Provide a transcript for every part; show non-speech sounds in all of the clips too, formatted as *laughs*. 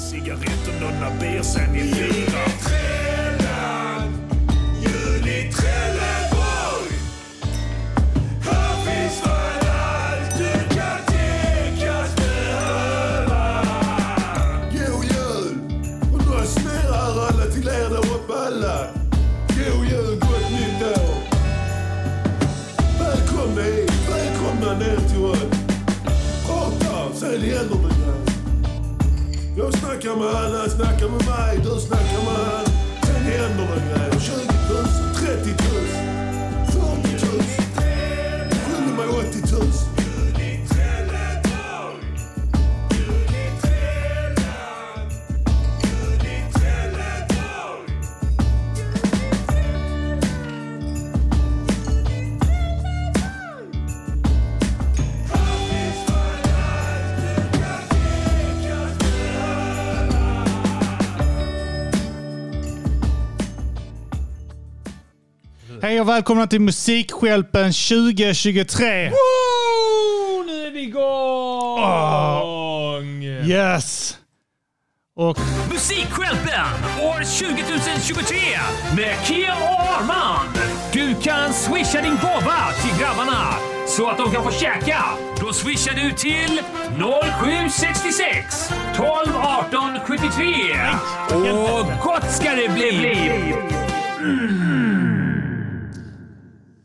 Cigaretter, nunna beer sen i fyra. Trällan, jul i Trelleborg. Här finns fan allt du kan tänkas behöva. God jul! Och nu snurrar alla till er där uppe alla. God jul, gott nytt år. Välkomna hit, välkomna ner till oss. Prata, sälj händerna grabbar. Jag snackar med han, han snackar med mig, du snackar med han. Sen händer det grejer. 20 000, 30 000, 40 000. Skyll mig 80 000. Hej och välkomna till Musikhjälpen 2023! Woo! Nu är vi igång! Yes! Och Musikhjälpen år 2023 med Kia och Armand. Du kan swisha din gåva till grabbarna så att de kan få käka. Då swishar du till 0766 12 18 73. Och gott ska det bli!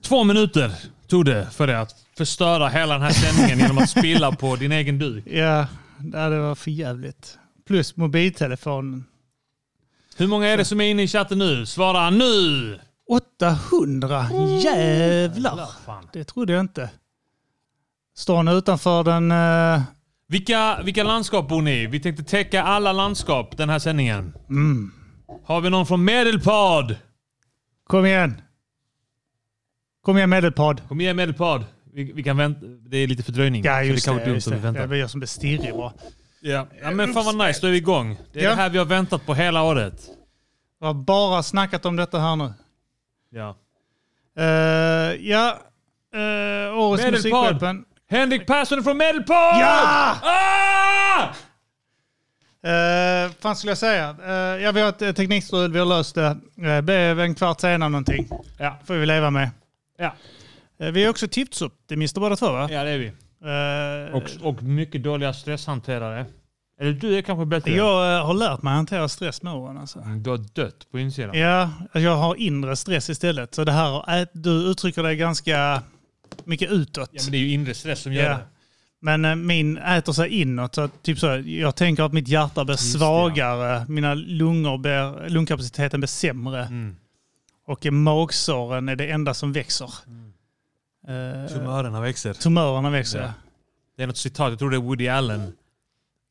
Två minuter tog det för dig att förstöra hela den här sändningen genom att spilla på din egen duk. ja, nej, det var för jävligt. Plus mobiltelefonen. Hur många är det som är inne i chatten nu? Svara nu! 800! Jävlar! fan. Det trodde jag inte. Står ni utanför den... eh, Vilka, vilka landskap bor ni i? Vi tänkte täcka alla landskap den här sändningen. mm. Har vi någon från Medelpad? kom igen! Kom igen medelpad! Kom igen Medelpad. Vi, vi kan vänta. Det är lite fördröjning. Ja, så det just kan det. vara dumt Just om vi det. det väntar. blir jag som blir stirrig bara. Ja. Ja, men fan vad nice, då är vi igång. Det är Ja. det här vi har väntat på hela året. Jag har bara snackat om detta här nu. Ja. Eh, ja, uh, årets Medelpad. Musikhjälpen. Henrik Persson är från Medelpad! Ja! Ah! Uh, fan skulle jag säga? Eh, ja, vi har ett eh, teknikstrul, vi har löst det. Eh, Det blev en kvart senare någonting. Ja. Får vi leva med. Ja. Eh, vi är också tipsoptimister båda två va? ja, det är vi. Eh, Och, och mycket dåliga stresshanterare. Eller du är kanske bättre. jag eh, har lärt mig att hantera stress med åren alltså. Du har dött på insidan. Ja, alltså jag har inre stress istället. Så det här, har ät- du uttrycker dig ganska mycket utåt. Ja, men det är ju inre stress som gör Ja. det. Men eh, min äter sig inåt. Så att, typ så, här, jag tänker att mitt hjärta blir det, ja. svagare, mina lungor blir, lungkapaciteten blir sämre. Mm. Och eh, magsåren är det enda som växer. Mm. Eh, Tumörerna växer. tumörerna växer. Ja. Det är något citat, jag tror det är Woody Allen.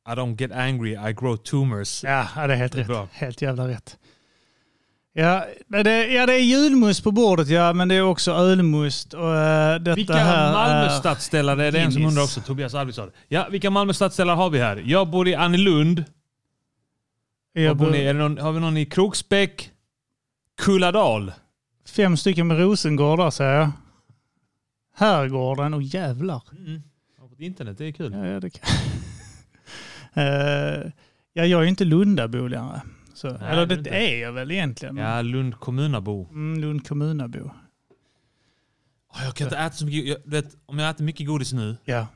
I don't get angry, I grow tumors. Ja, ja, det är helt rätt. bra. Helt jävla rätt. Ja men det, ja, det är julmust på bordet, ja, men det är också ölmust. Och, eh, detta Vilka här är- Malmöstadsställare är det en som Guinness. undrar också? Tobias Arvidsson. Ja, vilka Malmöstadsställare har vi här? Jag bor i Annelund. Var jag bor bor- ni? Är det någon, har vi någon i Kroksbäck? Kulladal? Fem stycken med Rosengård där, säger jag. Herrgården, och jävlar. Mm. Jag har fått internet, det är kul. Ja, ja, det kan. *laughs* Eh, ja, jag är ju inte Lundabo längre. Så, eller det det är du inte. är jag väl egentligen. Ja, Lund kommunabo. Mm, Lund kommunabo. Åh, Ah, jag kan inte äta så mycket. Jag, du vet, om jag äter mycket godis nu, Ja. Jag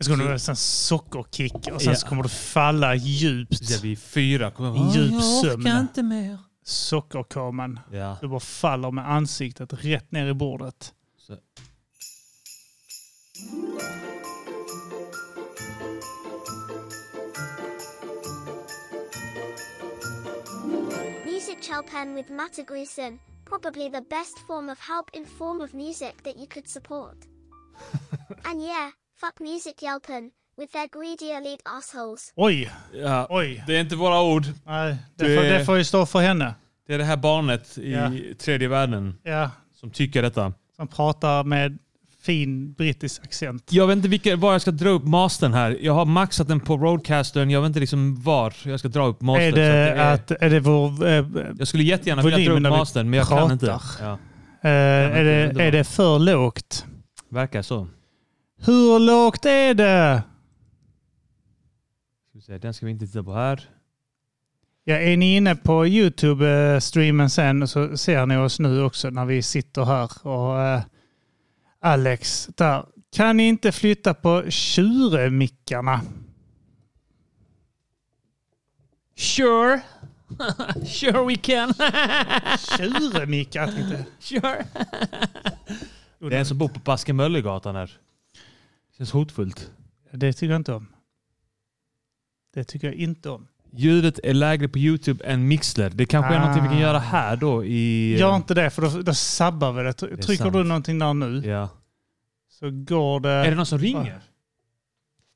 skulle Så- nog ha en sockerkick och sen Ja. så kommer du falla djupt. så vid fyra kommer jag I djup jag orkar sömn." inte mer. Sockerkaman. Ja. Du bara faller med ansiktet rätt ner i bordet. Så. Music Chalpan with Matagrisan, probably the best form of help in form of music that you could support. and yeah, fuck Music Yelpen, with their greedy elite assholes. Oj, Ja. oj. Det är inte våra ord. Nej, det, Det- får, det får ju stå för henne. Det är det här barnet i Ja. tredje världen Ja, som tycker detta. som pratar med fin brittisk accent. Jag vet inte vilka, var jag ska dra upp mastern här. Jag har maxat den på roadcastern. Jag vet inte liksom var jag ska dra upp mastern. Är så det, är- att, är det vår... eh, jag skulle jättegärna vilja dra volymen när upp vi mastern, men jag kan inte. pratar? Ja, Eh, är, men det det, var- är det för lågt? verkar så. Hur lågt är det? Ska vi se, Den ska vi inte titta på här. Ja, är ni inne på YouTube-streamen sen så ser ni oss nu också när vi sitter här. Och eh, Alex där. Kan ni inte flytta på tjuremickarna? *laughs* Sure. sure we can. *laughs* Tjuremickar? tänkte jag. sure. *laughs* Det är en som bor på Baskemöllegatan här. Känns hotfullt. Det tycker jag inte om. Det tycker jag inte om. Ljudet är lägre på YouTube än Mixler. Det kanske är Ah. någonting vi kan göra här då i... Gör inte det för då, då sabbar vi det. Try- är Trycker sant. du någonting där nu Ja. så går det... Är det någon som ringer?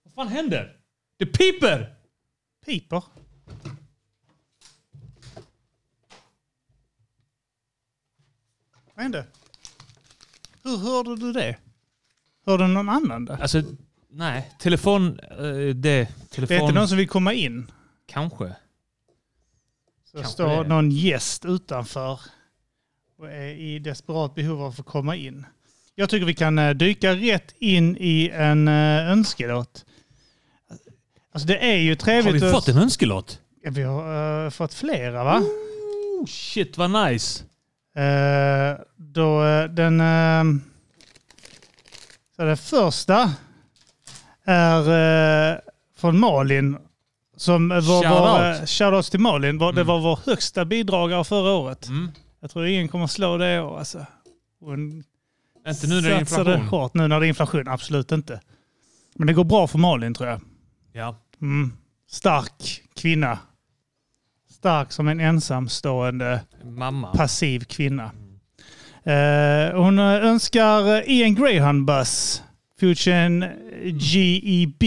Vad fan händer? Det piper! Piper. Vad hände? Hur hörde du det? Hörde någon annan det? Alltså, nej. Telefon... eh, det... Det Telefon... är inte någon som vill komma in. Kanske. Så Kanske står det. någon gäst utanför och är i desperat behov av att få komma in. Jag tycker vi kan eh, dyka rätt in i en eh, önskelåt. Alltså det är ju Har trevligt vi att- fått en önskelåt? Ja, vi har eh, fått flera va? Oh shit vad nice! Eh, då eh, den... eh, så den första är eh, från Malin. Som var, var, Shoutout. eh, shoutouts till Malin. Var, Mm. Det var vår högsta bidragare förra året. Jag tror ingen kommer slå det i år. Alltså. Hon Inte nu när det är satsade inflation. hårt nu när det är inflation. Absolut inte. Men det går bra för Malin tror jag. Ja. Mm. Stark kvinna. Stark som en ensamstående Mamma. Mm. passiv kvinna. Eh, hon eh, önskar eh, Ian Greyhound Bus, Fusion E GEB.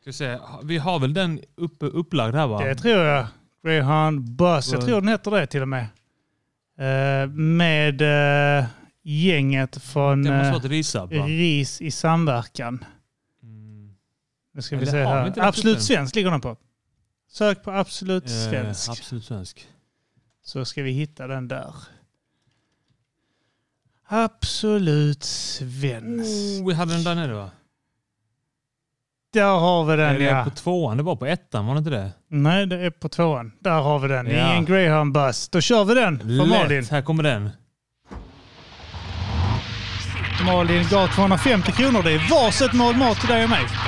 Ska vi, se. vi har väl den uppe, upplagd här va? Det tror jag. Greyhound Bus, Mm. jag tror den heter det till och med. Eh, med eh, gänget från Det måste eh, vara ett risab va? Mm. RIS i samverkan. Nu ska vi Eller se har vi här. inte den Absolut titeln? svensk ligger den på. Sök på Absolut Eh, svensk. absolut svensk. Så ska vi hitta den där. Absolut svensk. Oh, vi hade den där nere va? Där har vi den Eller ja. på tvåan, det var på ettan, var det inte det? Nej, det är på tvåan. Där har vi den. Ja. I en Greyhound Bus. Då kör vi den för Malin. Lätt, här kommer den. Malin gav 250 kronor. Det är varsitt mål mat till dig och mig. Eh,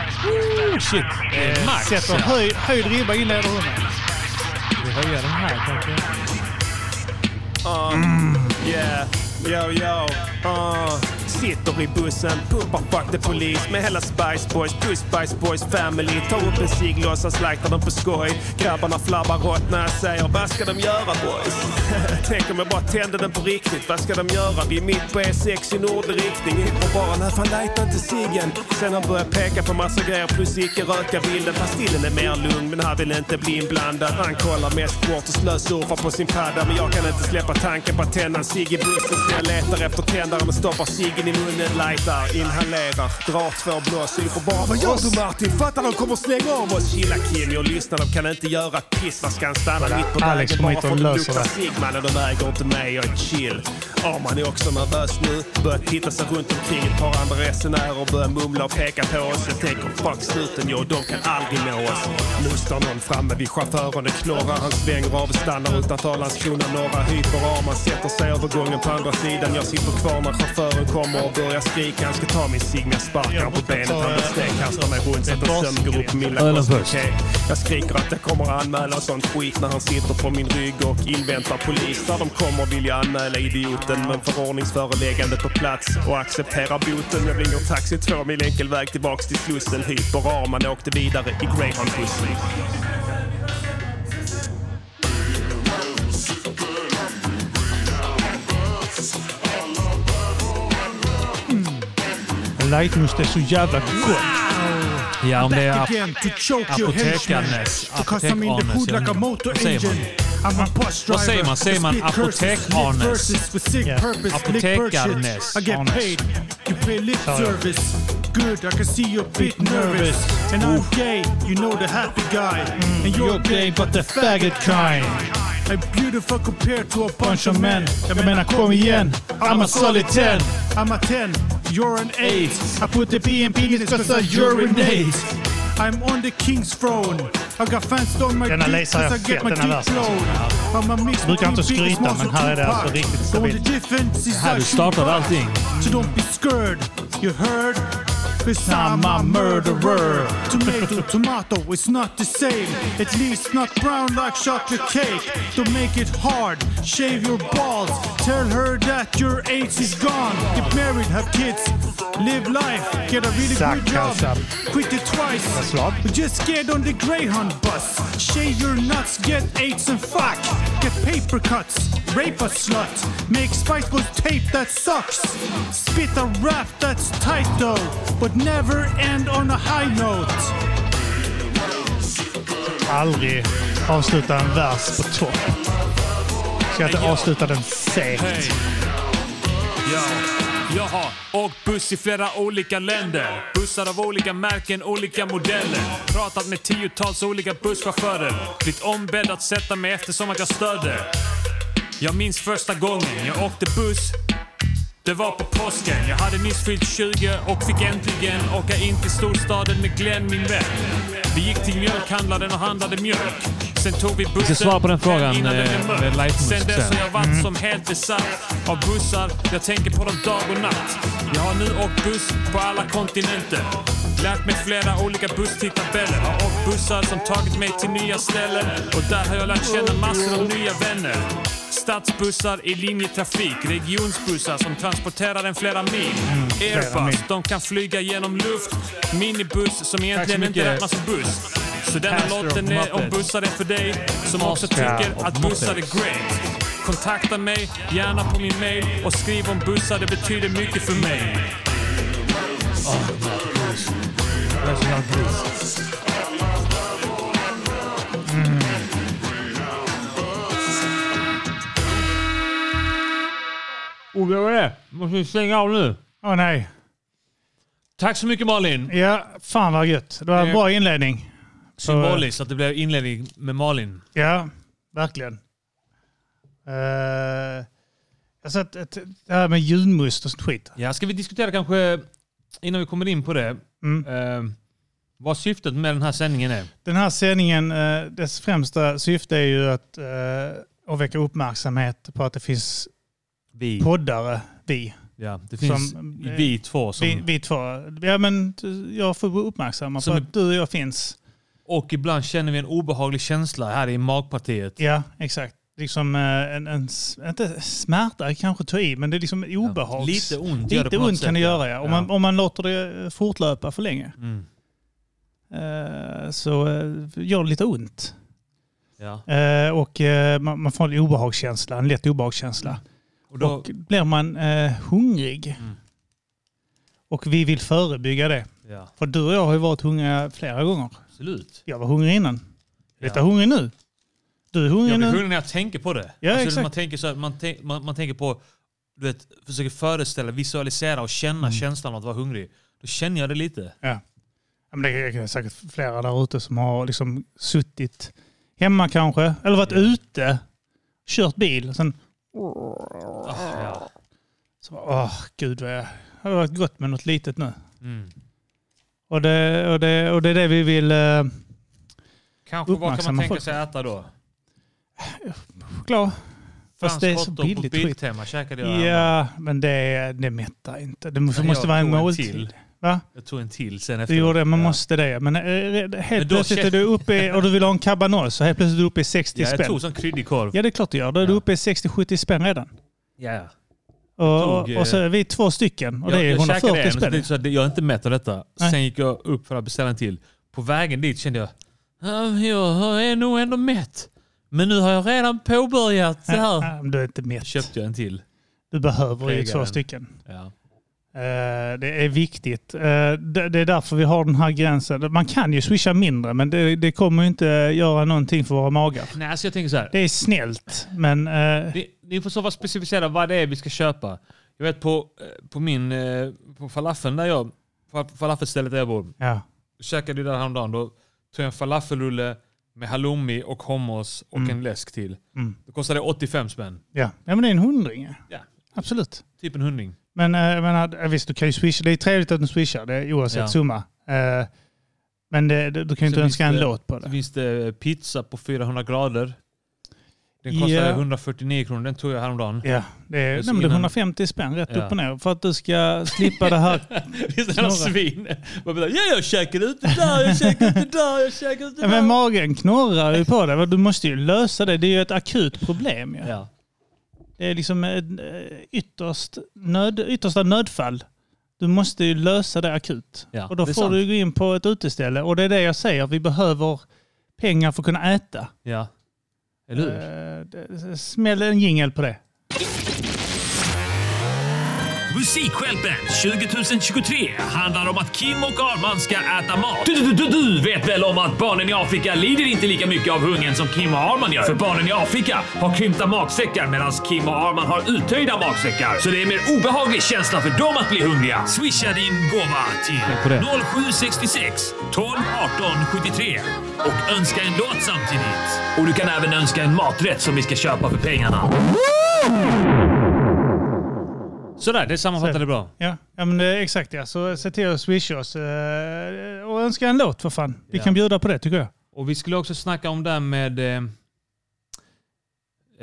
Oh shit! Det är max! Sätter ja. höj, höjd ribba inleder hon med. Vi höjer den här kanske. Um, Yeah, yo yo, uh. Sitter i bussen, pumpar fuck the police med hela Spice Boys, puss Spice Boys family. Tar upp en cigg, låtsas slakta dem på skoj. Grabbarna flabbar åt när jag säger vad ska de göra boys? *laughs* Tänk om jag bara tände den på riktigt, vad ska de göra? Vi är mitt på E6 i nordlig riktning. In på baren, här fan lighta inte ciggen. Sen han börjar peka på massa grejer plus icke röka bilden. Fast stilen är mer lugn, men han vill inte bli inblandad. Han kollar mest bort och slösurfar på sin padda. Men jag kan inte släppa tanken på att tända en cigg i bussen. Så jag letar efter tändare men stoppar ciggen i munnen, lightar, inhalerar, drar två blås. Syr på bara Vad gör du Martin? Fattar de kommer slänga av oss. Chilla Kimmy och lyssna, de kan inte göra ett piss. Var ska han stanna mitt på Alex vägen? kommer Bara hit och löser för att de luktar det. Sigman och de äger inte mig, jag är chill. Arman är också nervös nu. Börjar titta sig runt omkring ett par andra resenärer börjar mumla och peka på oss. Jag tänker fuck snuten, jag och de kan aldrig nå oss. Nu står någon framme vid chauffören och knorrar. Han svänger av och stannar utanför Landskrona norra. Hyper Arman sätter sig över gången på andra sidan. Jag sitter kvar när chauffören kommer och börjar skrika. Han ska ta min cigg, men jag sparkar på benet. Han blir sned, kastar mig runt, sätter sömngrop upp min Ölen först. Okej, Jag skriker att jag kommer att anmäla sånt skit när han sitter på min rygg och inväntar polis. När de kommer vill jag anmäla idioten men förordningsföreläggande på plats och accepterar boten. Jag ringer taxi två mil enkel väg tillbaks till Slussen. Hyperarman åkte vidare i greyhoundbussen. Lightmust är så jävla gott. Ja, om det är again to choke your henchmen. apotekarnes... Because I'm in the hood like a motor Vad säger engine. man? I'm a bus Vad driver. säger man? Säger man Spit curses, apotekarnes? lick verses with sick Yeah. purpose, lick bird shit. Apotekarnes. I get Arnes. paid. You pay lip ja. service. Good, I can see you're a bit nervous. And I'm gay, you know the happy guy. And you're, gay, but the faggot kind. I'm beautiful compared to a bunch of men. Jag menar kom igen. I'm a solid 10. I'm a 10, you're an 8. I put the B in penis because I urinate. I'm on the king's throne. I got fans on my Denna dick laser är 'cause I fet, get my den är dick värst. blown. I'm a mix Brukar inte between big skryta, and men här är det small alltså pack. riktigt So stabilt. the difference is Här du I keep startar up. allting. So don't be scared, you heard? Cause I'm I'm a a murderer. murderer. Tomato, tomato, it's not the same. At least not brown like chocolate cake. Don't make it hard, shave your balls. Tell her that your AIDS is gone. Get married, have kids, live life, get a really good Suck job. us up. Quit it twice. Slapp. Just get on the Greyhound bus. Shave your nuts, get AIDS and fuck. Get paper cuts, rape a slut. Make Spice Boys tape that sucks. Spit a rap that's tight though, but never end on a high *laughs* note. Aldrig avsluta en vers på topp. Ska inte avsluta den segt. Hej. Ja. Jaha, åkt buss i flera olika länder. Bussar av olika märken, olika modeller. Pratat med tiotals olika busschaufförer. Blivit ombedd att sätta mig eftersom att jag störde. Jag minns första gången jag åkte buss. Det var på påsken. Jag hade nyss fyllt 20 och fick äntligen åka in till storstaden med Glenn, min vän. Vi gick till mjölkhandlaren och handlade mjölk. Sen tog vi bussen... Vi svara på den frågan, eh, med livemusik Sen dess sen. har jag varit som helt besatt av bussar. Jag tänker på dem dag och natt. Jag har nu åkt buss på alla kontinenter. Lärt mig flera olika busstidtabeller. Har åkt bussar som tagit mig till nya ställen. Och där har jag lärt känna massor av nya vänner. Stadsbussar i linjetrafik, regionsbussar som transporterar en flera mil. Airbus, de kan flyga genom luft. Minibuss som egentligen inte mycket. räknas som buss. Så denna Pastor of låten är om Muppets. bussar är för dig som också tycker of att bussar är Muppets. great. Kontakta mig gärna på min mail och skriv om bussar, det betyder mycket för mig. Ove, vad är det? Måste vi stänga av nu? Åh nej. Tack så mycket Malin. Eh, Ja, fan vad gött. Det var en bra inledning. Symboliskt att det blev inledning med Malin. Ja, verkligen. Eh, jag satt ett, det här med julmust och sånt skit. Ja, ska vi diskutera kanske, innan vi kommer in på det, Mm. eh, vad syftet med den här sändningen är? Den här sändningen, eh, dess främsta syfte är ju att, eh, att väcka uppmärksamhet på att det finns Vi. poddare, vi. ja, det finns som- eh, vi två som, Vi, vi två. Ja, men t- jag får vara uppmärksamma på Som att du och jag finns. Och ibland känner vi en obehaglig känsla här i magpartiet. Ja, exakt. Liksom eh, en, en, s- inte smärta kanske ta i, men det är liksom obehags... Lite ont gör det Lite på något ont kan sätt, det ja. göra, ja. Om, Ja. Man, om man låter det fortlöpa för länge. Eh, så eh, gör det lite ont. Ja. Eh, och eh, man, man får en obehagskänsla, en lätt obehagskänsla. Och då, Mm. Och blir man eh, hungrig. Och vi vill förebygga det. ja, För du och jag har ju varit hungriga flera gånger. absolut. Jag var hungrig innan. Lite hungrig nu. Du är hungrig Jag blir nu. hungrig när jag tänker på det. Alltså, Ja, exakt. Man tänker, så här, man, tänk, man, man tänker på, du vet, försöker föreställa, visualisera och känna känslan av att vara hungrig. Då känner jag det lite. Mm. Ja. Ja, Men det är det är säkert flera där ute som har liksom suttit hemma kanske, eller varit ute, kört bil och sen... Ah, Så bara, åh gud vad jag... Det hade varit gott med något litet nu. Mm. Och, det, och, det, och det är det vi vill... eh, Kanske vad kan man Uppmärksamma tänka folk. sig äta då? Choklad. Fast det är så hotdog billigt på skit. Biltema käkade jag häromdagen. Ja, men det, det mättar inte. Det måste, Men måste jag vara en tog en måltid. till. Va? Jag tog en till sen Du efter. gjorde det, man ja. måste det. Men eh, helt då plötsligt är känner- du uppe i- och du vill ha en cabanos så helt plötsligt är du uppe i 60 Ja, jag spänn. tog sån kryddig korv. Ja, det är klart du gör. Då är du Ja. uppe i 60-70 spänn redan. Ja, ja. Och, och, tog, och så eh, är vi två stycken Mm, och det är jag, jag käkade 140 en, så spänn. det, så att det- jag är inte mätt av detta. Nej. Sen gick jag upp för att beställa en till. På vägen dit kände jag, "Ja, jag är nog ändå mätt. Men nu har jag redan påbörjat *laughs* det Ja, här. men du är inte mätt. Köpte jag en till. Du behöver ju Krigaren. två stycken. Ja. Eh, det är viktigt. Eh, det, det är därför vi har den här gränsen. Man kan ju swisha mindre, men det, det kommer ju inte göra någonting för våra magar. Nej, alltså jag tänker så här. Det är snällt, men... eh, Ni, ni får så vara specificera vad det är vi ska köpa. Jag vet på, eh, på min, eh, på falafeln där jag, på falafelstället där jag bor. ja. käkade ju där häromdagen. Då tog jag en falafelrulle med halloumi och hummus och en läsk till. Det kostade 85 spänn. Mm. Ja. ja, men det är en hundring. ja. Ja. Absolut. Typ en hundring. eh, Men eh, jag menar, visst, du kan ju swisha. Det är trevligt att du swishar, det är oavsett Ja. summa. Eh, Men det, det, du kan ju inte Sen önska en finns det- låt på Så eh, det. finns det eh, pizza på 400 grader. Den kostar Ja. 149 kronor. Den tog jag häromdagen. Ja, det är, Just nej, men det är innan- 150 spänn rätt Ja. upp och ner för att du ska slippa det här. Visst är *laughs* det Snorra. svin? Man bara, ja, jag käkar ut det där, jag käkar ut det där, jag käkar ut det Ja, Men där. magen knorrar ju på det. Du måste ju lösa det. Det är ju ett akut problem. Ja. Ja. Det är liksom ett eh, ytterst nöd, yttersta nödfall. Du måste ju lösa det akut. Ja, och då det är får sant. du gå in på ett uteställe. Och det är det jag säger, vi behöver pengar för att kunna äta. ja. Eller hur? Eh, det- Smäll en jingel på det. Musikhjälpen 2023 handlar om att Kim och Arman ska äta mat. Du, du, du, du vet väl om att barnen i Afrika lider inte lika mycket av hungern som Kim och Arman gör? För barnen i Afrika har krympta magsäckar medan Kim och Arman har uttöjda magsäckar. Så det är en mer obehaglig känsla för dem att bli hungriga. Swisha din gåva på till det. 0766 12 18 73 och önska en låt samtidigt. Och du kan även önska en maträtt som vi ska köpa för pengarna. Sådär, det sammanfattar det bra. Ja, ja men det är exakt ja. Så se till att swisha oss eh, och önska en låt för fan. Vi Ja. kan bjuda på det tycker jag. Och vi skulle också snacka om det här med eh,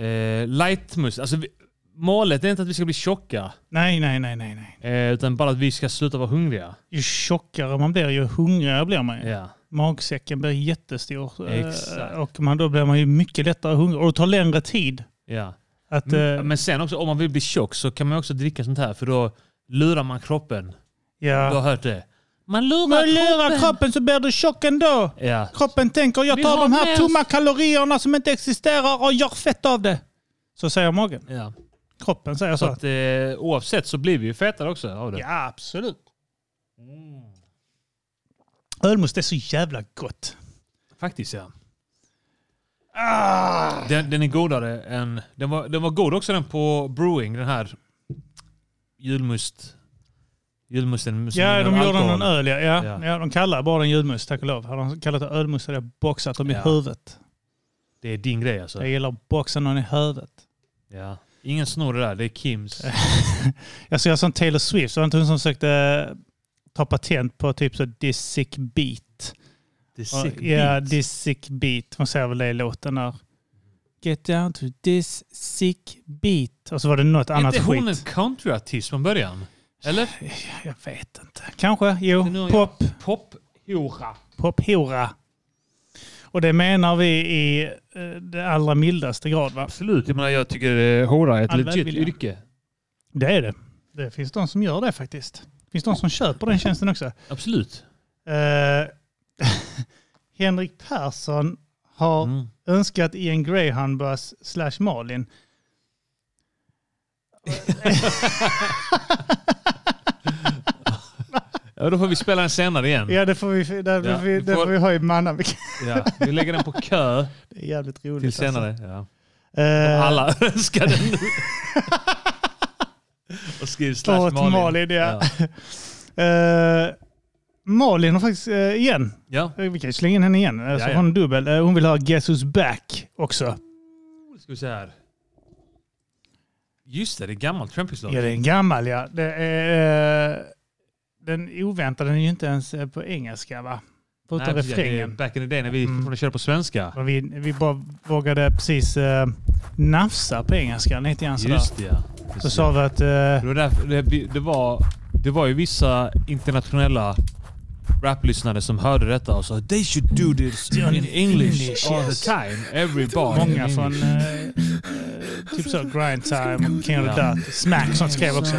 eh, lightmusik. Alltså, vi, målet är inte att vi ska bli tjocka, Nej, nej, nej, nej. nej. eh, utan bara att vi ska sluta vara hungriga. Ju tjockare man blir, ju hungrigare blir man. ju. Ja. Magsäcken blir jättestor. eh, Exakt. Och man, då blir man ju mycket lättare hungrig. Och det tar längre tid. ja. Mm. Att, eh, Men sen också, om man vill bli tjock så kan man också dricka sånt här, för då lurar man kroppen. Du har ja. hört det? Man lurar Man lurar kroppen! kroppen så blir du tjock ändå. Ja. Kroppen tänker jag Vi tar har de här med tomma kalorierna som inte existerar och gör fett av det. Så säger magen. ja. Kroppen säger Så så. att, eh, oavsett så blir vi ju fetare också av det. Mm. Ja, absolut. Ölmust är så jävla gott. Faktiskt ja. Ah! Den, den är godare än... Den var, den var god också den på Brewing, den här julmust... Julmusten som Ja, de innehåller gjorde alkohol. någon öl. Ja. Ja. Ja. Ja. de kallar bara den julmust, tack och lov. Hade de kallat det ölmust hade jag boxat dem i Ja. huvudet. Det är din grej alltså. Jag gillar att boxa någon i huvudet. Ja. Ingen snor det där, det är Kims. *laughs* Jag ser som Taylor Swift, så var det inte hon som försökte eh, ta patent på typ så this sick beat. Det är sick Ja, yeah, beat. this sick beat. Hon säger väl det i låten där. Get down to this sick beat. Och så var det något Är annat inte hon en skit. countryartist från början? Eller? Jag vet inte. Kanske. Det är Jo. nog- Pop. Pophora. Pophora. Och det menar vi i eh, det allra mildaste grad va? Absolut. Jag menar, jag tycker eh, hora är ett All legit välvilja. yrke. Det är det. Det finns de som gör det faktiskt. Det finns de som köper den tjänsten också. Absolut. Eh, *laughs* Henrik Persson har Mm. önskat i en greyhoundbuss slash Malin. Ja, då får vi spela den senare igen. Ja, det får vi, där, Ja, får vi, du där får- får vi ha i manna. Ja, vi lägger den på *laughs* kö Det är jävligt roligt. till senare. Ja. Alltså. Eh, Alla *laughs* önskar den *laughs* nu. Och skriv slash Åt Malin. Malin, ja. *laughs* Ja. eh, Malin har faktiskt eh, igen, ja. eh, vi kan ju slänga in henne igen, eh, så Ja, ja. har hon dubbel. Eh, hon vill ha Guess Who's Back också. Ska vi se här. Just det, det är gammalt Trampies-låt. Ja, det är en gammal ja. Det är, eh, den oväntade, den är ju inte ens eh, på engelska va? Förutom precis, det är refrängen. Mm. Back in the day när vi fortfarande körde på svenska. Och Vi, vi bara vågade precis eh, nafsa på engelskan lite grann sådär. Just det, ja. Så Precis. sa vi att... Det eh, var, därför, det, det, var, det var ju vissa internationella raplyssnare som hörde detta och sa “They should do this in English all the time, every bar in många English." från eh, eh, typ så Grind Time och King of the Ja. Dirt. Smack som skrev också.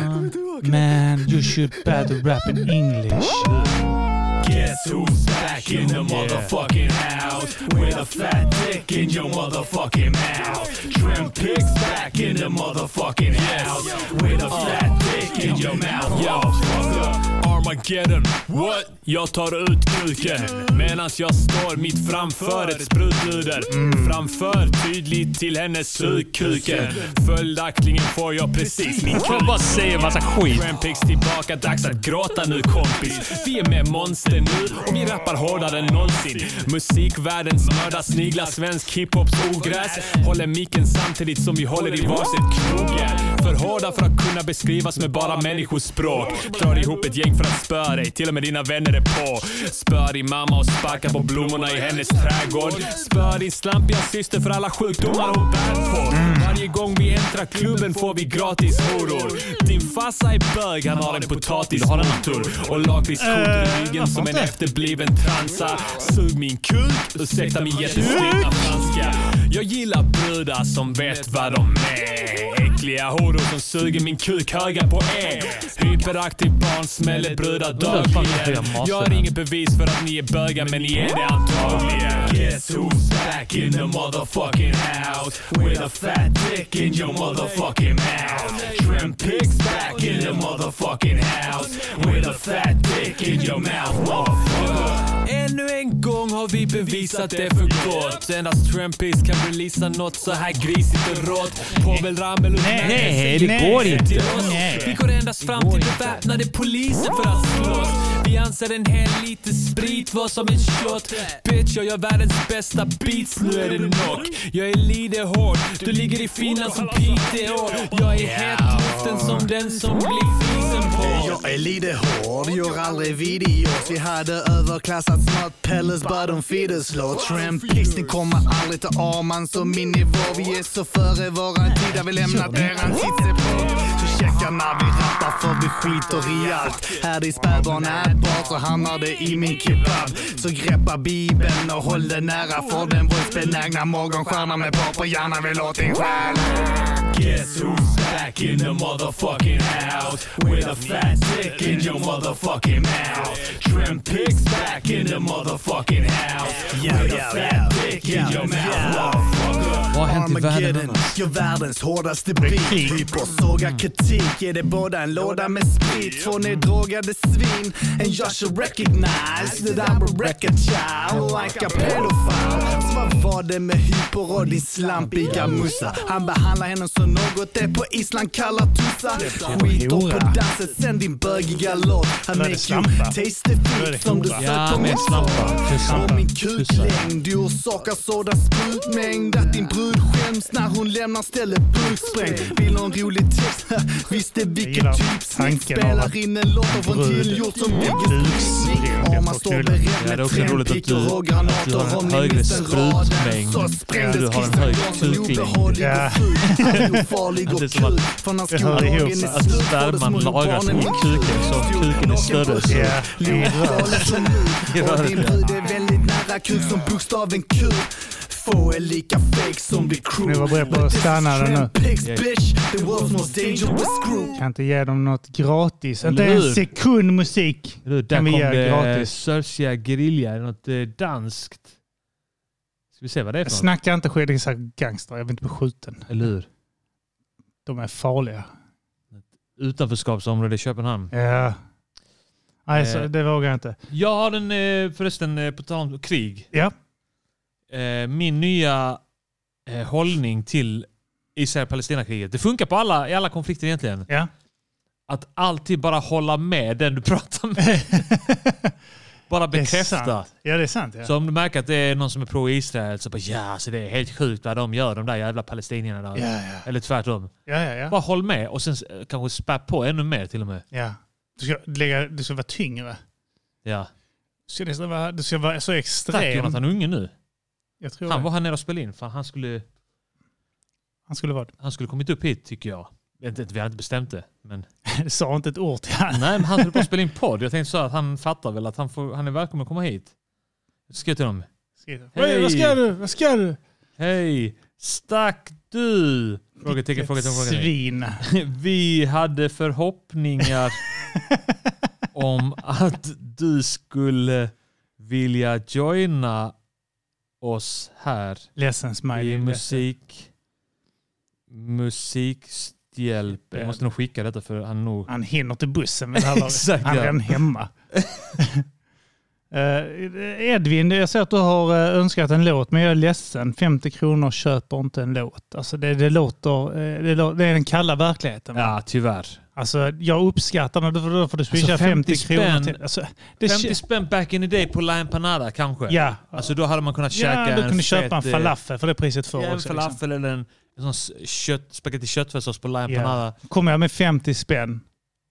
Man, you should better rap in English. Guess who's back in the motherfucking house with a fat dick in your motherfucking mouth? Trim pigs back in the motherfucking house with a fat dick in your mouth. Yo, fucker. Armageddon, what? Jag tar ut kuken medans jag står mitt framför ett sprutluder. Framför tydligt till hennes sugkuken. Följaktligen får jag precis min kuk. Man bara säger massa skit. Rampix tillbaka, dags att gråta nu kompis. Vi är med Monster nu och vi rappar hårdare än någonsin. Musikvärldens mördar sniglar svensk hiphops ogräs. Håller micken samtidigt som vi håller i varsitt knogjärn. För hårda för att kunna beskrivas med bara människospråk. Drar ihop ett gäng för att spöa dig. Till och med dina vänner är på. Spöa din mamma och sparka på blommorna i hennes trädgård. Spöa din slampiga syster för alla sjukdomar hon bär på. Varje gång vi äntrar klubben får vi gratis horor. Din farsa är bög, han har en potatismotor och lakritsskjortor i ryggen som en efterbliven transa. Sug min kuk, ursäkta min jättestinna franska. Jag gillar brudar som vet vad de är. Äckliga horor som suger min kuk höga på er. Hyperaktiv barn smäller brudar dagligen. Jag har inget bevis för att ni är bögar men ni är det antagligen. Guess who's back in the motherfucking house with a fat dick in your motherfucking mouth. Trim pigs back in the motherfucking house with a fat dick in your mouth, motherfucker. Ännu en gång har vi bevisat det för gott. Endast Trumpis kan releasa något så här grisigt och rått. Povel Ramel och Nej, Nanne det säger går nej inte. till oss. Nej. Vi går endast fram till beväpnade poliser för att slåss. Vi anser en hel liter sprit var som en shot. Bitch, jag gör världens bästa beats. Nu är det knock. Jag är lidehård. Du ligger i Finland som Piteå. Jag är het luften som den som blir fisen på. Jag är lite hård, gör aldrig videos. Vi hade överklassat smart pellets, but on feeders låt. Trampigs, ni kommer aldrig ta av man som min nivå. Vi är så före våran tid, där vi lämnat eran tidsepok. Så checka när vi rappar, för vi skiter i allt. Här är spädbarn ätbart, så hamnar det i min kebab. Så greppa bibeln och håll den nära, för den våldsbenägna morgonstjärna med par på hjärnan vill åt din själ. Guess who's back in the motherfucking house with a fat dick in your motherfucking mouth? Trim pigs back in the motherfucking house with a fat dick in your mouth. Vad har hänt i världen Armageddon, annars? gör världens hårdaste beat. Hyper sågar kritik, ger det båda en låda med sprit. Två neddrogade svin, en jag should recognize. Det där var record child, like a pedophile. Så vad var det med hyper och din slampiga mussa? Han behandlar henne som något det på Island kallar tussa. Skiter på dasset, sen din bögiga låt. Han Då är det make you slampa. taste the Då är det feet som du hora. söker men mot slampa. soppa. Slampa. Och min kuklängd du orsakar sådan sprutmängd att din brud skäms när hon lämnar stället burksprängd. Vill någon rolig text? Visste vilken gillar typ snitt tanken av att spelar in en låt av en brud tillgjord som bygger Busring om man på står knullen. beredd Ja, det är med också roligt att du- trämpickor och att du har en granater om ni högre missar raden sprutmängd. så Ja, sprängdes du har en hög Christian Jansson kuklängd. obehaglig Ja. och ful. Han är ofarlig *laughs* Det är och som att- kul. För när det hör skoldagen ihop. är Alltså, slut får sperman det små lagras barnen i kuken, så om kul. kuken är större så- Ja, det är rör. Farligt som *laughs* nu. Och din brud är väldigt nära kuk som bokstaven Q. Få är lika fake som ditt crew. Nu var jag beredd på att stanna den nu. Trampigs, bitch. The world's most dangerous group. Kan inte ge dem något gratis. Inte Eller hur? en sekund musik Du, där kan vi kom ge det gratis. Sörsia Guerrilla, något eh, danskt. Ska vi se vad det är för något? Snacka inte skildiga gangster. Jag vill inte bli skjuten. Eller hur? De är farliga. Utanförskapsområde i Köpenhamn. Ja. Nej, så Eh. det vågar jag inte. Jag har en, eh, förresten, eh, på tal om krig. Ja. Eh, Min nya eh, hållning till Israel-Palestina-kriget. Det funkar på alla, i alla konflikter egentligen. Ja. Att alltid bara hålla med den du *laughs* *laughs* pratar med. bara Det är bekräfta. sant. Ja, det är sant. Ja. Så om du märker att det är någon som är pro-Israel så bara ja, så det är helt sjukt vad de gör, de där jävla palestinierna där. Ja, ja. Eller tvärtom. Ja, ja, ja. Bara håll med och sen eh, kanske spä på ännu mer till och med. ja. Du, ska lägga, du ska vara tyngre. Ja. Du ska, nästan vara, du ska vara så Tack extrem. Jonathan Unge nu. Jag tror Han det. var här nere och spelade in. Fan, han skulle... han skulle vara han skulle kommit upp hit tycker jag. Jag vet inte, Vi har inte bestämt det. Men... *laughs* det. Sa inte ett ord till han. Nej, men han höll på *laughs* att spela in podd. Jag tänkte så här att han fattar väl att han, får, han är välkommen att komma hit. Så skrev jag till honom. Hey. Vad ska du? Vad ska du? Hej, stack du? Frågetecken, frågetecken, frågetecken. Svin. *laughs* Vi hade *laughs* förhoppningar om att du skulle vilja joina oss här Ledsen i smiley. musik... Musikstjälp. Jag måste nog skicka detta för han är nog... Han hinner till bussen men han, *laughs* Exakt, han är ja. redan *laughs* hemma. Eh, Edvin, jag ser att du har eh, önskat en låt, men jag är ledsen. 50 kronor köper inte en låt. Alltså det, det, låter, eh, det, lå- det är den kalla verkligheten. va? Ja, tyvärr. Alltså, jag uppskattar när du får, då får du swisha 50, 50 kronor Alltså, spänn. till. Alltså, det 50 kä- spänn back in the day på La Empanada kanske? Ja. Alltså då hade man kunnat ja, käka du kunde en köpa en fet, eh, falafel för det priset för Ja, en också. falafel Liksom. eller en, en sån s- kött, spagetti köttfärssås på La Ja. Empanada. Kommer jag med 50 spänn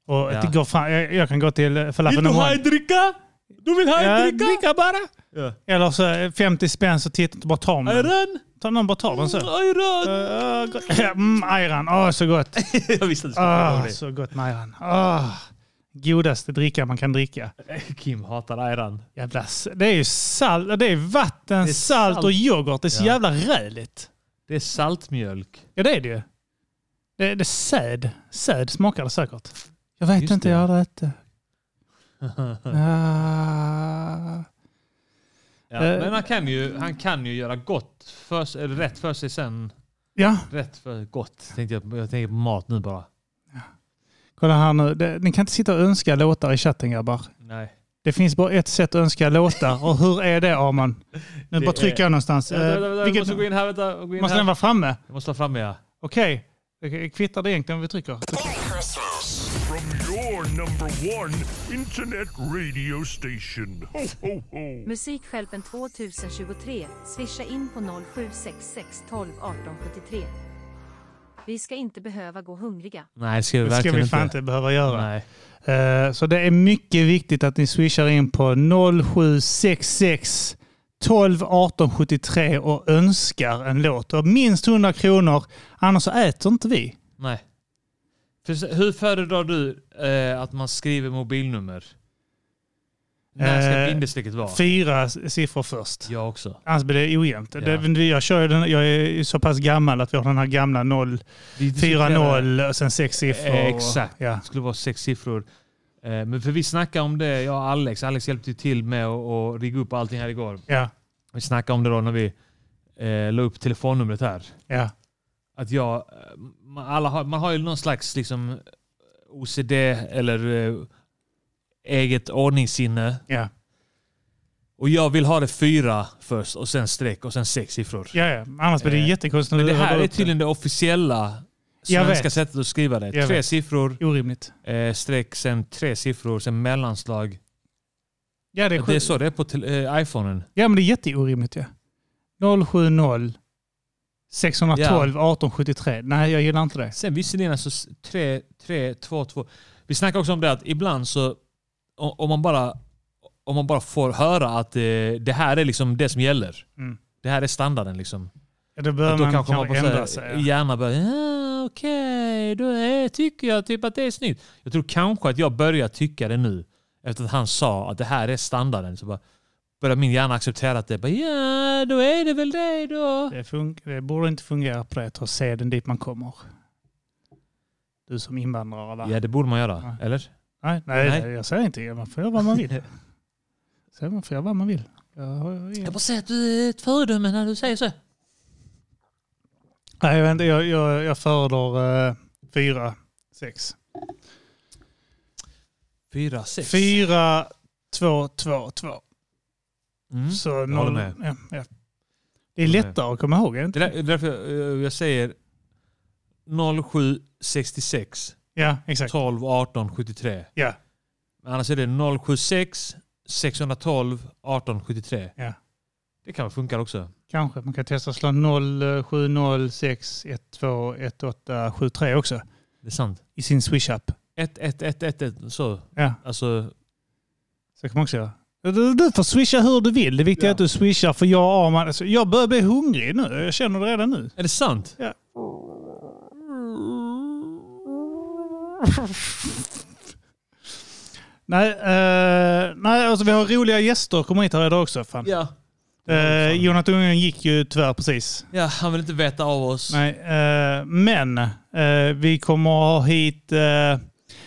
Och Ja. det går fram, jag, jag kan gå till eh, Falafel och Mohan. dricka? Du vill ha Ja, dricka bara? Eller så eh, 50 spänn så tittar inte bara tar man den. Ayran! Tar någon bara tar den så. Ayran! Eh, gott. Ah, Mm, ayran. Åh, så gott. *laughs* Jag visste att du skulle Åh, komma ihåg Ah, så gott med ayran. Åh, godaste dricka man kan dricka. det. Kim hatar ayran. Jävla, s- det är ju salt, det är vatten, Det är salt. och salt. yoghurt. Det är så Ja. jävla räligt. Det är saltmjölk. Ja, det är det ju. Det, det är säd. Säd smakar det säkert. Jag vet Just inte, det. jag har aldrig ätit *laughs* det. Ah. Ja, Eh. men alltså, han kan, ju, han kan ju göra gott för, sig- eller rätt för sig sen. Ja, Rätt för gott. Tänkte jag, jag tänker på mat nu bara. kolla här nu. Det, ni kan inte sitta och önska låtar i chatten grabbar. Nej. Det finns bara ett sätt att önska låtar. Och hur är det Arman? Nu Det bara trycker jag någonstans. Ja, vänta, vänta, Eh, vänta, jag vilket- måste gå in här. Vänta, gå in måste här. den vara framme? Jag måste ha fram mig, ja. Okej. Det Kvittar det egentligen om vi trycker? From your number one internet radio station. Ho, ho, ho. Musikhjälpen 2023. Swisha in på 0766 12 18 73. Vi ska inte behöva gå hungriga. Nej, det ska vi Det ska vi verkligen fan inte. inte behöva göra. Nej. Eh, Så det är mycket viktigt att ni swishar in på 0766 12 18 73 och önskar en låt. Och minst 100 kronor, annars så äter inte vi. Nej. För, så- hur föredrar du eh, att man skriver mobilnummer? När ska Eh, bindestrecket vara? Fyra s- siffror först. Jag också. Annars blir Alltså, det ojämnt. Ja. Det, jag, kör ju den, jag är ju så pass gammal att vi har den här gamla 0, Vi 4, diskuterade- 0 och sen sex siffror. Eh, exakt. Och, ja. Det skulle vara sex siffror. Eh, Men för vi snackade om det, jag och Alex. Alex hjälpte ju till med att att rigga upp allting här igår. Ja. Vi snackade om det då när vi eh, la upp telefonnumret här. Ja. Att jag, eh, man, alla har, man har ju någon slags liksom OCD eller eh, eget ordningssinne. Ja. Och jag vill ha det fyra först och sen streck och sen sex siffror. Ja, ja. Annars blir det Eh, jättekonstigt. Men när det du här radar är typ- upp tydligen det officiella Jag svenska vet. sättet att skriva det. Jag Tre vet. siffror, Orimligt. eh, streck, sen tre siffror, sen mellanslag. Ja, det är, Det är sjukt. så det är på tel- eh, iPhonen. Ja, men det är jätteorimligt ju. 070 612 1873. Nej, jag gillar inte det. Sen visserligen alltså s- tre, tre, två, två. Vi snackar också om det att ibland så o- om man bara, om man bara får höra att eh, det här är liksom det som gäller. Mm. Det här är standarden liksom. Ja, Då bör då man kanske kanske man bara ändra så här, sig. Ja. gärna börjar ja, okej, då är, tycker jag typ att det är snyggt. Jag tror kanske att jag börjar tycka det nu efter att han sa att det här är standarden. Så bara börjar min hjärna acceptera att det bara, ja, då är det väl det då. Det, fun- det borde inte fungera på det, ta seden dit man kommer. Du som invandrare, va? Ja, det borde man göra. Ja. Eller? Nej, nej, Nej. jag säger inte Man får göra vad man *laughs* vill. Sen man får göra vad man vill. Jag har ingen- Jag bara säger att du är ett föredöme när du säger så. Nej, jag, vet inte, jag, jag, jag föredrar eh, fyra, sex. Fyra, sex. Fyra, två, två, två. Mm. Så håller noll, med. ja, ja. Det är Håller med. lättare att komma ihåg, är det Det inte? där, det är därför jag, eh, jag säger 0766 Ja, exakt. 12 18 73. Ja. Men annars är det 076 612 18 73. Ja. Det kan väl funka också. Kanske. Man kan testa att slå eh, 0706121873 också Det är sant. i sin Swish-app. 1 1 1 1 1 så. Ja, Alltså, så kan man också göra. Du, du får swisha hur du vill. Det viktiga är att du swishar för jag och Arman. Alltså, jag börjar bli hungrig nu. Jag känner det redan nu. är det sant? Ja. Nej, eh, nej alltså, vi har roliga gäster kommer hit här idag också. Fan. Ja. Eh, Jonathan Unge gick ju tyvärr precis. Ja, han vill inte veta av oss. Nej, eh, men eh, vi kommer ha hit eh,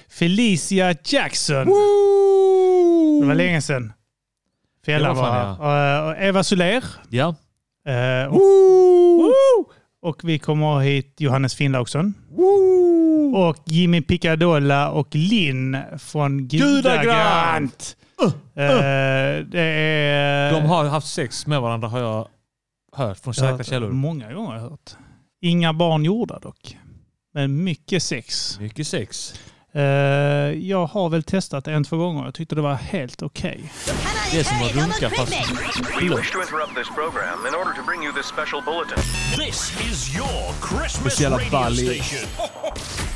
Felicia Jackson. Det var länge sedan. Fjällar Det var var fan, här. Eh, och Eva Soler. Ja. Eh, och, Woo! och vi kommer ha hit Johannes Finnlaugsson. Och Jimmy Picadolla och Linn från Gudagrant. Eh, det är... De har haft sex med varandra har jag hört från Jag har säkra hört källor. Många gånger har jag hört. Inga barn gjorda dock. Men mycket sex. Mycket sex. Eh, jag har väl testat en, två gånger. Jag tyckte det var helt okej. Det är som att runka fast... We wish to interrupt this program in order to bring you this special bulletin. This is your Christmas Speciella radio ball i- station.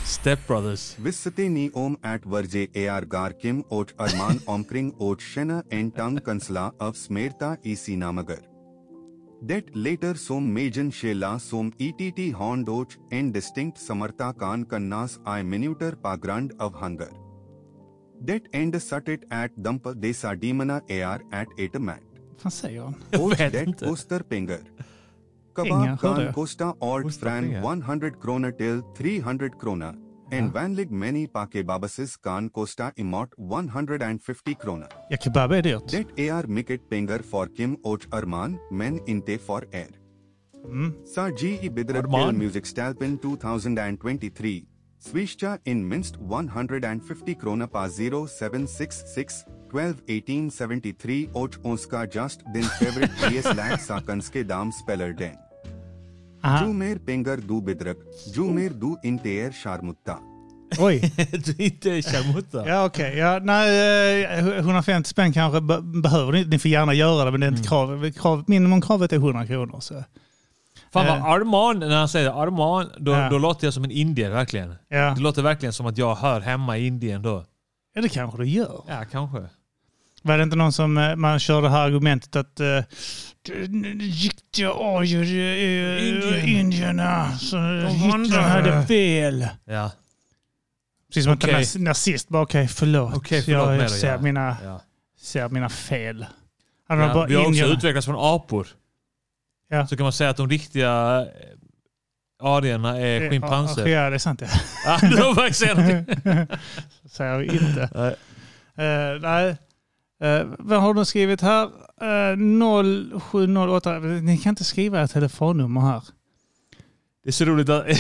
stepbrothers. Visitini om at verje ar garkim ot arman omkring ot shena en tung kansla of smerta isi namagar. Det later som magen shela som e ett hond och en distinct samarta kan kannas i minuter pagrand of hunger. Det end suttit at dampa desa demana ar at etamat. Vad säger han? Och det kostar pengar. Pengar, Kebab hörde kan jag. kosta art från 100 kronor till 300 kronor. En vanlig many pakebabasis kan kosta emot 150 kronor. Ja, kebab är dyrt. Det är mycket pengar för Kim och Arman, men inte för er. Mm. Saji i bidrag till Arman. Musikstälpen 2023. Swisha in minst 150 kronor på 0766 12 18 73 och önska just din favorite PS lag sakanske dam spelar den. Ju mer pengar du bidrag, ju mer du inte är charmutta. Oj. *laughs* du inte är charmutta. Ja, okej. Ja, nej, eh, 150 spänn kanske be- behöver ni inte. Ni får gärna göra det, men det är inte Mm. krav. krav minimumkravet är 100 kronor. Så. Fan Eh. vad Arman, när han säger Arman, då, Ja. då låter jag som en indier verkligen. Ja. Det låter verkligen som att jag hör hemma i Indien då. Ja, det kanske du gör. Ja, kanske. Var det inte någon som eh, man körde det här argumentet att eh, gick jag avgör Indien. indierna så Hitler vandrar. hade fel? Ja. Precis som Okej. att en nazist bara okej, förlåt. Okej, förlåt jag med dig, ser, ja. mina, Ja. ser mina fel. Han var Ja, bara vi har också indierna. utvecklats från apor. Ja. Så kan man säga att de riktiga eh, arierna är schimpanser. Ja, det är sant. Ja. Ja, det var faktiskt en- Så *laughs* säger jag inte. Nej. Eh, nej. Eh, vad har de skrivit här? Uh, 0708. Ni kan inte skriva ett telefonnummer här. Det är så roligt, att, *laughs* det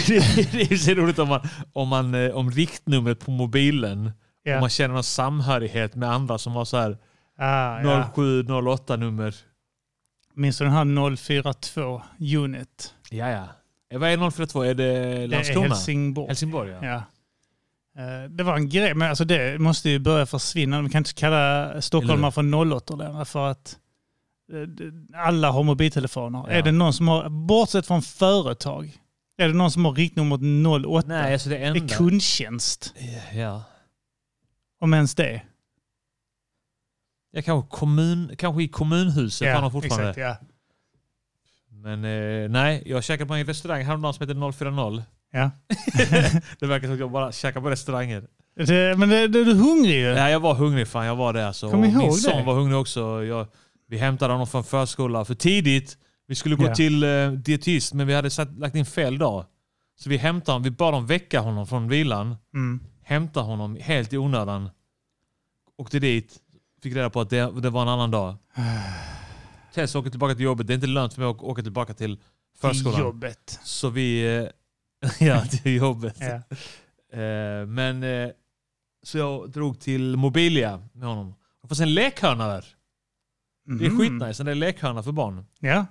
är så roligt om, man, om, man, eh, om riktnumret på mobilen, Ja. om man känner någon samhörighet med andra som har så här Ah, ja. 0708-nummer. Minns du den här 042 Unit? Ja, ja. Eh, Vad är 042? Är det Det är Landskrona? Eh, Helsingborg. Helsingborg, ja. Ja. Eh, Det var en grej, men alltså det måste ju börja försvinna. Man kan inte kalla stockholmare för 08 längre för att eh, d- alla har mobiltelefoner. Ja. Är det någon som har, bortsett från företag, är det någon som har riktnumret 08? Nej, alltså det Det enda. är kundtjänst, ja. om ens det. Ja, kanske, kommun, kanske i kommunhuset har de fortfarande. exakt, ja. Men eh, nej, jag käkade på en restaurang häromdagen som heter 040. Ja. *laughs* det verkar som att jag bara käkar på restauranger. Det, men det, det, du är hungrig ju. Nej, jag var hungrig fan. Jag var det alltså. Kom ihåg Min det. son var hungrig också. Jag, vi hämtade honom från förskola för tidigt. Vi skulle gå Ja. till eh, dietist, men vi hade satt, lagt in fel dag. Så vi hämtade honom. Vi bad dem väcka honom från vilan. Mm. Hämta honom helt i onödan. Åkte dit. Fick reda på att det, det var en *sighs* annan dag. Tess åker tillbaka till jobbet. Det är inte lönt för mig att åka tillbaka till förskolan. Till jobbet. Så vi... eh, *laughs* Ja, till jobbet. Ja. Eh, Men... eh, Så jag drog till Mobilia med honom. Det fanns en lekhörna där. Det är Mhm. skitnice. En lekhörna för barn. Ja.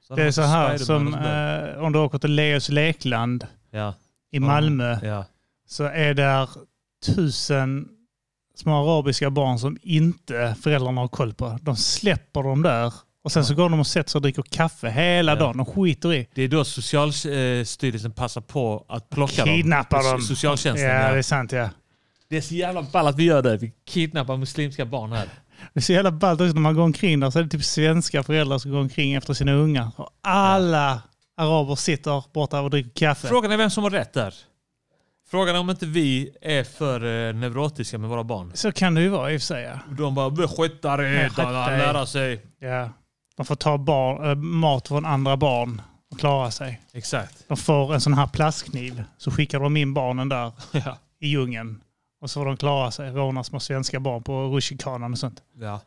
Så Det är så hade här man som Spiderman och sådär. eh, om du åker till Leos lekland Ja. i Malmö Ja. så är där tusen små arabiska barn som inte föräldrarna har koll på. De släpper dem där och sen så går de och sätter sig och dricker kaffe hela Ja. dagen. De skiter i. Eh, Det är då Socialstyrelsen passar på att plocka Kidnappar dem. dem. So- Socialtjänsten. ja, ja. det är sant ja. Det är så jävla ball att vi gör det. Vi kidnappar muslimska barn här. Det är så jävla ballt också när man går omkring där så är det typ svenska föräldrar som går omkring efter sina ungar. Och alla araber sitter borta och dricker kaffe. Frågan är vem som har rätt där. Frågan är om inte vi är för eh, neurotiska med våra barn. Så kan det ju vara i och för sig. Ja. De bara "Vi skitar i Nej, det, skit Eh, att i. lära sig. Ja. Man får ta barn, eh, mat från andra barn och klara sig. Exakt. De får en sån här plastkniv så skickar de in barnen där *laughs* Ja. i djungeln. Och så får de klara sig. Rånar små svenska barn på rutschkanan och sånt. Ja.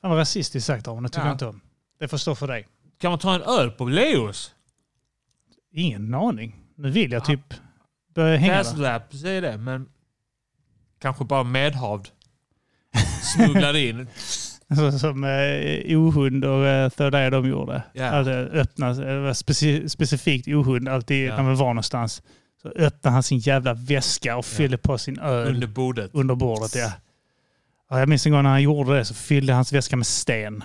Fan vad rasistiskt sagt av honom. Det tycker Ja. jag inte om. Det får stå för dig. Kan man ta en öl på Leos? Ingen aning. Nu vill jag typ börja hänga där. Fastwrap säger det, men kanske bara medhavd. Smugglar in. Så, som eh, ohund och eh, Third Eye de gjorde. Ja. Alltså, öppna, det var speci- specifikt ohund alltid Ja. när man var någonstans. Så öppnade han sin jävla väska och fyllde på sin öl. Under bordet. Under bordet, ja. ja. Jag minns en gång när han gjorde det så fyllde hans väska med sten.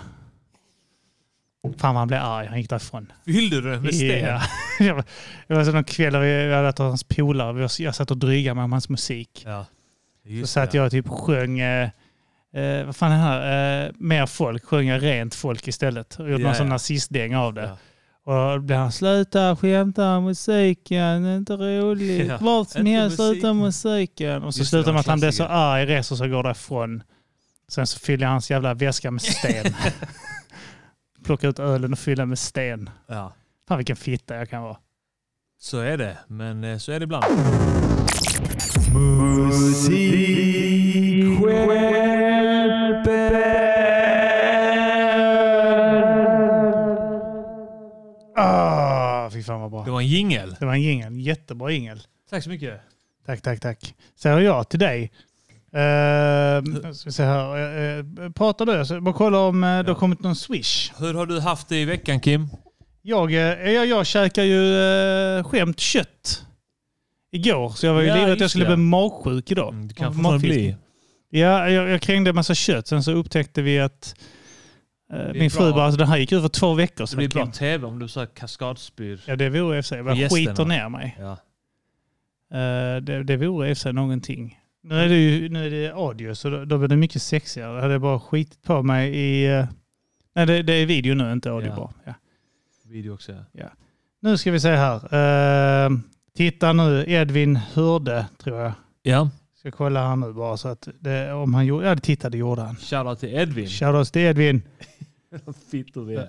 Fan vad han blev arg. Han gick därifrån. Fyllde du den med sten? Ja. *laughs* Det var- det var så någon kväll där vi vi hade haft hans polare. Vi var- Jag satt och drygade med om hans musik. så Just satt jag och typ sjöng, eh, eh, vad fan är det här, eh, mer folk, sjöng jag rent folk istället. Och gjorde Ja, någon sån ja. nazistdänga av det. Och då blev han, sluta skämta musiken, det är inte roligt. Ja, Vart som inte helst, sluta musik." musiken. Och så Just det, slutade det med var att han blev så klassiker. arg, reser sig och går därifrån. Sen så fyller jag hans jävla väska med *laughs* sten. Plocka ut ölen och fylla med sten. Ja. Fan vilken fitta jag kan vara. Så är det, men eh, så är det ibland. Ah, fy fan vad bra. Det var en jingel. Det var en jingel. Jättebra jingel. Tack så mycket. Tack, tack, tack. Säger jag till dig. Uh, ska vi se här. eh, pratar du? Så bara kolla om eh, det har kommit någon swish. Hur har du haft det i veckan Kim? Jag, eh, jag, jag käkar ju uh, skämt kött igår, så jag var ju Ja, livrädd att just jag skulle det. bli magsjuk idag. Mm, du kan Av fortfarande matförgiftning. Ja, jag, jag krängde en massa kött. Sen så upptäckte vi att eh, min fru bra. bara, alltså, det här gick ut för två veckor Det sedan. blir bra Kim." tv om du så här kaskadspyr. Ja, det vore i och för sig. Vad Gästerna. skiter ner mig. Ja. Eh, det, det vore i och för sig någonting. Nu är det ju nu är det audio, så då, då blir det mycket sexigare. Jag hade bara skitit på mig i... eh, nej, det, det är video nu, inte audio Ja. bara. Ja. Video också ja. *laughs* Nu ska vi se här. Eh, titta nu, Edvin Hörde, tror jag. Ja. Ska kolla här nu bara så att det, om han gjorde... Ja, det tittade gjorde han. Shoutout till Edvin. Shoutout till Edvin. Fittor vi är.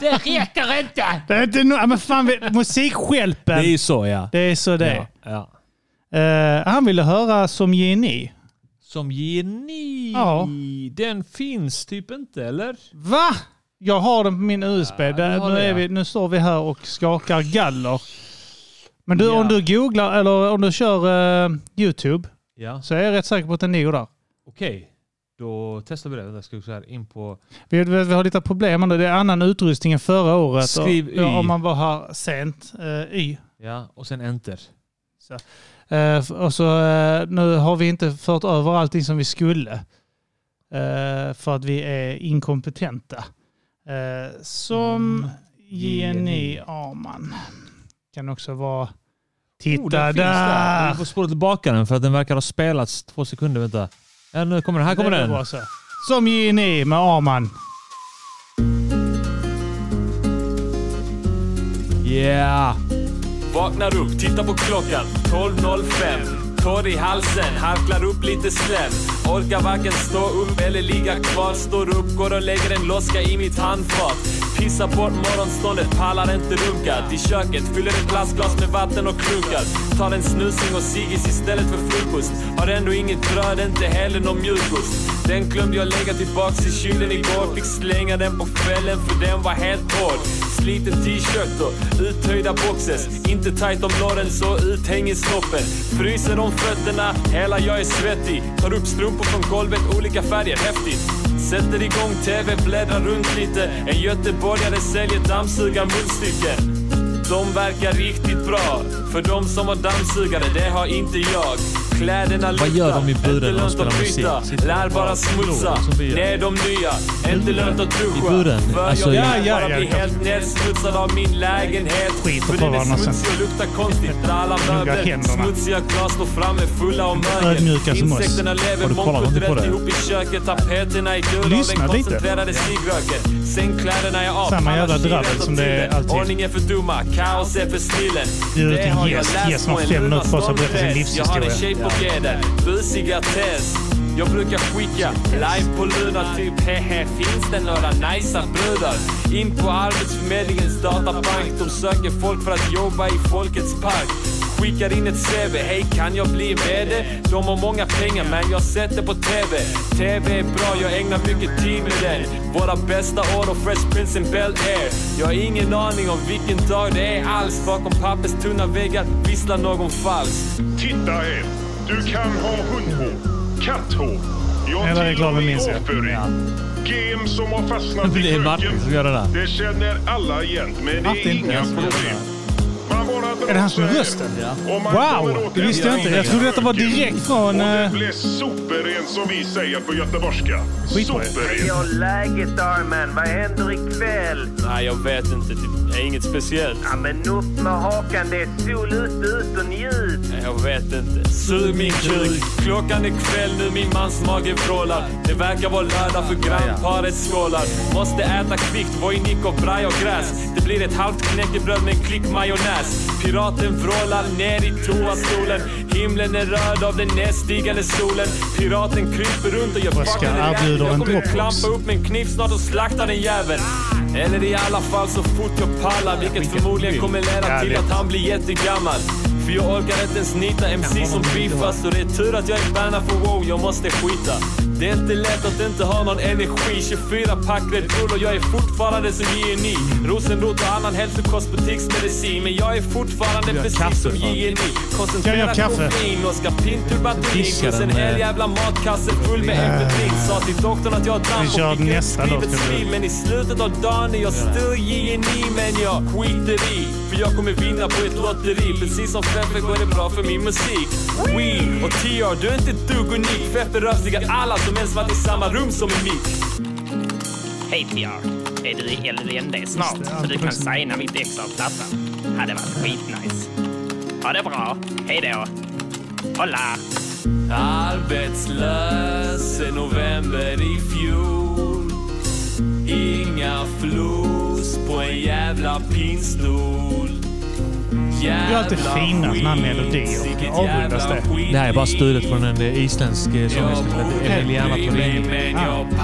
Det räcker inte! Det är inte no- ja, men fan, vi- Det musikskälpen. är ju så ja. Det är så det är. Ja, ja. Eh, han ville höra som geni. Som geni. Ja. Den finns typ inte eller? Va? Jag har den på min USB. Där, har nu, det, är ja. vi, nu står vi här och skakar galler. Men du, om Ja. du googlar eller om du kör eh, YouTube Ja. så är jag rätt säker på att den ligger där. Okej. Då testar vi det. Jag ska vi så här in på... Vi, vi, vi har lite problem nu. Det är annan utrustning än förra året. Skriv och, Y. ja, Om man var här sent. eh, y. Ja. Och sen enter. Oh, Eh, f- och så, eh, nu har vi inte fört över allting som vi skulle. Eh, för att vi är inkompetenta. Eh, Mm. som Jenny Arman. Kan också vara... Titta Oh, den där! finns Vi får spola tillbaka den för att den verkar ha spelats två sekunder. Vänta. Ja, nu kommer den. Här kommer Det är den. bra så. Som Jenny med Arman. Yeah! Vaknar upp, tittar på klockan. 12.05. Torr i halsen, harklar upp lite slem. Orkar varken stå upp eller ligga kvar. Står upp, går och lägger en loska i mitt handfat. Pissar bort morgonståndet, pallar inte runka. Till köket, fyller ett plastglas med vatten och klunkar. Tar en snusing och ciggis istället för frukost. Har ändå inget bröd, inte heller någon mjukost. Den glömde jag lägga tillbaks i kylen igår. Fick slänga den på kvällen för den var helt hård. Sliten t-shirt och uthöjda boxes. Inte tight om låren så uthäng i snoppen. Fryser om fötterna, hela jag är svettig. Tar upp strumpor från golvet, olika färger, häftigt. Sätter igång TV, bläddrar runt lite. En göteborgare säljer dammsugarmunstycken. De verkar riktigt bra. För de som har dammsugare, det har inte jag. Kläderna luktar, Vad gör de i buren inte när de lönt spelar att musik? byta. Sitter Lär de bara bara och smutsa. glor, som vi gör? Det är de nya, inte lönt att duscha. I buren? För Alltså, jag ja, kan ja, bara ja, bli ja. helt nedsmutsad av min lägenhet. Skit och För ta den är varandra sen. smutsig och luktar konstigt. Där alla möbler, händerna. smutsiga glas står framme fulla av mögel. Ödmjuka som oss. Insekterna lever Har du kollat någonting på mångkulturellt det? ihop i köket. Tapeterna är gula och Lyssna den lite. koncentrerade ciggröken. Sängkläderna är av. Samma jävla annars dravel rätt som det är till. alltid. Ordning är för dumma, kaos är för stillen. Det är ut en har jag gäst. läst Gäst som på har en fem minuter på sig att lunarstorm berätta sin press. Jag har en tjej livshistoria. på fjädern, busiga test. Jag brukar skicka live på Lunar, typ hehe, finns det några najsa brudar? In på Arbetsförmedlingens databank, de söker folk för att jobba i Folkets park. Skickar in ett CV, hej kan jag bli VD? De har många pengar men jag sätter på TV. TV är bra, jag ägnar mycket tid med den. Våra bästa år och Fresh Prince in Bel Air. Jag har ingen aning om vilken dag det är alls. Bakom pappers tunna väggar visslar någon falskt. Titta här. Du kan ha hundhår, katthår. Den Ja, där till och reklamen med minns jag. Mm. avföring. Game som har fastnat *laughs* i Det är röken. Martin som gör det där. Det känner alla igen, men det är inga problem. Man bara Är det han som är rösten? Och man kommer Wow! åka Det visste jag inte. Jag trodde detta var direkt från... Och eh, det blir superren som vi säger på göteborgska. Skitbra. Superren. Ja, läget Arman? Vad händer ikväll? Nej, jag vet inte. Det är inget speciellt. Ja, men upp med hakan. Det är sol ute, ut och njut. Nej, Jag vet inte. Sug min kuk. Klockan är kväll nu, min mans mage vrålar. Det verkar vara lördag för grannparet skålar. Måste äta kvickt, vojnik och braj och gräs. Det blir ett halvt knäckebröd med en klick majonnäs. Piraten vrålar ner i toastolen. Himlen är röd av den nedstigande solen. Piraten kryper runt och gör Oskar fucking rätt. erbjuder en Jag kommer Dropbox. klampa upp med en kniv snart och slakta den jäveln. Eller i alla fall så fort jag pallar, vilket förmodligen kommer leda till att han blir jättegammal. För jag orkar inte ens nita MC som beefas och det är tur att jag är banad för wow, jag måste skita. Det är inte lätt att inte ha någon energi. 24 pack Red Bull och jag är fortfarande som JNI. Rosenrot och annan hälsokost, butiksmedicin. Men jag är fortfarande Jag har precis kaffe, som fan. JNI. Kan jag Koncentrerad ha kaffe? koffein, Oskar Pinturbatin. Diskar Plus en den, Äh. eh, hel jävla matkasse full med Epetin. Sa till doktorn att jag har damp Vi och kör fick ett nästa låt, skrivet kan du- sliv. Men i slutet av dagen är jag störig i ni men jag skiter i För jag kommer vinna på ett lotteri Precis som Feffe går det bra för min musik Wee och TR, du är inte ett dugg unik Feffe rövslickar alla som ens varit i samma rum som en mik Hej PR! Är du i LVND Just snart det, så du kan precis. signa mitt ex av plattan? Hade varit skitnice. Ha det bra! Hej då! Hola! Arbetslös sen november i fjol Inga flos på en jävla pinstol Det är alltid fina såna här melodier. Jag avundas det. Det här är bara stulet från en eh, isländsk eh, sångerska som heter Emiliana Torino.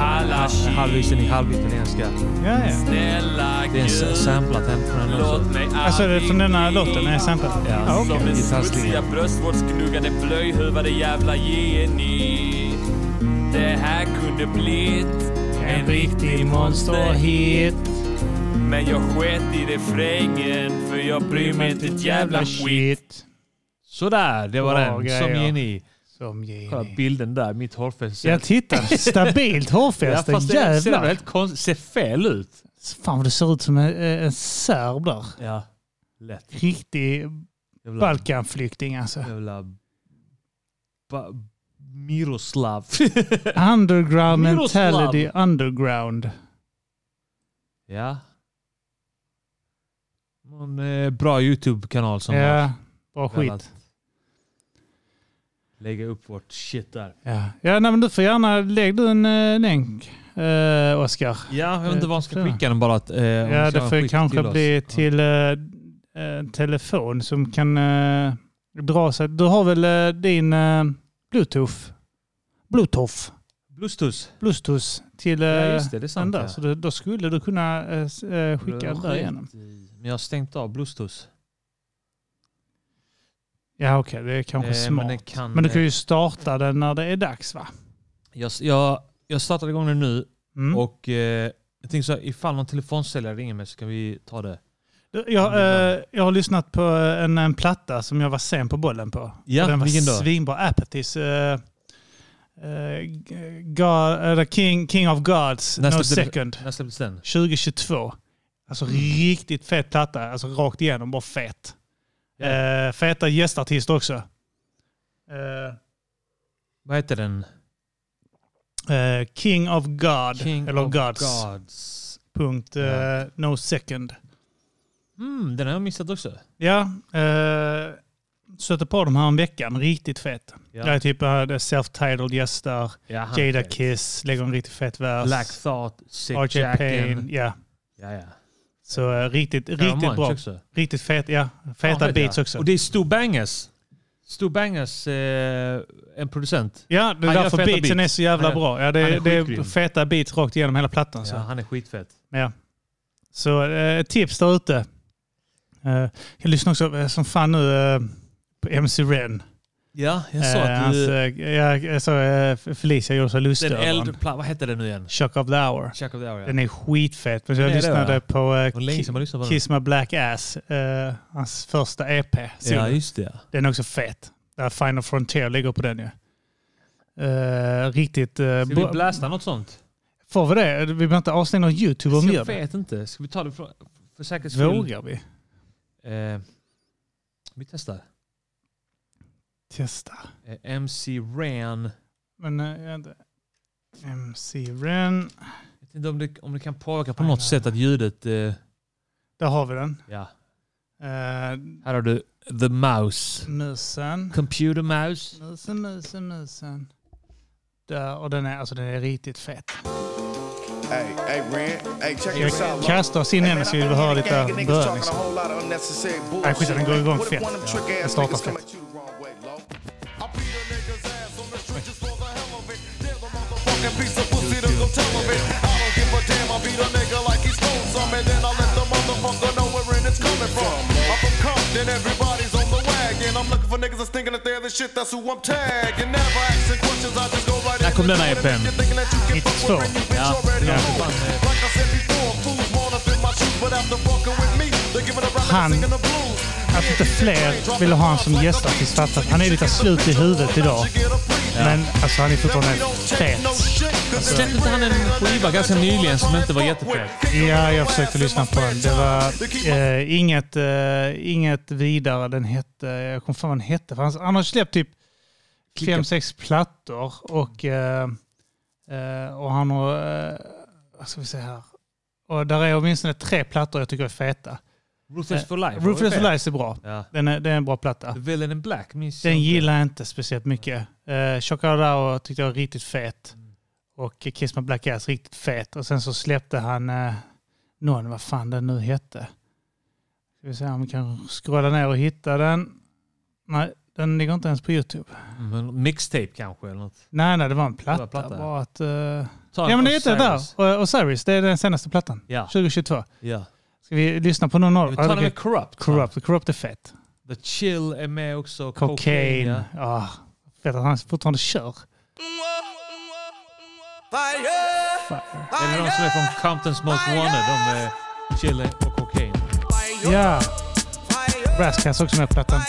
Halvisen i halvitalienska. Ja, ja. Det är en s- samplat hem från den också. Alltså är det från denna låten? Är det samplat? Ja, okej. Som en Gitarrslinga. smutsiga bröstvårdsgnuggande blöjhuvade jävla geni Det här kunde blivit en riktig monsterhit Men jag sket i refrängen för jag bryr mig inte ett jävla skit Sådär, det var Bra den. grejer. Som geni. Som geni. Kolla bilden där, mitt hårfäste. Ja, titta. Stabilt hårfäste. Ja, fast det ser Jävlar. helt konstigt, ser fel ut. Fan vad det ser ut som en, en serb där. Ja, lätt. Riktig Jävla- Balkanflykting alltså. Jävla... Ba- Miroslav. *laughs* Underground Miroslav. mentality underground. ja. Någon eh, bra YouTube-kanal som Ja, har bra velat skit. Lägga upp vårt shit där. Ja, ja nej, men du får gärna lägg du en eh, länk, eh, Oskar. Ja, jag vet inte Eh, var han ska så. skicka den bara. Att, eh, om Ja, han ska det får skicka kanske till oss. bli till eh, en telefon som kan eh, dra sig. Du har väl eh, din eh, bluetooth? Bluetooth? Bluetooth. Bluetooth till eh, Ja, just det, det är sant, den där. ja. Så då, då skulle du kunna eh, s- eh, skicka den där Skit igenom. i. Men jag har stängt av Bluetooth. Ja, okej. det är kanske Eh, men smart. den Men, kan, du kan eh, ju starta den när det är dags, va? Jag, jag, jag startade igång den nu Mm. och eh, jag tänkte så här, ifall någon telefonsäljare ringer mig så kan vi ta det. Du, Jag, eh, jag har lyssnat på eh, en, en platta som jag var sen på bollen på. Ja, Och den var vilken då? svinbra. Apatys eh, eh, God, eller King, King of Gods, No släpptes- Second. När släpptes den? Mm. 2022. Alltså riktigt fet platta. Alltså rakt igenom, bara fet. Eh, feta gästartister också. Eh, Vad heter den? Eh, King of God, King eller of Gods. Punkt, eh, No Second. Mm, den har jag missat också. Ja, eh, stötte på dem här en veckan. Riktigt fet. Ja. Det är typ eh, det är self-titled gäster, Ja, han är Jada fet. Kiss, lägger en riktigt fet vers. Black Thought, Sick RJ Jacken. Payne, ja. Ja, ja. Så eh, riktigt, Pharoah riktigt Monch bra. också. Riktigt fet, ja. Feta Ja, vet beats jag. också. Och det är Stu Bangers. Stu Bangers, eh, en producent. Ja, det är Han gör därför feta beatsen är beats. så jävla Han gör- bra. Ja, det, han är det är skitgrym. feta beats rakt igenom hela plattan. Så. Ja, han är skitfett. Ja. Så eh, tips där ute. Eh, jag lyssnar också eh, som fan nu eh, på MC Ren. Ja, jag såg att du- hans, eh, ja, jag såg, eh, Felicia gjorde sig lustig Den över äldre honom. plattan, vad heter den nu igen? Shock of the hour. Shock of the hour, ja. Den är skitfett. Men Den jag är det, lyssnade va? på, eh, Det var länge sedan man lyssnade på den. Kiss My Black Ass, eh, hans första EP. solo. Ja, just det, ja. Den är också fet. Där Final Frontier ligger på den ju. Eh, riktigt eh, Ska bra- vi blasta något sånt? Får vi det? Vi behöver inte avslöja någon YouTube om vi Jag gör det. vet inte. Ska vi ta det för, för säkerhets Vågar vi? Eh, Vi testar. Testa. Eh, MC Ran. Men eh, jag inte. MC Ren. Jag vet inte om det, om det kan påverka på något sätt att ljudet... Eh, Där har vi den. Ja. Eh, här har du The Mouse. Musen. Computer Mouse. Musen, musen, musen. Där, och den är, alltså, den är riktigt fet. Hey, hey, Ren. Hey, check Jag this out. man. kastar oss in i den så vi vill höra lite Gang of niggas bön. talking Liksom. a whole lot of unnecessary Nej, skit i den. Den går igång What if fett. one of them trick Den ass startar niggas come fett. at you the wrong way, lo? I beat a nigga's ass on the street just for the hell of it. Tell the motherfucking piece of pussy to go tell of it. I don't give a damn. I beat a nigga like he's stole some, and then I let the motherfucker know where it's coming from. I'm from Compton, everybody's on the wagon. I'm looking for niggas that's thinking that they're the shit. That's who I'm tagging. Never asking questions. I just go right Där kom den här EPn. 92. Ja. ja. Han... Jag tror inte fler ville ha honom som gästartist för att han är lite slut i huvudet idag. Men alltså han är fortfarande fet. Alltså, Släppte inte han en skiva ganska nyligen som inte var jättefet? ja, jag försökte lyssna på den. Det var eh, inget, eh, inget vidare den hette. Jag kommer fan vad den hette. För han, han har släppt typ Klicka. fem, sex plattor och, eh, eh, och han har... Eh, vad ska vi säga här? Och där är åtminstone tre plattor jag tycker är feta. Ruthless Eh, for Life, var Ruthless det for fel? Life är bra. Ja. Den, är, den är en bra platta. The Villain in Black minns jag Den inte. gillar jag inte speciellt mycket. Uh, Chocarao tyckte jag var riktigt fet. Mm. Och Kiss My Black Ass riktigt fet. Och sen så släppte han eh, någon, vad fan den nu hette. Ska vi se om vi kan scrolla ner och hitta den. Nej, den ligger inte ens på YouTube. Men Mm, Mixtape kanske eller något. Nej, nej, det var en platta. Det var en platta. Bara att, eh, Ta ja, men det heter Osiris. där. O- Osiris, det är den senaste plattan. Ja. 2022. Ja. Ska vi lyssna på någon av Vi tar den med Corrupt, va? Corrupt. Corrupt är fett. The Chill är med också. Cocaine. ja. Ah, fett att han fortfarande kör. Ah. Eller de som är från Compton's Most Wanted. De är Chill och Cocaine. Ja. Brasscast också med på plattan.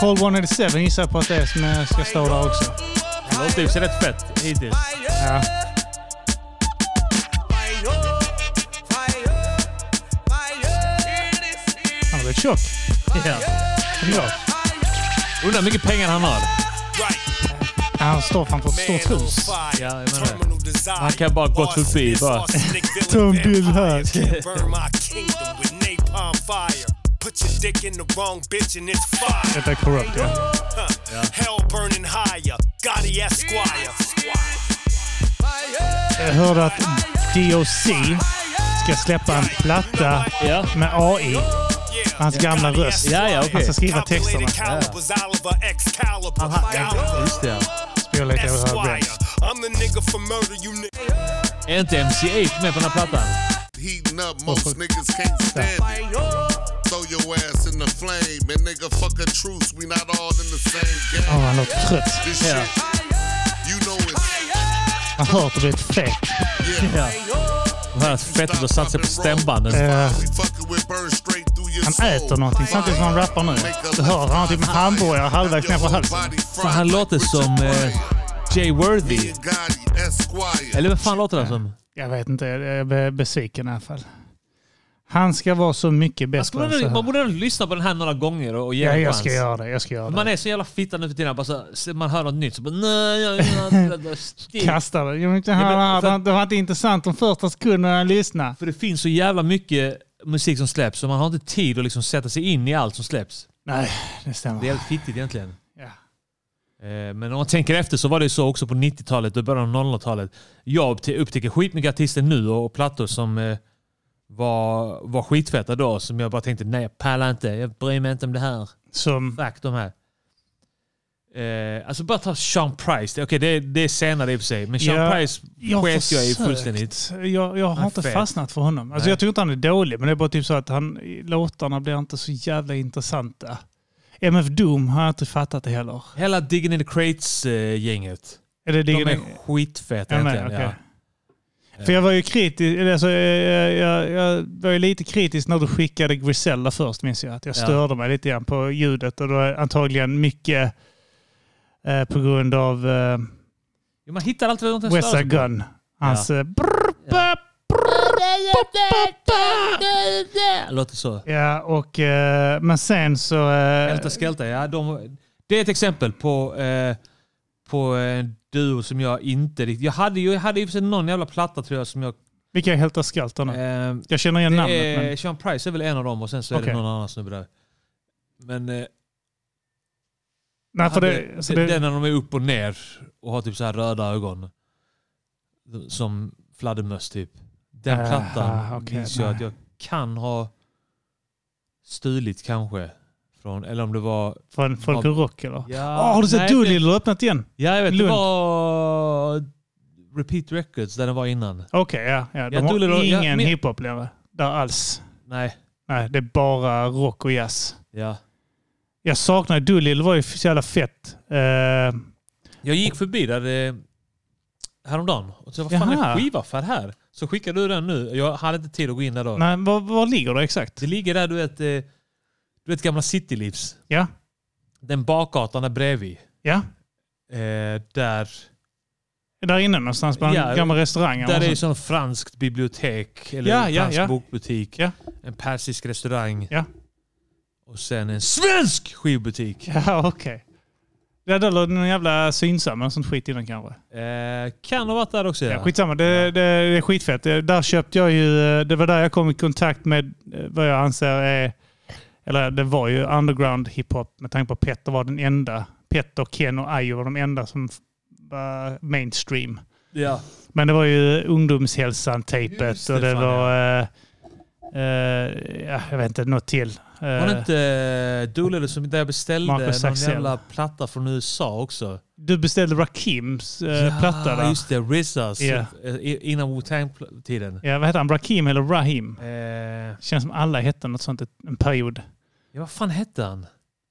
Cold 187 gissar jag på att det är som eh, ska stå där också. Det låter ju så rätt fett hittills. Ja. Han är rätt tjock. Ja. Ja. Undrar hur mycket pengar han har. Han står framför ett stort hus. Ja, jag menar det. Han kan bara gått förbi bara. Ta en bild här. burn my kingdom with napalm fire. Put your dick in the wrong bitch and it's fire. Detta är Corrupt, ja. Huh. Hell burning higher. Gotti Esquire. Jag hörde att DOC ska släppa en platta med AI. Hans gamla röst. Han ska skriva texterna. Was Oliver Excalibur. Just det. ja. Spela lite över Esquire. höger. I'm the nigga for murder, you nigga. Är inte MC8 med på den här plattan? Heating up, most niggas can't stand it. Throw your ass in the flame, and nigga, fuck a truce. We not all in the same game. Åh, han låter trött. This Ja. shit, you know it's Han hör att det blir ett fett. Ja. De här fettet och satt sig på stämbanden. Eh, burn straight han äter någonting samtidigt som han rappar nu. Du hör, han har typ en hamburgare halvvägs ner på halsen. Fan, han låter som eh, Jay Worthy. Gotti Esquire. Eller vad fan låter han som? Jag vet inte, jag är besviken i alla fall. Han ska vara så mycket bättre än så Man här. borde ändå lyssna på den här några gånger och, och ge Ja, en jag chans. ska göra det. Jag ska göra det. Man är så jävla fitta nu för tiden. Bara så, så man hör något nytt så bara nej, jag *laughs* är Kasta det. Jag vill inte Ja, men alltså, höra det. här. för- Det var inte intressant de första sekunderna jag lyssnade. För det finns så jävla mycket musik som släpps så man har inte tid att liksom sätta sig in i allt som släpps. Nej, det stämmer. Det är helt fittigt egentligen. Ja. Eh, Men om man tänker efter så var det ju så också på 90-talet och början av 00-talet. Jag upptä- upptäcker skitmycket artister nu och och plattor som eh, var, var skitfeta då som jag bara tänkte nej jag pallar inte, jag bryr mig inte om det här. Som? Fuck de här. Eh, alltså bara ta Sean Price. Okej, det, är- det är senare i och för sig. Men Sean Ja, Price jag har sket jag i försökt. fullständigt. Jag, jag Han har är inte fet. fastnat för honom. Alltså Nej. jag tycker inte han är dålig, men det är bara typ så att han, låtarna blir inte så jävla intressanta. MF Doom har jag inte fattat det heller. Hela Digging in the Crates-gänget. Är det Digging de är in- skitfeta Ja, men, egentligen. okej. Ja. För jag var ju kritisk, eller alltså, jag, jag, jag var ju lite kritisk när du skickade Griselda först minns jag. Att jag Ja. störde mig lite grann på ljudet och då är antagligen mycket eh, på grund av eh, Jo, Eh, man hittar alltid något att West störa sig Side på. Gun. Hans eh, brr, brr, brr, Låter så. Ja, och, eh, men sen så... eh, Älta skälta, ja. De, det är ett exempel på, eh, på en duo som jag inte riktigt... Jag hade ju jag hade i och för sig någon jävla platta tror jag som jag... Vilka är Hälta skältarna? jag känner igen Eh, det namnet. är, men, Sean Price är väl en av dem och sen så är Okej. det någon annan snubbe där. Men... Eh, nej, för hade- det, så det, det, Den när de är upp och ner och har typ så här röda ögon. Som fladdermöss typ. Den Ah, plattan okej, minns jag nej. att jag kan ha stulit kanske. Från, eller om det var... från Folk ur Rock eller? Ja, Åh, har du sett nej, Doolittle har öppnat igen? Ja, jag vet. Lund. Det var Repeat Records där den var innan. Okej, ja, ja. De Jag har tror det var- ingen ja, men- hiphop längre. Där alls. Nej. Nej, det är bara rock och jazz. Ja. Jag saknar Doolittle, var ju så jävla fett. Eh, Jag gick förbi där eh, häromdagen och så vad fan Jaha. är skivaffär här? Så skickade du den nu. Jag hade inte tid att gå in där då. nej, var, var ligger det exakt? Det ligger där du vet, eh, du vet gamla Citylivs. Ja. Den bakgatan där bredvid. Ja. Eh, där... Där inne någonstans, bland gamla restauranger. Där och är ju sånt. sånt franskt bibliotek. Eller Ja, ja, fransk ja. bokbutik. En persisk restaurang. Och sen en svensk skivbutik. *laughs* Ja, okej. Ja, där låg det någon jävla synsam och sånt skit innan kanske. Eh, kan ha varit där också. Ja, skitsamma, det, det, det är skitfett. Det- Där köpte jag ju, eh, det var där jag kom i kontakt med eh, vad jag anser är, eller det var ju underground hiphop med tanke på att Petter var den enda. Petter, Ken och Ayo var de enda som f- var mainstream. Ja. Men det var ju Ungdomshälsan-tejpet det, och det fan, var, eh, eh, ja, jag vet inte, något till. Var Eh, det inte Doolittle som där jag beställde Marcus någon Axel. jävla platta från USA också? Du beställde Rakims eh, Ja, platta där. just det. Rizzas. Ja. eh, Innan Wu-Tang-tiden. Ja, vad heter han? Rakim eller Rahim? Eh. Känns som alla hette något sånt ett- en period. Ja, vad fan hette han?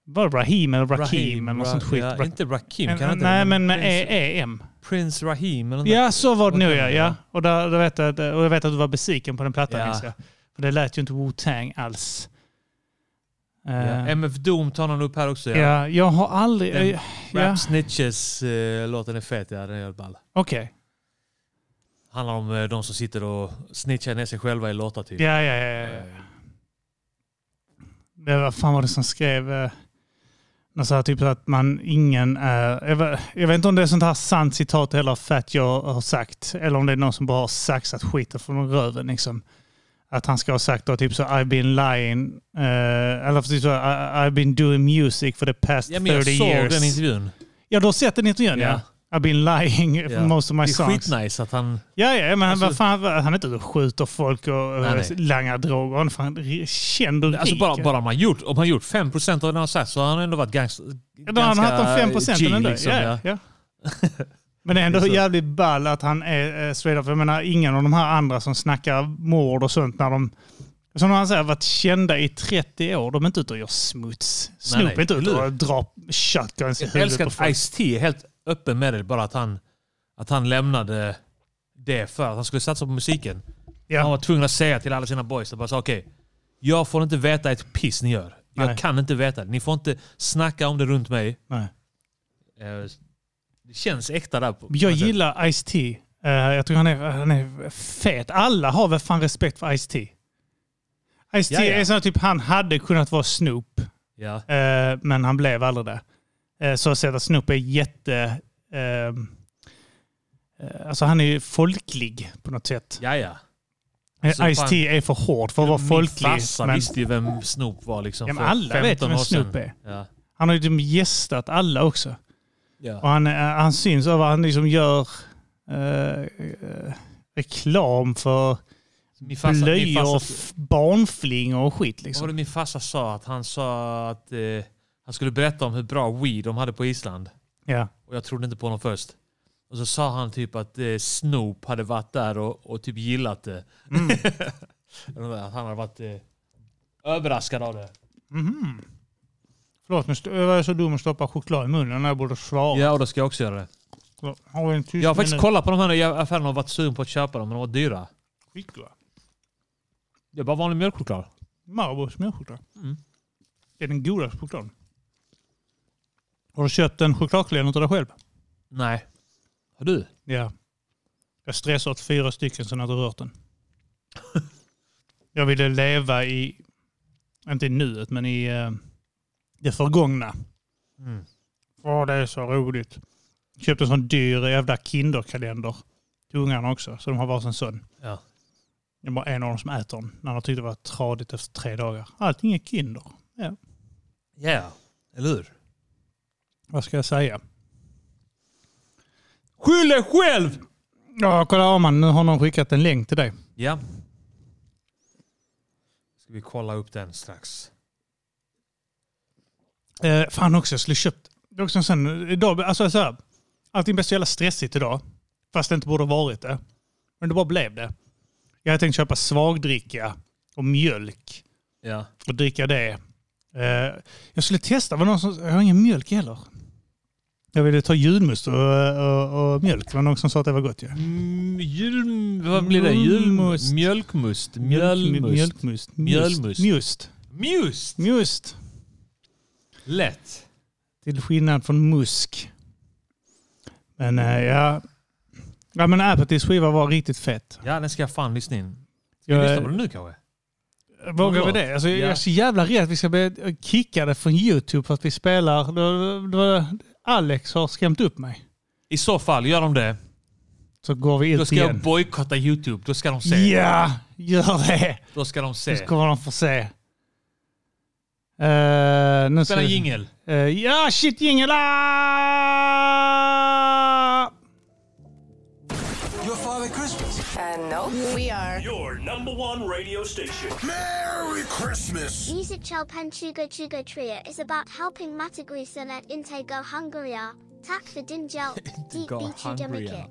Var det Rahim eller Rakim Rahim, eller något Ra- sånt skit? ja, Ra- inte Rakim, En- kan han inte Nej, det? men med Prince- E-E-M. Prince Rahim eller något Ja, där. så var det Vad nog kan ja. det ja. vara? Och, där, där vet jag, att- och jag vet att du var besviken på den plattan. Ja. minns jag. För det lät ju inte Wu-Tang alls. Eh, Ja, MF Doom tar han upp här också. Ja, jag har aldrig- Den eh, ja. Rap Snitches-låten är fet, ja. Den är ball. Okej. Handlar om eh, de som sitter och snitchar ner sig själva i låtar typ. Ja, ja, ja, ja, ja. Det var fan var det som skrev... Eh, något så här, typ att man ingen är... Jag vet, jag vet inte om det är sånt här sant citat eller fett jag har sagt. Eller om det är någon som bara har saxat skiten från röven liksom. Att han ska ha sagt då typ så I've been lying. Eh, eller precis så I, I've been doing music for the past Ja, 30 men jag years. såg den intervjun. Ja, du har sett den intervjun ja. I've been lying for Ja. most of my det är songs. skitnice att han... Ja, ja, men Alltså- vad fan, vad- han är inte ute och skjuter folk och Nej, nej, nej. langar droger. Han är fan ri- känd och Alltså rik. bara, bara om han gjort, om han gjort 5% av det han har sagt så har han ändå varit ganska... Ja, då har han haft de 5 procenten ändå. liksom, ja, ja. *laughs* Men det är ändå Det är så. jävligt ball att han är eh, straight up. Jag menar, ingen av de här andra som snackar mord och sånt när de, som han säger, varit kända i 30 år. De är inte ute och gör smuts. Nej, Snoop är nej, inte ute eller hur? och drar shotguns i Jag Alltså, huvudet älskar på att folk. Ice-T är helt öppen med det. Bara att han, att han lämnade det för att han skulle satsa på musiken. Han var tvungen att säga till alla sina boys att bara sa, okej, jag får inte veta ett piss ni gör. Jag Nej. kan inte veta det. Ni får inte snacka om det runt mig. Nej. Eh, Det känns äkta där. På, Jag gillar Ice-T. Eh, jag tror han är, han är fet. Alla har väl fan respekt för Ice-T. Ice-T Ja, ja. är sån här typ, han hade kunnat vara Snoop. Ja. Eh, men han blev aldrig det. Eh, så att säga att Snoop är jätte... ehm, eh, alltså han är ju folklig på något sätt. Ja, ja. Eh, Alltså, Ice-T fan- är för hård för att vara folklig. Min farsa men- visste ju vem Snoop var liksom Ja, men för alla vet 15 vem år sedan. Snoop är. Ja. Han har ju liksom gästat alla också. Ja. Och han, eh, han syns av vad han liksom gör eh, eh, reklam för Min farsa- min blöjor, farsa- f- barnflingor och skit. Vad var Liksom. det min farsa sa? Att han sa att eh, han skulle berätta om hur bra weed de hade på Island. Ja. Och jag trodde inte på honom först. Och så sa han typ att eh, Snoop hade varit där och, och typ gillat det. Mm. *laughs* att han hade varit eh, överraskad av det. Mhm. Förlåt, men st- jag var så dum att stoppa choklad i munnen när jag borde svara. Ja, och då ska jag också göra det. Så, har vi en tyst Jag har faktiskt minut? kollat på de här nya affärerna och varit sugen på att köpa dem, men de var dyra. Skitgoda. Det är bara vanlig mjölkchoklad. Mm. Marabous mjölkchoklad. Det är den godaste chokladen. Har du köpt en chokladklient till dig själv? Nej. Har du? *laughs* Ja. Jag stressar åt fyra stycken sen har du rört den. Jag ville leva i, inte i nuet, men i eh, det förgångna. Hmm. Mm. Åh, det är så roligt. Köpte en sån dyr jävla kinderkalender till ungarna också, så de har varsin sån. Ja. Det är bara en av dem som äter den, när han tyckte det var tradigt efter tre dagar. Allting är kinder. Ja. Ja, eller hur? Vad ska jag säga? Skyll dig själv! Ja, kolla Arman, nu har någon skickat en länk till dig. Ja. Ska vi kolla upp den strax? Eh, fan också, jag skulle köpt... Det är också en sån, idag, alltså så här, allting blev så jävla stressigt idag. Fast det inte borde ha varit det. Men det bara blev det. Jag hade tänkt köpa svagdricka och mjölk. Ja. Och dricka det. Eh, jag skulle testa, var det någon som, jag har ingen mjölk heller. Jag ville ta julmust och, och, och mjölk. Det var någon som sa att det var gott ju. Jul, Mm, vad blir det? Julmust? Mjölkmust? Mjölmust? Mjölkmust. Mjölmust. Mjust. Mjust. Mjust. Lätt. Till skillnad från musk. Men eh, ja. Ja men Apatys skiva var riktigt fett. Ja, den ska jag fan lyssna in. Ska vi Jag- lyssna på den nu kanske? Vågar vi Låt. det? Alltså, Ja. Jag är så jävla rädd att vi ska bli kickade från YouTube för att vi spelar. Då, då, Alex har skrämt upp mig. I så fall, gör de det. Så går vi ut Då ska igen. jag bojkotta YouTube. Då ska de se. Ja, gör det! Då ska de Nu se. kommer de få se. Eh, nu Spela ska- jingel. Eh, ja, shit jingel! Ah! Your Father Christmas. And no, Uh, we are your number one radio station. Merry Christmas. *laughs* Music Chalpan Chuga Chuga Tria is about helping Matagrisen at Intego Hungaria, Tak for Dingel, Deep Go Bichu hungrier.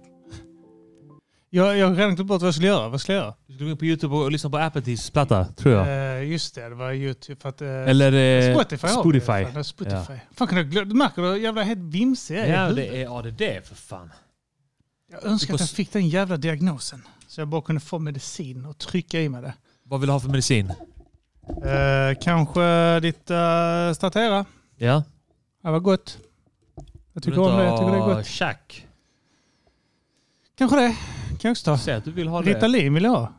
Jag, jag har redan glömt bort vad jag skulle göra. Vad skulle jag göra? Du skulle gå in på YouTube och lyssna på Apatys platta, tror jag. Eh, just det, det var YouTube. För att, eh, Eller, eh, Spotify. har vi. Spotify. Fan, det var Spotify. Fan, kan jag glö- du märker hur jävla helt vimsig jag är Ja, i huvudet. det är ADD för fan. Jag önskar att Du jag får- fick den jävla diagnosen. Så jag bara kunde få medicin och trycka i mig det. Vad vill du ha för medicin? Eh, kanske ditt eh, Statera. Ja. Det var gott. Jag tycker Vill du om inte det. Jag tycker det ha är gott. Chack. Kanske det. Kan jag också ta. Säg att du vill ha det. Ritalin vill jag ha.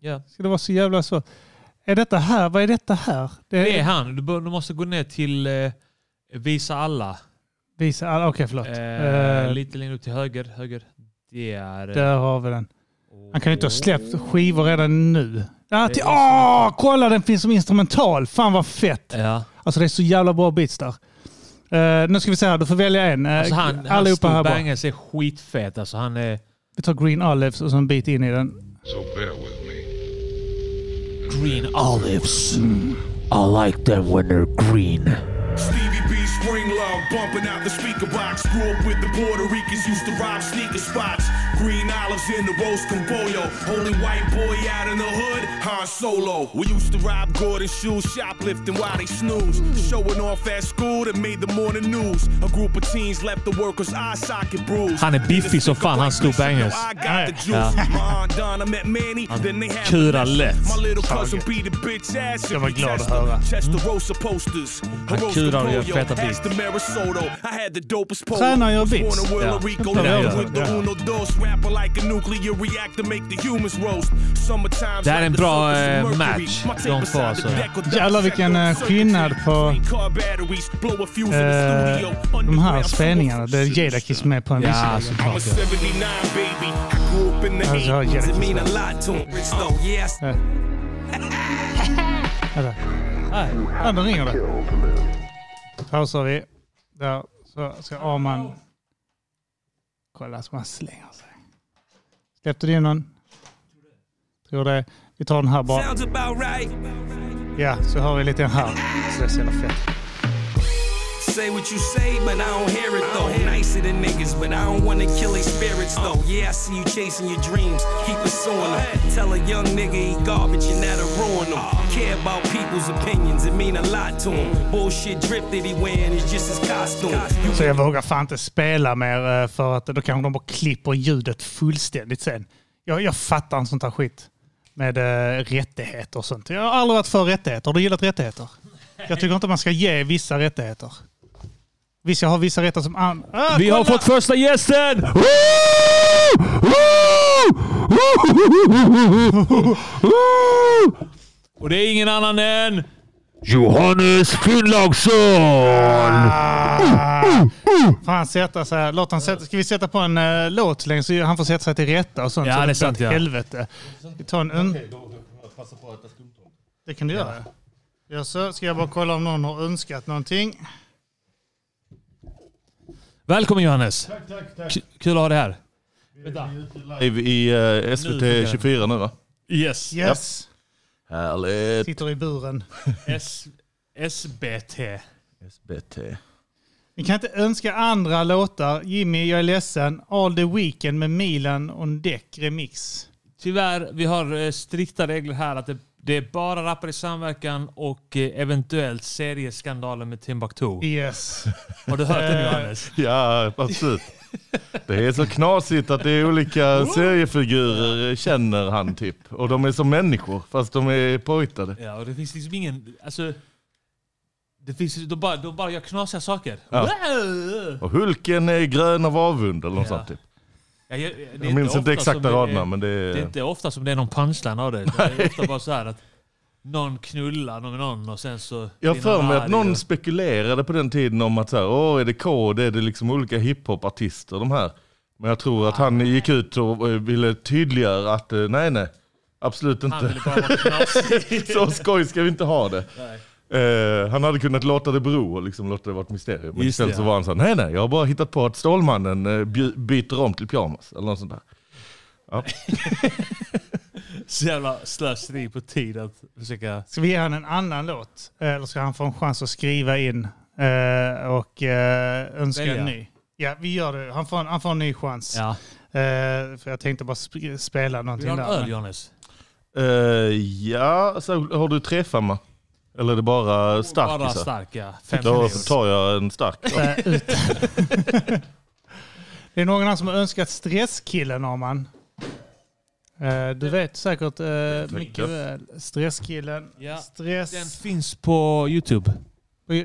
Ja. Ska det vara så jävla så? Är detta här? Vad är detta här? Det är han. Du, bör, du måste gå ner till eh, Visa alla. Visa alla. Ah, Okej, förlåt. Eh, Eh, lite längre upp till höger. höger. Det är... Där har vi den. Han kan ju inte ha släppt skivor redan nu. Ah, Det till, är åh, kolla den finns som instrumental. Fan vad fett. Ja. Alltså det är så jävla bra beats där. Eh, nu ska vi se här, du får välja en. Uh, Alltså han, han allihopa här bara. storbangas är skitfet. Alltså han är... Vi tar Green Olives och så en bit in i den. So bear with me. Green olives. I like them when they're green. Stevie B spring love bumping out the speaker box. Grew up with the Puerto Ricans, used to rob sneaker spots. Green olives in the roast con pollo. Only white boy out in the hood, Han Solo. We used to rob Gordon shoes, shoplifting while they snooze. Showing off at school that made the morning news. A group of teens left the workers' eye socket bruised. Han är biffig som fan, han Stu Bangers. I got the juice. Ja. My aunt Donna met Manny, then they had Kurar lätt. my little cousin Taget. beat the bitch ass. if Jag var he glad att test her. höra. Testarossa posters. Han kurar och gör Rosa feta Pollo, beats. Aston Marisoto. I had the dopest polo. Tränar jag Was born beats? in Puerto Ja. Rico, Det där left gör with jag. the Ja. Uno Dos, rapper like a nuclear reactor, make the humans roast. Summertime's Det här är en like the bra, surface of eh, Mercury. match, My de tape två beside the alltså. deck with Jävlar vilken eh, skillnad på car batteries, blow a fuse in the eh, studio. de här spelningarna. Det är Jadakiss med på en Ja, visserligen. I'm a 79 baby. I grew up in the Alltså, jag har 80s. It Jadakiss mean a med. lot to him. Oh, yes. Eh. Vänta. Ja, nu ringer det. Pausar vi. Där. Så ska Arman... Kolla så man slänger sig. Släppte du in någon? Tror det. Vi tar den här bara. Sounds about right. Ja, så har vi lite den här. Så det är så jävla fett. Say what you say, but I don't hear it though. Nicer than niggas, but I don't wanna kill their spirits though. Yeah, I see you chasing your dreams, keep pursuing them. Tell a young nigga he garbage and that'll ruin him. Care about people's opinions, it mean a lot to him. Bullshit drip that he wearing is just his costume. Så jag vågar fan inte spela mer eh, för att då kanske de bara klipper ljudet fullständigt sen. Jag, jag fattar en sånt här skit. Med eh, rättigheter och sånt. Jag har aldrig varit för rättigheter. Har du gillat rättigheter? Jag tycker inte man ska ge vissa rättigheter. Visst, jag har vissa rättigheter som... an- Ah, Vi har kolla! fått första gästen! Och det är ingen annan än... Johannes Finnlaugsson! Fan, sätta sig. här. Låt han sätta. Ska vi sätta på en eh, låt så länge så han får sätta sig till rätta och sånt? Ja, så det är blir sant, ett ja. Helvete. Vi tar en... un- Passa på att äta skumtomte. Det kan du göra. Ja, så ska jag bara kolla om någon har önskat någonting. Välkommen Johannes! Tack, tack, tack. K- Kul att ha dig här. Live i eh, Nu funkar det. SVT 24 nu va? Yes. Yes. Japp. Härligt. Sitter i buren. Eh, S- SBT. SBT. Ni kan inte önska andra låtar. Jimmy, jag är ledsen. All the Weekend med Milan och en däck remix. Tyvärr, vi har eh, strikta regler här att det, det är bara Rappare i samverkan och eh, eventuellt serieskandalen med Timbuktu. Yes. Har du hört Eh. den Johannes? Ja, absolut. Det är så knasigt att det är olika seriefigurer eh, känner han typ. Och de är som människor fast de är påhittade. Ja, och det finns liksom ingen... Alltså, det finns, de, bara, de bara gör knasiga saker. Ja. Wow! Och Hulken är grön av avund eller något sånt typ. Ja, jag, det är Jag minns inte ofta exakta som det är- raderna, men det är- Det är inte ofta som det är någon punchline av det. Det *laughs* är ofta bara så här att någon knullar någon, någon och sen så... Jag har blir för mig arg att och- någon spekulerade på den tiden om att så här, Åh, är det kod, är det liksom olika hiphop-artister de här? Men jag tror att Ah. han gick ut och eh, ville tydliggöra att eh, nej, nej, absolut inte. ville bara vara knasig. *laughs* så skoj ska vi inte ha det. Eh, han hade kunnat låta det bero och liksom låta det vara ett mysterium. Men Just istället det, så ja. var han så här, nej nej, jag har bara hittat på att Stålmannen eh, by- byter om till pyjamas eller något sånt där. *laughs* Ja. Så jävla slöseri på tid att försöka... Ska vi ge han en annan låt? Eh, Eller ska han få en chans att skriva in eh, och eh, önska Välja. en ny? Ja, vi gör det. Han får, en- han får en ny chans. Ja. Eh, för jag tänkte bara sp- spela någonting Vill du ha en där. öl, Johannes? Eh, ja, så har du träffamma? Eller är det bara stark? Bara så? stark, ja. Fem Då minus. tar jag en stark. Eh, ut. *laughs* det är någon annan som har önskat Stresskillen, Arman. Eh, du vet säkert eh, mycket väl. Stresskillen. Ja, Stress. Den finns på Youtube.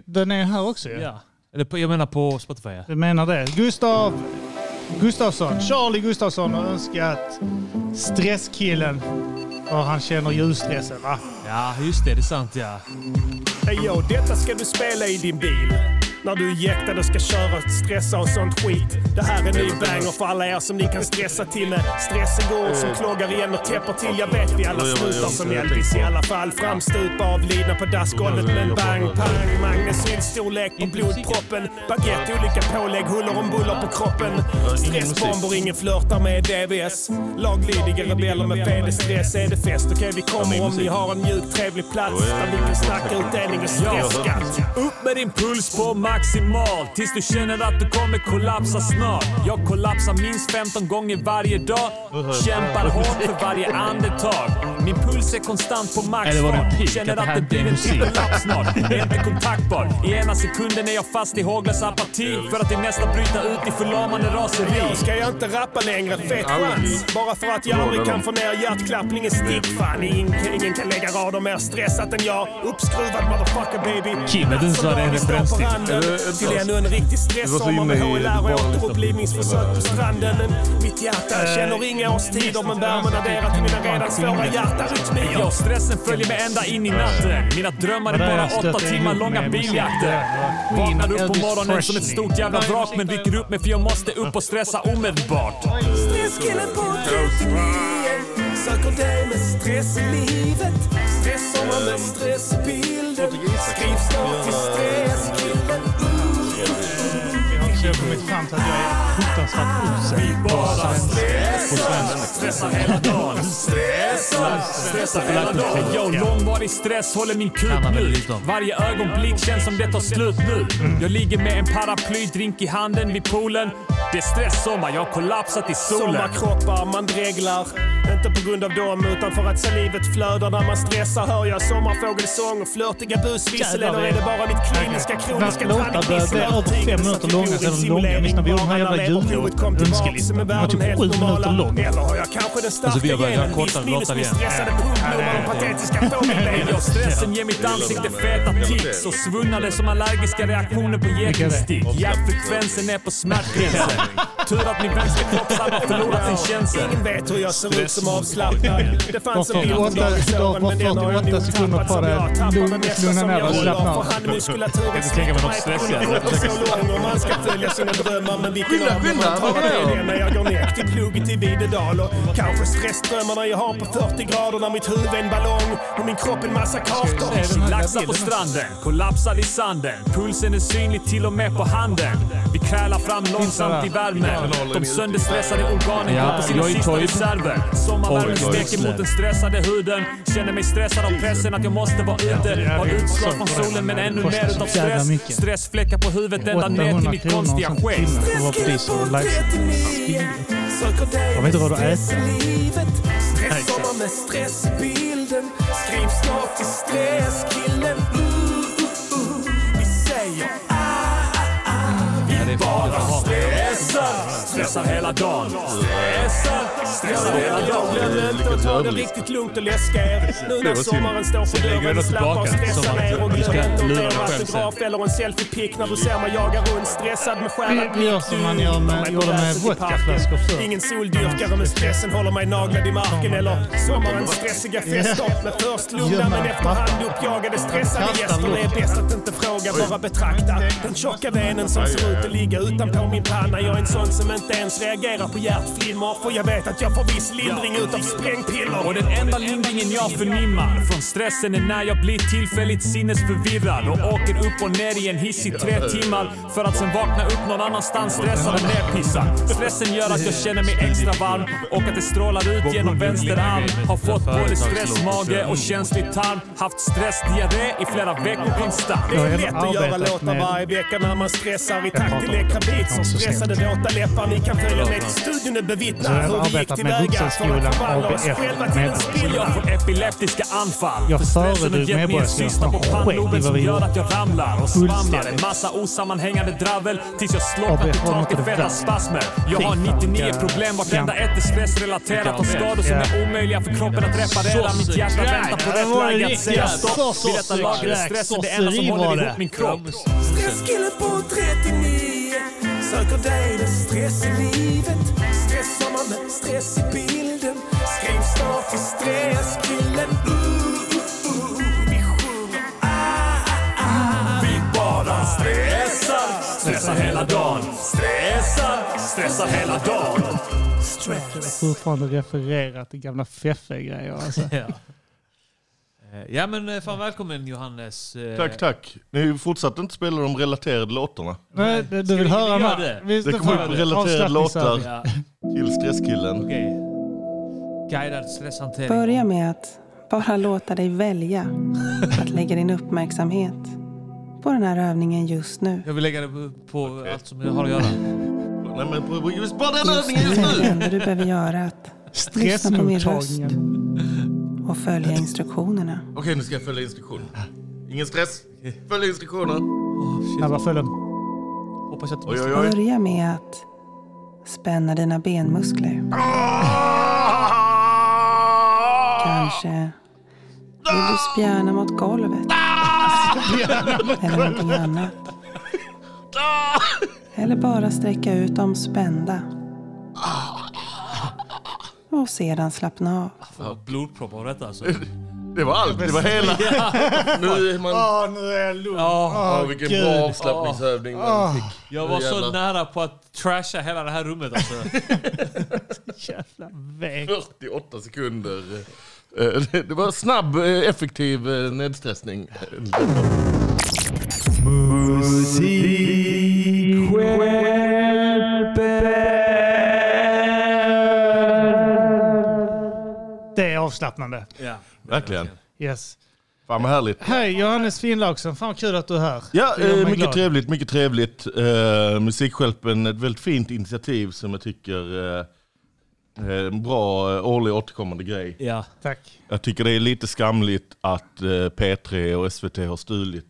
Den är här också ju. Ja. Eller på, jag menar på Spotify. ja. Du menar det. Gustav Gustafsson, Charlie Gustafsson har önskat Stresskillen. Och han känner ljusstressen va? Ja, just det. Det är sant ja. Ey yo, detta ska du spela i din bil. När du är jäktad och ska köra, stressa och sånt skit. Det här är en ny banger för alla er som ni kan stressa till med. Stressen går åt som kloggar igen och täpper till. Jag vet vi alla slutar som Elvis i alla fall. Framstupa avlidna på dassgolvet men bang, pang. Magnecyl-storlek på blodproppen. Baguette, olika pålägg, huller om buller på kroppen. Stressbomber, ingen flörtar med DVS. Laglydiga rebeller med fedestress. Är det fest? Okej, vi kommer om ni har en mjuk, trevlig plats där vi kan snacka utdelning och stressskatt. Upp med din puls på maximal tills du känner att du kommer kollapsa snart. Jag kollapsar minst 15 gånger varje dag. Kämpar hårt för varje andetag. Min puls är konstant på Eller var det en maxfart. pik? Känner Att det här att det inte är blir en musik. till kollaps snart. Jag är inte kontaktbar. I ena sekunden är jag fast i håglös apati för att i nästa bryta ut i förlamande raseri. Jag ska jag inte rappa längre, fet Aldrig. chans. Bara för att jag Bra, aldrig det kan då. få ner hjärtklappningen stick. Fan, ingen, ingen kan lägga rader mer stressat än jag. Uppskruvad motherfucker baby. Kim, vet du inte vad det är Vi står referens på till? randen Är det- är det till så? ännu en Du riktig eh, var så stresssommar med inne i HLR och barnlistan. återupplivningsförsök på stranden. Men Mitt hjärta Eh, känner inga årstider men värmen adderar till mina redan svåra hjärtarytmier. Ja, stressen följer mig ända in i natten. Mina drömmar är Vad är bara det jag åtta stöter timmar ihop långa med biljakter. musik? Vaknar upp på Elvis morgonen som ett Presley. stort jävla vrak men dyker upp mig för jag måste upp och stressa omedelbart. Stresskillen på 39 Söker dig med stress i livet Stressommar med stress i bilden Skriv snart till stresskillen Så jag har kommit fram till att jag är fruktansvärt usel. Bara På stressar, svenska. stressar hela dagen. Stressar, stressar hela dagen. Yo, långvarig stress håller min kuk nu. Varje ögonblick känns som det tar slut nu. Mm. Jag ligger med en paraplydrink i handen vid poolen. Det är stresssommar, jag har kollapsat i solen. Sommarkroppar man dreglar Inte på grund av dem, utan för att salivet flödar när man stressar. Hör jag sommarfågelsång och flörtiga busvissel. Eller är det bara mitt kliniska, kroniska Låtar börjar bli över fem minuter långa så är de långa. Jag minns när vi gjorde den här jävla jullåten, önskelistan. Den var typ sju minuter lång. *laughs* Alltså vi har börjat göra kortare låtar igen. Jag och stressen ger mitt ansikte feta tics och svullnader som allergiska reaktioner på getingstick. Hjärtfrekvensen är på smärtgränsen. Tur att min vänstra kroppsarm har förlorat sin känsel. Ingen vet hur jag ser ut som avslappnad. *laughs* Det fanns en bild på Åtta- dagisöron, var men den har jag 48 nog sekunder tappat på som dig. jag tappar Lugn, med nästa lugna som ner jag dig, rullar. slappna av. För handmuskulaturen Jag kan tänka mig något sträcker mig stressigt. under foten så lång och man ska följa sina drömmar. Men vilken Skynda, av dem skynda, tar vad är det det? när jag går ner till plugget i Videdal? Och kanske stressdrömmarna jag har på 40 grader när mitt huvud är en ballong och min kropp en massa kartor. Laxar på stranden, kollapsar i sanden. Pulsen är synlig till och med på handen. Vi krälar fram långsamt i värmen. De sönderstressade organen Ja, går på sina jag är sista Toib. reserver. Sommarvärmen Toib. steker mot den stressade huden. Känner mig stressad av pressen att jag måste vara ute. Har utslag från solen men ännu mer utav stress. Stressfläckar på huvudet ända ner till 800 mitt kronor konstiga och sånt i timmen för skägg. att vara polis och live. Jag vet inte vad du äter. Nej, Stressar med stress i bilden. Skriv snart till stresskillen. Uh, uh, uh. Vi säger ah, ah, ah. Vi bara stressar. Stressar hela dagen. Stressar, stressar hela dagen. Glöm inte att ta det riktigt lugnt och läska er. Nu när Det var synd. sommaren står Sen för lägger vi dörren, det slappa av, tillbaka, stressa som att ner och du glöm ska inte att lura ta dig en själv sen. autograf eller en selfie-pick när du ser mig jaga runt stressad med skärrad Vi gör blick. som man gör med- Du gjorde med läser i vodkaflaskor parken. förr. Ingen soldyrkare men stressen håller mig naglad i marken. Eller sommarens stressiga feststopp med först lugna Gömma men efterhand uppjagade stressade Kasta gäster. Det är bäst att inte fråga, bara betrakta. Den tjocka venen som ser ut att ligga utanpå min panna. Jag är en sån som inte ens reagerar på hjärtflimmer. För jag vet att jag får viss lindring utav sprängpiller. Och den enda lindringen jag förnimmar från stressen är när jag blir tillfälligt sinnesförvirrad och åker upp och ner i en hiss i tre timmar för att sen vakna upp någon annanstans stressad och nerpissad. Stressen gör att jag känner mig extra varm och att det strålar ut genom vänster arm. Har fått både stressmage och känslig tarm. Haft stressdiarré i flera veckor konstant. Det är lätt att göra låtar varje vecka när man stressar i takt till läckra beats och stressade våta läppar. Ni kan följa med till studion och bevittna Så jag har hur vi gick arbetat med tillväga för Vuxenskolan, att förvandla oss ABF, själva till en med- spill. Jag får epileptiska anfall. Jag För stressen har föredrog gett mig en medborgarskap. cysta på Skit i vad vi pannloben som gör gjorde. att jag ramlar och svamlar. En Fullständigt. massa osammanhängande dravel tills jag slår ABF har kapitalt något i att feta dra. spasmer. Jag har Fy fan, 99 vilka- problem, vartenda vilka- ett är stressrelaterat och skador som Ja. är omöjliga för kroppen att reparera. Mitt hjärta Sosse-crack. väntar på Det var rätt läge att säga riktiga stopp. Vid detta laget är sosse-crack. stressen det enda som Sosseri var håller det. ihop min kropp. Stresskillen på 39 söker dig med stress i livet. Stressar man med stress i bilden. Skriv snart till stresskillen. Uh, uh, uh. Vi sjunger ah, ah, ah. Vi bara stressar. Stressar hela dagen. Stressar, stressar hela dagen. Stress. Fortfarande refererar till gamla feffiga grejer alltså. Eh, Ja men eh, fan välkommen Johannes. Eh, *laughs* Tack, tack. Ni fortsatte inte spela de relaterade låtarna. Nej, du- du vill höra göra några- det? Visst, Det du kommer får- upp relaterade avslappningsövningar. låtar till Stresskillen. Guidad stresshantering. Börja med att bara låta dig välja att lägga din uppmärksamhet på den här övningen just nu. Jag vill lägga det på, på allt som jag har att göra. Nej men på just bara Just nu är det enda du behöver göra är att lyssna på min röst och följa instruktionerna. Okej, nu ska jag följa instruktioner. Ingen stress. Följ instruktioner. Snabba följ dem. Hoppas att Oj, oj, oj. Börja med att spänna dina benmuskler. Kanske vill du spjärna mot golvet. Eller någonting annat. Eller bara sträcka ut dem spända. Och sedan slappna av. Fan, Blodpropp av detta alltså. *laughs* Det var allt. Det var *laughs* hela. Nu är man... Åh, nu är jag lugn. Åh, vilken Gud. bra avslappningsövning man Åh. fick. Jag var Nu så jävlar. nära på att trasha hela det här rummet *laughs* alltså. 48 sekunder. Eh, Det det var snabb, eh, effektiv eh, nedstressning. Det är avslappnande. Ja. Verkligen. Yes. Fan vad härligt. Hej Johannes Finnlaugsson, fan vad kul att du är här. Ja, Det gör eh, mig mycket glad. trevligt, mycket trevligt. Eh, Musikhjälpen, ett väldigt fint initiativ som jag tycker eh, En bra eh, årlig återkommande grej. Ja. Tack. Jag tycker det är lite skamligt att eh, P3 och SVT har stulit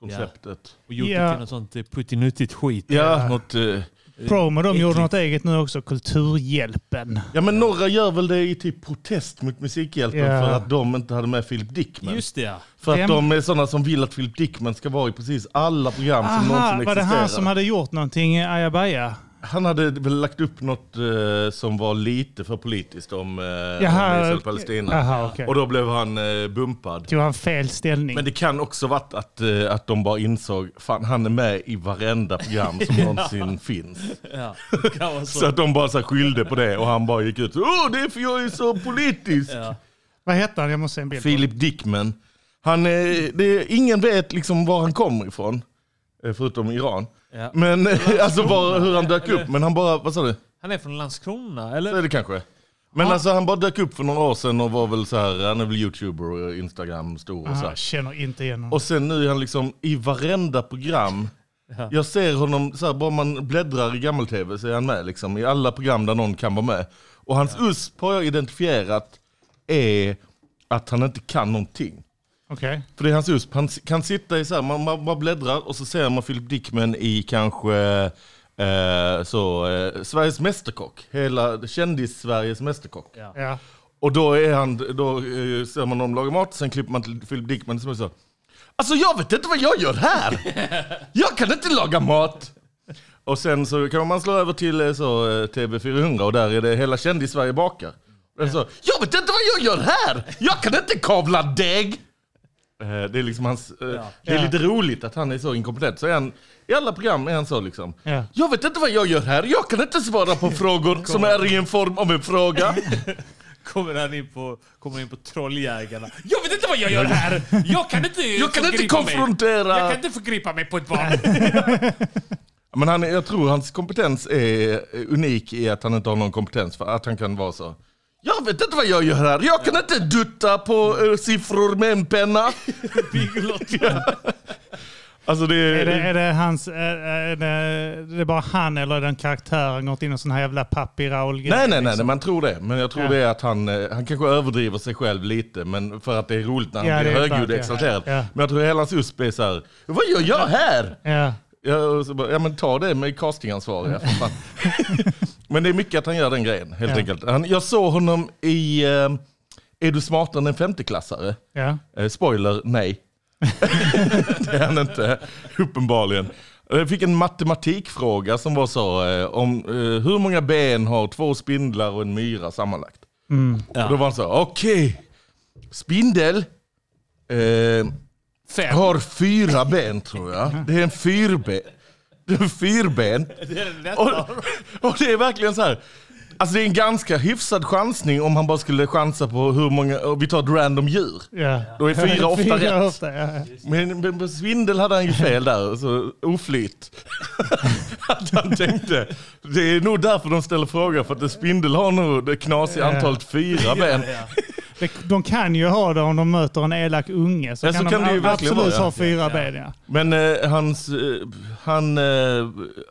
konceptet. Och gjort det Ja. till något sånt eh, puttinuttigt skit. Ja, något... eh, Promo, de gjorde något eget nu också. Kulturhjälpen. Ja men några gör väl det i typ protest mot Musikhjälpen Ja. för att de inte hade med Philip Dickman. Just det, ja. För att Vem- de är sådana som vill att Philip Dickman ska vara i precis alla program som Aha, någonsin var det han existerar. som hade gjort någonting eh, ajabaja? Han hade väl lagt upp något eh, som var lite för politiskt om, eh, Jaha, om Israel okej. och Palestina. Aha, okej. Och då blev han eh, bumpad. Tog han fel ställning? Men det kan också varit att, eh, att de bara insåg fan han är med i varenda program *laughs* som någonsin finns. Ja, det kan vara Alltså. Så att de bara så här, skyllde på det och han bara gick ut Åh, det är för jag är så politisk! Vad hette han? Jag måste se en bild. på Philip Dickman. Han, eh, det, är- ingen vet liksom var han kommer ifrån, eh, förutom Iran. Ja. Men eh, alltså var, hur han dök Eller- upp. Men han bara, vad sa du? Han är från Landskrona, eller? Så är det kanske. Men alltså han bara dök upp för några år sedan och var väl så här, han är väl youtuber och instagram stor honom. och så Aha, här. känner inte igen honom. Och sen nu är han liksom i varenda program. Ja. Jag ser honom, så här, bara man bläddrar i gammel-tv så är han med liksom, i alla program där någon kan vara med. Och hans USP har jag identifierat är att han inte kan någonting. *laughs* Okej. För det är hans USP, han s- kan sitta i så här, man, man, man bläddrar och så ser man Philip Dickman i kanske eh, så, eh, Sveriges Mästerkock, hela kändis-Sveriges Mästerkock. Ja. Och då, är han, då eh, ser man honom laga mat, sen klipper man till Philip Dickman som är så Alltså jag vet inte vad jag gör *laughs* här! Jag kan inte laga mat! Och sen så kan man slå över till eh, så, eh, TV400 och där är det hela kändis-Sverige bakar. Och så, jag vet inte vad jag gör här! Jag kan inte kavla deg! Eh, Det är liksom hans... eh, Det är Ja. lite roligt att han är så inkompetent. Så är han, I alla program är han så liksom. Ja. Jag vet inte vad jag gör här. Jag kan inte svara *laughs* på frågor som är i en form av en fråga. Kommer han in på, kommer in på Trolljägarna. Jag vet inte vad jag gör här! Jag *laughs* kan inte Jag kan inte förgripa mig. konfrontera- Jag kan inte förgripa mig på ett barn. Men han, är- jag tror hans kompetens är unik i att han inte har någon kompetens för att han kan vara så. Jag vet inte vad jag gör här. Jag kan inte dutta på eh, siffror med en penna. Alltså det Är är... det, är det hans... Är, är det, är det bara han eller är den karaktären gått in i sån här jävla liksom? papi raoul Nej, nej, nej, nej, man tror det. Men jag tror Ja. det är att han, eh, han kanske överdriver sig själv lite, men för att det är roligt när han Ja, blir det är högljudd sant, och ja. exalterad. Ja. Men jag tror hela hans USP är så här, vad gör jag här? Ja. Ja, och så bara, ja men ta det med castingansvariga. för fan. *laughs* men det är mycket att han gör den grejen, helt Ja. enkelt. Han, jag såg honom i eh, Är du smartare än en femteklassare? Ja. Eh, spoiler, *laughs* nej. det är han inte, uppenbarligen. Eh, Jag fick en matematikfråga som var så, eh, om eh, hur många ben har två spindlar och en myra sammanlagt? Mm. Och då var han så, okej, spindel eh, har fyra ben tror jag. Det är en fyrben. Det är en fyrben. Det är det Och, och det är verkligen så här. Alltså det är en ganska hyfsad chansning om han bara skulle chansa på hur många, och vi tar ett random djur. Ja. Då *laughs* är fyra ofta rätt. ofta, ja, ja. Men, men på svindel hade han ju fel där, så *laughs* oflyt. att han tänkte, det är nog därför de ställer frågan, för att en spindel har nog det knasiga Ja. antalet fyra ben. Det- De kan ju ha det om de möter en elak unge. Så Ja, kan de det ju verkligen absolut vara, ja. ha fyra ben. Ja. Men eh, hans, eh, han, eh,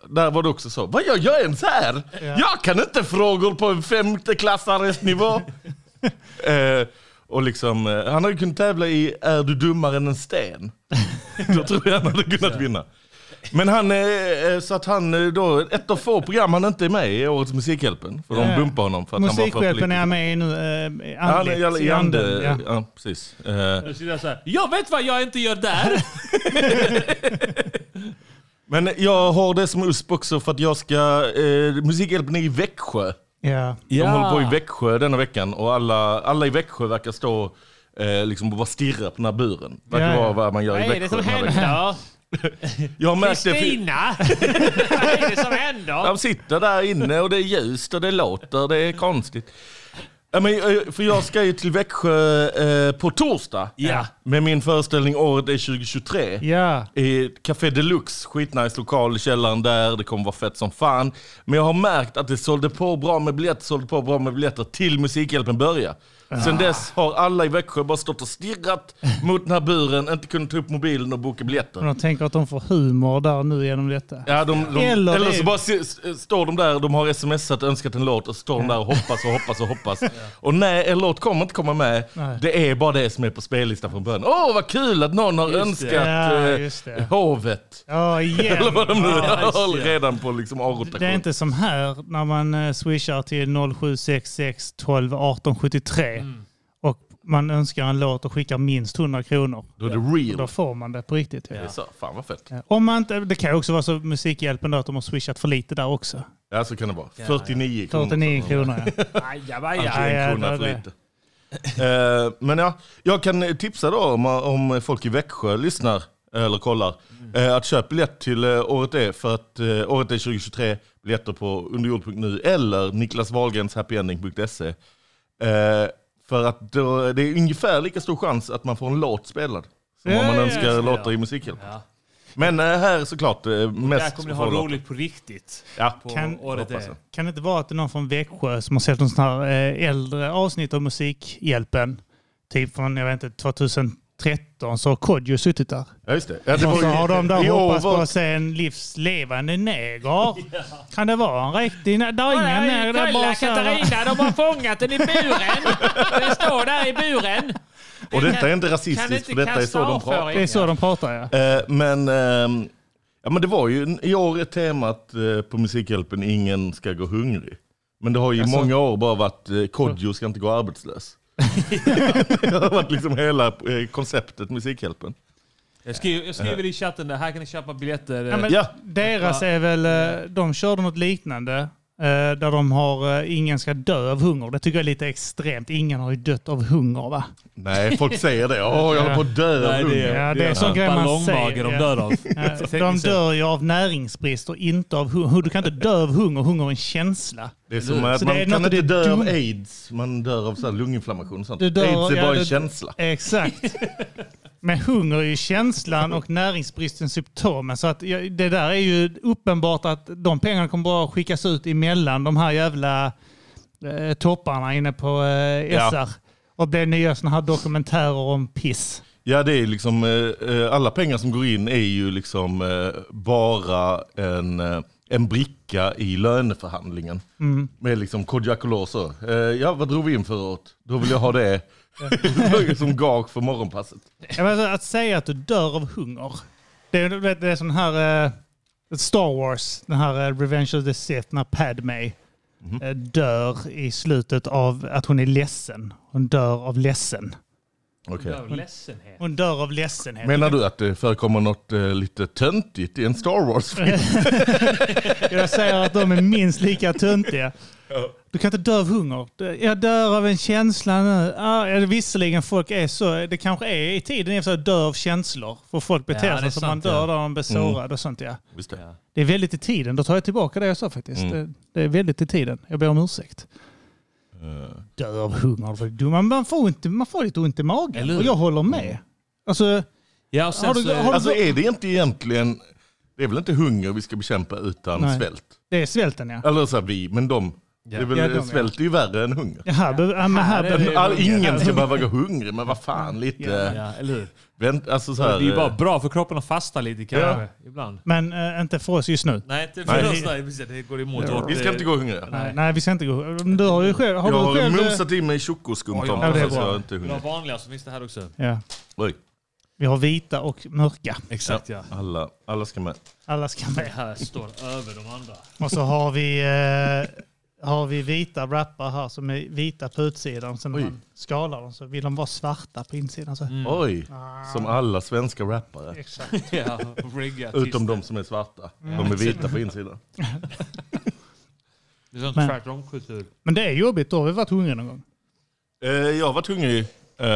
där var det också så. Vad gör jag ens här? Jag kan inte frågor på en femteklassares *laughs* nivå. eh, och liksom, eh, han hade kunnat tävla i Är du dummare än en *laughs* sten? Då tror jag han hade kunnat vinna. Men han, eh, eh, så att han eh, då, ett av få program han inte är med i, i årets Musikhjälpen. För de Ja. bumpar honom för att han var för Musikhjälpen politisk. är med i nu. eh, Ja, han andligt, är i i anden, ande, ja. ja. precis. Eh, Jag skulle säga så här, Jag vet vad jag inte gör där! Men jag har det som USP också för att jag ska... Eh, Musikhjälpen är i Växjö. Ja. De Ja. håller på i Växjö denna veckan och alla, alla i Växjö verkar stå eh, liksom och bara stirra på den här buren. *laughs* Verkar Ja, ja. vara vad man gör i Vad Växjö. är det som den här händer? veckan. jag har märkt det. för- *laughs* Kristina! Vad är det som händer? De sitter där inne och det är ljust och det låter. Det är konstigt. Ja, men, eh, för jag ska ju till Växjö eh, på torsdag Ja. med min föreställning Året är 2023. Ja. I Café Deluxe, skitnice lokal i källaren där, det kommer vara fett som fan. Men jag har märkt att det sålde på bra med biljetter, sålde på bra med biljetter till Musikhjälpen börjar. Sen dess har alla i Växjö bara stått och stirrat mot den här buren, inte kunnat ta upp mobilen och boka biljetter. Men de tänker att de får humor där nu genom detta. Ja, de, de, eller, Eller så det- bara se- s- står de där, de har smsat och önskat en låt och så står de där och hoppas och hoppas *laughs* och hoppas. Och nej, en låt kommer inte komma med. Nej. Det är bara det som är på spellistan från början. Åh, vad kul att någon har Just det. önskat Ja, eh, just det. hovet. Ja, igen. *laughs* Eller vad de nu Ja, just har det. redan på liksom A-rotation. Det är inte som här när man eh, swishar till 0766 12 18 73 Mm. och man önskar en låt och skickar minst 100 kronor. Då är det real. Då får man det på riktigt. Det är så, fan vad fett. Ja. Om man inte, det kan ju också vara så Musikhjälpen då, att de har swishat för lite där också. Ja, så kan det vara. Ja, ja. 49 kronor. 49 kronor, *laughs* ja. Ajabaja. Ja, ja, en krona det för är det. lite. Eh, men ja, jag kan tipsa då om, om folk i Växjö lyssnar eller kollar. Mm. eh, Att köpa biljett till eh, Året är för att eh, Året är 2023 biljetter på underjord.nu eller niklaswahlgrenshappyending.se. Eh, För att då, det är ungefär lika stor chans att man får en låt spelad som Ja, om man ja, önskar just det, låtar ja. i Musikhjälpen. Ja. Men eh, här såklart eh, mest Där kommer ni ha får låten. roligt på riktigt. Ja. På Kan- året hoppas är. Kan det inte vara att det är någon från Växjö som har sett en sån här eh, äldre avsnitt av Musikhjälpen, typ från jag vet inte, 2013, så har Kodjo suttit där. Ja, just det. Ja, Ja, det var så ju- har de där i hoppats på Over- att se en livslevande *laughs* neger. Kan det vara en riktig ne- Det är ingen neger, det är bara så här- de har fångat den i buren. *laughs* Den står där i buren. Och detta är inte Kan rasistiskt inte för detta är kasta så de av för pratar. Eh, er. Det är så de pratar ja. men, ehm, ja men det var ju i år ett temat eh, på Musikhjälpen ingen ska gå hungrig. Men det har ju i Alltså- många år bara varit eh, Kodjo ska inte gå *laughs* arbetslös. det har varit liksom hela eh, konceptet Musikhjälpen. Jag skriver, jag skriver i chatten där, här kan ni köpa biljetter. Ja, men Deras är väl, eh, de körde något liknande. eh, Där de har eh, ingen ska dö av hunger. Det tycker jag är lite extremt. Ingen har ju dött av hunger va? Nej, folk säger det. Åh, jag håller på att dö av Ja. hunger. Ja, det Det är är en sån grej man ballongmage säger. de ja. dör av. Ja, De Tekniskt sett. dör ju av näringsbrist och inte av hunger. Du kan inte dö av hunger. Hunger är en känsla. Det är som att man något kan av det inte dö av dumma- aids, man dör av så här lunginflammation och sånt. Du dör- aids är ja, bara du- en känsla. Exakt. Men hunger är ju känslan och näringsbristen symptomen. Så att jag- det där är ju uppenbart att de pengarna kommer bara skickas ut emellan de här jävla eh, topparna inne på eh, Ja. SR. Och blir nya sådana här dokumentärer om piss. Ja, det är liksom, eh, eh, alla pengar som går in är ju liksom eh, bara en, eh, en bricka i löneförhandlingen. Mm. Med liksom Kodjo så. Eh, ja, vad drog vi in förra året? Då vill jag ha det *laughs* som gage för morgonpasset. Jag menar, att säga att du dör av hunger. Det är, du vet, det är sån här eh, Star Wars, den här eh, Revenge of the Sith, när Padme eh, dör i slutet av att hon är ledsen. Hon dör av ledsen. Okej. Dör av ledsenhet. Hon dör av ledsenhet. Menar du att det förekommer något eh, lite töntigt i en Star Wars-film? Jag säger att de är minst lika töntiga. Du kan inte dö av hunger. Jag dör av en känsla nu. Ah, ja, visserligen, folk är så. Det kanske är i tiden efter att dö av känslor. För folk beter Ja, det är sig som man sant, dör ja. när de blir Mm. sårade och sånt. Ja. Visst det. Det är väldigt i tiden. Då tar jag tillbaka det jag sa faktiskt. Mm. Det, det är väldigt i tiden. Jag ber om ursäkt. Dö av hunger. För du, man, man, får inte, man får lite ont i magen. Eller hur? och jag håller Mm. med. Alltså, ja, sen Har du- så- har du- alltså är det inte egentligen, det är väl inte hunger vi ska bekämpa utan Nej. svält? det är svälten ja. Eller så här, vi, men de. Det är väl, Ja, de, ja. svält är ju värre än hunger. Ja, här, be- ja, men här, Men be- all, ingen ska behöva gå hungrig, men vad fan lite... Ja, ja, eller hur? Vänt, alltså så det här, är ju bara eh, bra för kroppen att fasta lite kanske. Ibland. Men eh, inte för oss just nu. Nej, inte för oss. Nej, precis. det går emot vårt... eh, Vi ska inte gå hungriga. Nej. Nej, vi ska inte gå. Du har ju själv... Har jag du har själv, eh, mumsat i mig chokoskumtomtar Ja, det är så bra. Alltså, jag är inte Vi har hungrig. vanliga så finns det här också. Ja. Oj. Vi har vita och mörka. Exakt, ja. Alla, alla ska med. Alla ska med. Det här står över de andra. Och så har vi, eh, har vi vita wrappar här som är vita på utsidan. Sen när man skalar dem så vill de vara svarta på insidan. Så. Mm. Oj, som alla svenska rappare. Ah. Exakt. *laughs* Mm. Ja, reggae-artister. Utom de som är svarta. Ja. De är vita *laughs* på insidan. Det är sånt Men- tvärtom-kultur. Men det är jobbigt. Då har vi varit hungriga någon gång. Eh, jag har varit hungrig. Eh,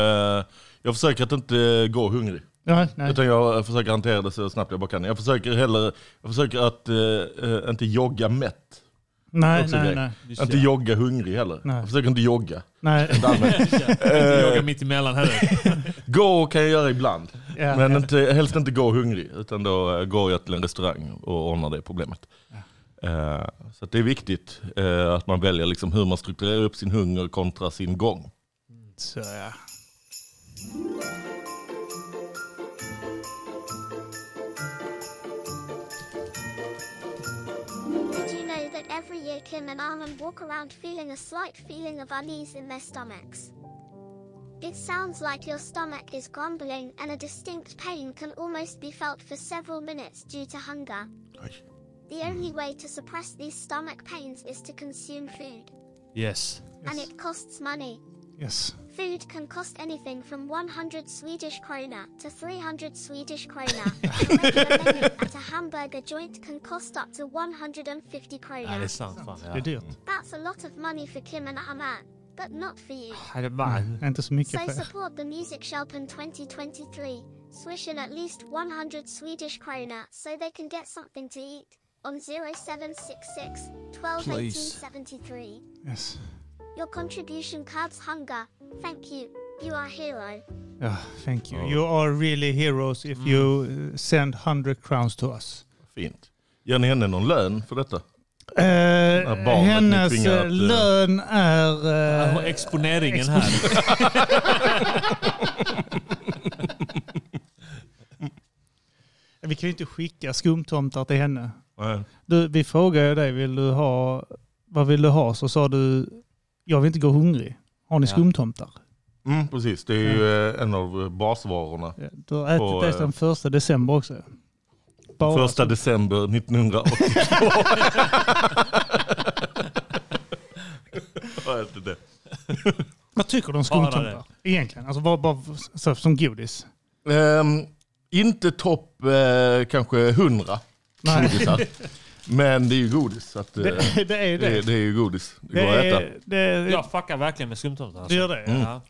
jag försöker att inte gå hungrig. Nej, nej. Utan jag försöker hantera det så snabbt jag bara kan. Jag försöker, hellre, jag försöker att eh, eh, inte jogga mätt. Nej, Det är också en nej, grej. nej. Inte jogga hungrig heller. Nej. Jag försöker inte jogga. Nej. *laughs* Rent allmänt. Eh, Inte jogga mitt emellan heller. *laughs* Gå kan jag göra ibland. Ja. men inte, helst inte gå hungrig. Utan då eh, går jag till en restaurang och ordnar det problemet. Eh, så att det är viktigt eh, att man väljer liksom hur man strukturerar upp sin hunger kontra sin gång. Sörja. Did you know that every year Kim and Armin walk around feeling a slight feeling of unease in their stomachs? It sounds like your stomach is grumbling and a distinct pain can almost be felt for several minutes due to hunger. The only way to suppress these stomach pains is to consume food, Yes. and it costs money. Yes. Food can cost anything from 100 Swedish krona to 300 Swedish *laughs* krona. A regular menu at a hamburger joint can cost up to 150 krona. Nej, Ah, det er är sant. Fan, ja. Det är Mm. dyrt. That's a lot of money for Kim and Haman, but not for you. Nej, det är bara... Inte så mycket So för support the Music Shelp in 2023, swish in at least 100 Swedish krona so they can get something to eat on 0766 12 18 Please. 73. Yes. Your contribution curbs hunger. Thank you. You are a hero. Ja, thank you. You are really heroes Mm. if you eh, send 100 crowns to us. Fint. Ger ni henne någon lön för detta? Eh, När barnet ni hennes tvingar eh, att, eh, lön är... eh, Ja, exponeringen här. *laughs* Vi kan ju inte skicka skumtomtar till henne. Nej. Du, vi frågade ju dig, vill du ha, vad vill du ha? Så sa du, jag vill inte gå hungrig. Har ni Ja. skumtomtar? Mm, precis, det är ju eh, en av eh, basvarorna. Mm. Du har ätit På, det eh, sedan första december också. Bara Första december 1982. *laughs* Vad heter det? Vad tycker du om Bara skumtomtar? Egentligen, alltså bara, bara så, som godis. Ehm, inte topp eh, kanske 100 Nej. *laughs* godisar. Men det är ju godis. Så att, eh, Det- det är ju det. Det, är ju godis. Det, Det går att är- äta. det- Jag fuckar verkligen med skumtomtar. Du gör det? Mm. Ja.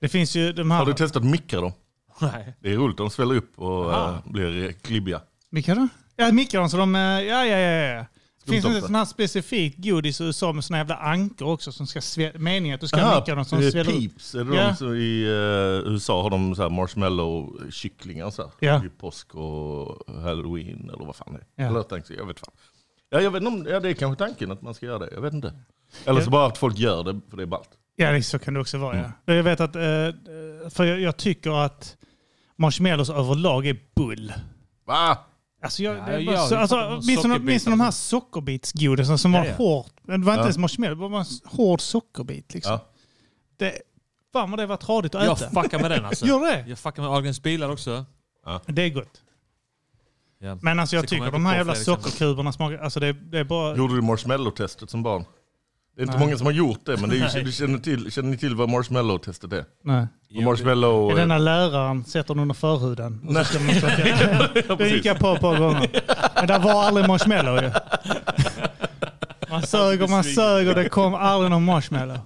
Det finns ju de här... Har du testat mikra dem? Nej. Det är roligt, de sväller upp och Aha. eh, blir klibbiga. Vilka då? Ja, mikron. Så de, eh, ja, ja, ja. ja. Det finns Skumtomtar. ett sånt här specifikt godis i USA med såna jävla ankor också som ska svä- Meningen är att du ska Aha, micka dem som eh, sväller upp. Peeps, är det de som i eh, USA har de så här marshmallow-kycklingar så här, Ja. i påsk och halloween eller vad fan det är. Ja. Eller tanken, jag vet fan. Ja, jag vet inte om, ja, det är kanske tanken att man ska göra det, jag vet inte. Eller så bara att folk gör det för det är ballt. Ja, det, så kan det också vara. Mm. Ja. Jag vet att, eh, för jag, jag tycker att marshmallows överlag är bull. Va? Alltså, jag, Ja, det är bara, ja, så, det är klart alltså, att de minns du- minns du de här sockerbitsgodisarna som var Ja, ja. hårt? Det var inte Ja. ens marshmallow, det var en hård sockerbit. Liksom. Ja. Det, fan vad det var tradigt att Jag äta. fuckar med den *laughs* alltså. Gör det? Jag fuckar med Ahlgrens bilar också. Det är gott. Ja. Men alltså, jag Sen kommer tycker inte de här på jävla fler liksom. exempel. sockerkuberna smakar... Alltså, det, det är bara... Gjorde du marshmallow-testet som barn? Det är inte Nej. många som har gjort det, men det är, ju- *laughs* Nej. du känner, till, känner ni till vad marshmallow-testet är? Nej. Och marshmallow... Är den här läraren sätter den under förhuden. Och så Nej. ska man stå *laughs* Ja, det precis. gick jag på ett par gånger. Men där var aldrig marshmallow ju. Man sög och man besviken. sög och det kom aldrig någon *laughs* marshmallow.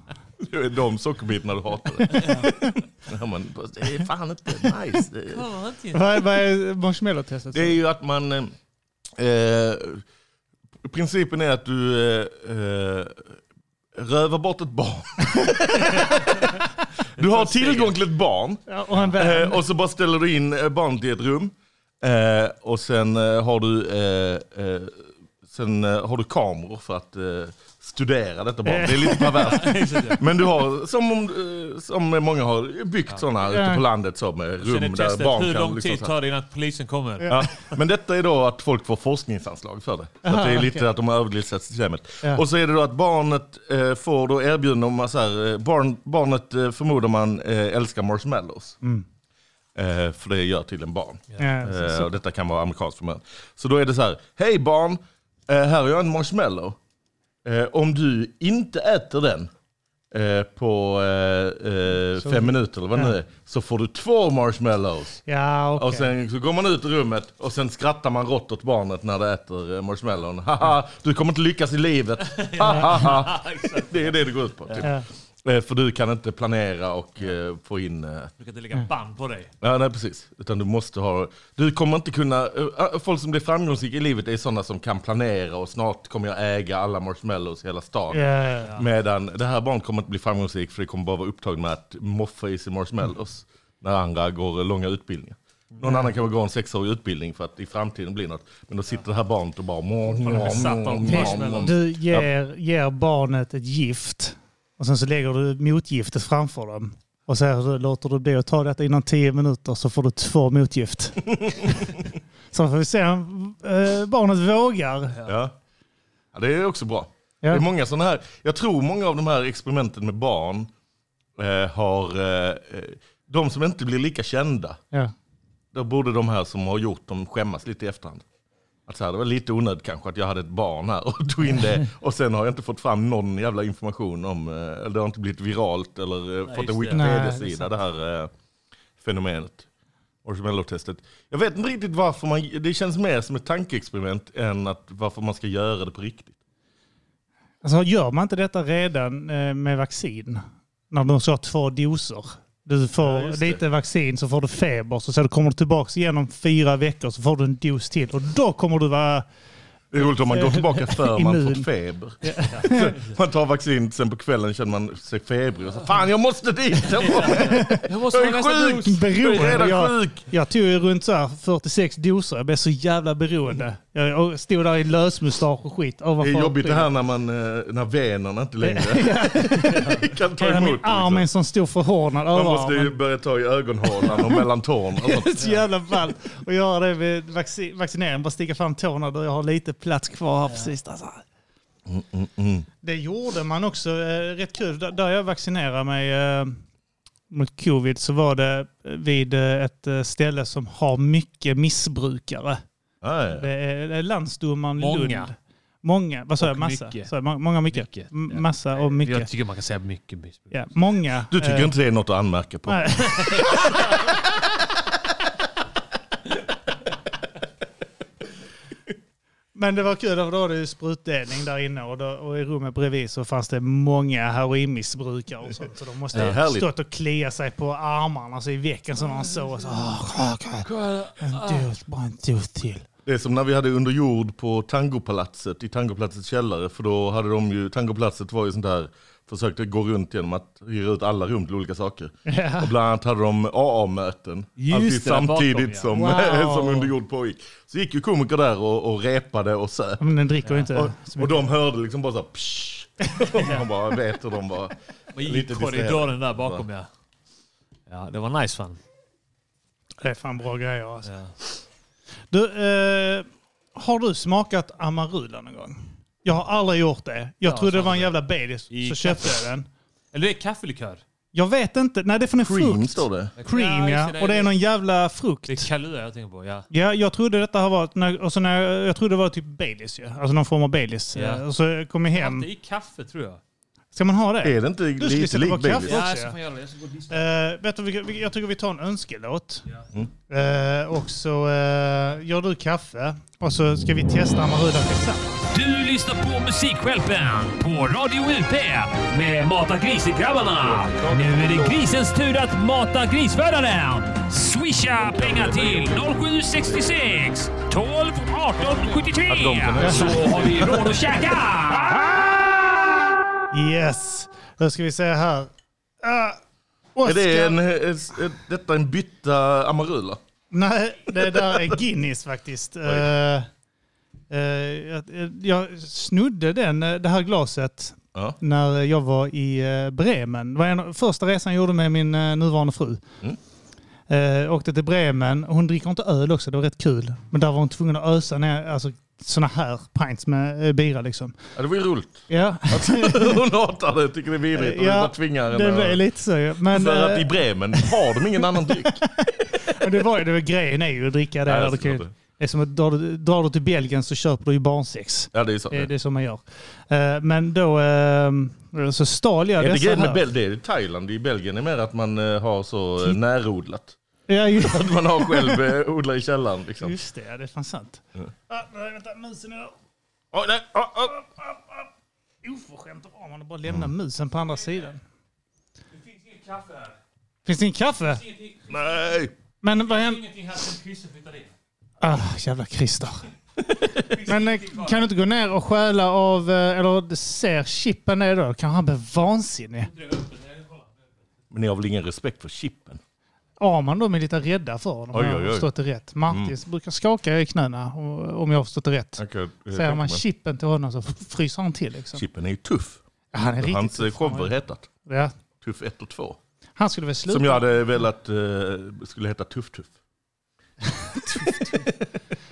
Det är de sockerbitarna du hatar. Ja. Man, det är fan inte nice. Det är- Vad, vad är marshmallow-testet? Det är ju att man... eh, Eh, principen är att du eh, eh, rövar bort *laughs* ett barn. du har tillgång till ett barn. Ja, och en vän. Eh, och så bara ställer du in eh, barnet i ett rum. Eh, och sen eh, har du... Eh, eh, Sen eh, har du kameror för att eh, studera detta barn. Det är *laughs* lite perverst. Men du har, som, om, eh, som många har byggt sådana ute på landet, så med Sen är rum där testet, barn hur kan... lång liksom tid så här- tar det innan polisen kommer? Ja. Men detta är då att folk får forskningsanslag för det. Så Aha, att det är lite okej. att de har överlistat systemet. Ja. Och så är det då att barnet eh, får då erbjudande om så här, eh, barn, barnet eh, förmodar man eh, älskar marshmallows. Mm. Eh, för det gör tydligen barn. Ja. Ja, eh, så- och detta kan vara amerikanskt förmögen. Så då är det så här, hej barn, eh, här har jag en marshmallow. Eh, om du inte äter den eh, på eh, eh, Så- fem minuter eller vad det Ja. nu är, så får du två marshmallows. Ja, okej. Och sen så går man ut i rummet och sen skrattar man rått åt barnet när det äter eh, marshmallowen. Haha, du kommer inte lyckas *laughs* i livet. Hahaha. det är det det går ut på. Typ. Ja. Eh, För du kan inte planera och eh, få in... eh, Du kan inte lägga band på dig. Ja, nej precis. Utan du måste ha... Du kommer inte kunna... eh, Folk som blir framgångsrika i livet är sådana som kan planera och snart kommer jag äga alla marshmallows i hela stan. Ja, ja, ja. Medan det här barnet kommer inte bli framgångsrik för det kommer bara vara upptaget med att moffa i sig marshmallows. När andra går eh, långa utbildningar. Någon Ja. annan kan väl gå en sexårig utbildning för att i framtiden bli något. Men då sitter det här barnet och bara... är besatt av Mm. marshmallows. Du ger, ger barnet ett gift och sen så lägger du motgiftet framför dem. Och så här, låter du bli att ta detta innan tio minuter så får du två *laughs* motgift. så får vi se om eh, barnet vågar. Ja. ja, det är också bra. Ja. Det är många sådana här, jag tror många av de här experimenten med barn eh, har, eh, eh, de som inte blir lika kända, Ja. då borde de här som har gjort dem skämmas lite i efterhand. Att så här, det var lite onödigt kanske att jag hade ett barn här och tog in *laughs* det och sen har jag inte fått fram någon jävla information om, eh, eller det har inte blivit viralt eller eh, Nej, fått en just det. Nej, det är Wikipedia-sida det här eh, fenomenet. Marshmallow-testet. Jag vet inte riktigt varför man, det känns mer som ett tankeexperiment än att varför man ska göra det på riktigt. Alltså, gör man inte detta redan eh, med vaccin, när de ska ha två doser, du får just det. lite vaccin så får du feber, så, så kommer du tillbaka igen om fyra veckor så får du en dos till och då kommer du vara... Det är roligt om man går tillbaka för man Immun. fått feber. Så Man tar vaccin, sen på kvällen känner man sig febrig och så fan jag måste dit! Jag, måste, Jag, måste jag är sjuk! Jag är Beroende. redan Jag, sjuk! jag tog ju runt så här 46 doser. Jag blev så jävla beroende. Jag jag stod där i lösmustasch och skit. Det är jobbigt det här när, man, eh, när venerna inte längre kan ta Hela min emot. arm är en sån stor förhårdnad. Man överarmen. måste ju börja ta i ögonhålan och mellan *laughs* tårna. och sånt. Det är så jävla ball att göra det med vaccin, vaccinering. Bara sticka fram tårna där jag har lite plats kvar här precis. Där, så här. Mm, mm, mm. Det gjorde man också. Eh, rätt kul. Där- Där jag vaccinerade mig eh, mot covid så var det vid eh, ett eh, ställe som har mycket missbrukare. Det är, det är landsdomaren Många. Lund. Många. Vad sa Och jag? Massa? mycket. Så, må- många och mycket. M- Massa och mycket. Jag tycker man kan säga mycket. Ja, många. Du tycker eh, inte det är något att anmärka på? Nej. *laughs* Men det var kul, för då var det ju sprutdelning där inne och, då, och i rummet bredvid så fanns det många heroinmissbrukare och sånt. Så de måste Det är ha härligt. stått och klia sig på armarna så i veckan så när han såg så. "Åh, kolla, En dos, bara en dos till. Det är som när vi hade under jord på Tangopalatset, i Tangopalatsets källare. För då hade de ju, Tangopalatset var ju sånt där, försökte gå runt genom att hyra ut alla rum till *laughs* olika saker. Ja. Och bland annat hade de AA-möten. Just Alltid det, där bakom, samtidigt ja. som, Wow. *laughs* som under jord pågick. Så gick ju komiker där och, och repade och söp. Men den dricker ju inte så Och, och mycket. de hörde liksom bara så här, psh. Och Man bara vet hur *laughs* de var I lite korridoren där bakom Så. ja. Ja, det var nice fan. Det är fan bra grejer alltså. Du, eh, har du smakat Amarula någon gång? Jag har aldrig gjort det. Jag Ja, trodde det sant var en jävla bedis, I så kaffe. köpte jag den. Eller det är kaffelikör. Jag vet inte. Nej, det är från en Cream, frukt. står det. Cream, Ja, ja. just det, Och det det är är- någon jävla frukt. Det är Kahlua jag tänker på, ja. Ja, jag trodde detta har varit... när- Och så när jag, jag trodde det var typ Baileys ju. Alltså någon form av Baileys. Ja. Eh, Och så kom jag hem. Inte i kaffe tror jag. Ska man ha det? Är det inte Du skulle lite sätta på lik Baileys? kaffe Ja, också, jag ska ja. fan göra det. Jag ska gå och lyssna. Eh, vet du, vilka- vilka- jag tycker vi tar en önskelåt. Mm. Eh, och så eh, gör du kaffe och så ska vi testa Amarula tillsammans. Du lyssnar på Musikhjälpen på Radio UP med Mata Grisegrabbarna. Nu är det grisens tur att mata grisvärdaren. Swisha pengar till 0766 12 18 73 så har vi råd att käka. Yes! Då ska vi se här. Uh, Är det en, är, är detta en bytta Amarula? Nej, det Eh, där är Guinness faktiskt. Eh, eh, jag, jag snodde den, eh, det här glaset när jag var i eh, Bremen. Det var en av första resan jag gjorde med min eh, nuvarande fru. Mm. Eh, åkte till Bremen. Hon dricker inte öl också, det var rätt kul. Men där var hon tvungen att ösa ner alltså, sådana här pints med eh, bira. Liksom. Ja, det var *laughs* ju roligt. Ja. Att hon hatar det, tycker det är vidrigt och Ja, vill bara tvinga henne. det är lite så, ja. Men, För att eh, i Bremen har de *laughs* ingen annan dryck. Men det var ju, det var, grejen är ju att dricka det. Ja, där jag du kan, förstår det. det är som att drar du, drar du till Belgien så köper du ju barnsex. Ja, det är så. Det, det är så man gör. Eh, Men då eh, så stal jag är det dessa grejen med här. Bel- det är i Thailand, i Belgien är mer att man eh, har så eh, närodlat. Ja, just- *laughs* Att man har själv eh, odlar i källaren. Liksom. Just det, ja, det är fan sant. Ah, nej, vänta, musen är där. Oh, nej. Oh, Oförskämt av man att bara lämna Mm. musen på andra sidan. Kaffe här. Finns det ingen kaffe? Nej! Men vad händer? Ingenting här sen kryssen flyttar in. Ah, jävla Christer. Men eh, kan du inte gå ner och stjäla av, eh, eller ser chippen det då? Kanske han blir vansinnig. Men ni har väl ingen respekt för chippen? Arman de är lite rädda för honom, om Oj, jag oj, har oj. förstått det rätt. Martins brukar skaka i knäna, o- om jag har förstått det rätt. Okej, jag Säger tänker man mig. chippen till honom så f- fryser han till. Liksom. Chippen är ju tuff. Ja, han är Det har riktigt Hans tuff, shower han är. hetat. Ja. Tuff 1 och 2. Han skulle väl sluta? Som jag hade velat eh, skulle heta Tuff-Tuff.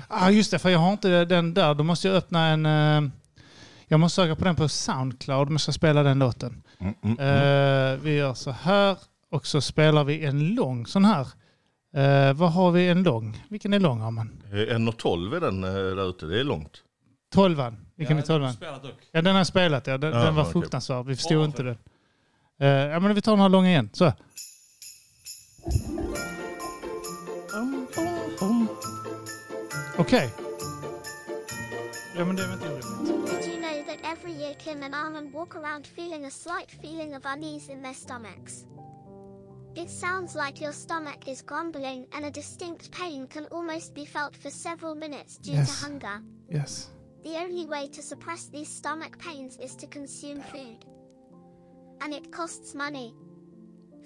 Ah, just det, för jag har inte den där. Då måste jag öppna en... eh, jag måste söka på den på Soundcloud om jag ska spela den låten. Mm, Eh, vi gör så här och så spelar vi en lång sån här. Eh, vad har vi en lång? Vilken är lång har man? Eh, 1,12 är den eh, där ute, det är långt. Tolvan. Vilken Ja, är tolvan? den har du spelat dock. Ja, den har jag spelat. Ja. Den, Ja, den var okej. fruktansvärd. Vi förstod inte den. Eh, ja, men vi tar den här långa igen. Så. Okej. Ja, men det var inte orimligt. Did you know that every year Kim and Armin walk around feeling a slight feeling of unease in their stomachs? It sounds like your stomach is grumbling and a distinct pain can almost be felt for several minutes due Yes. to hunger. Yes. The only way to suppress these stomach pains is to consume food. And it costs money.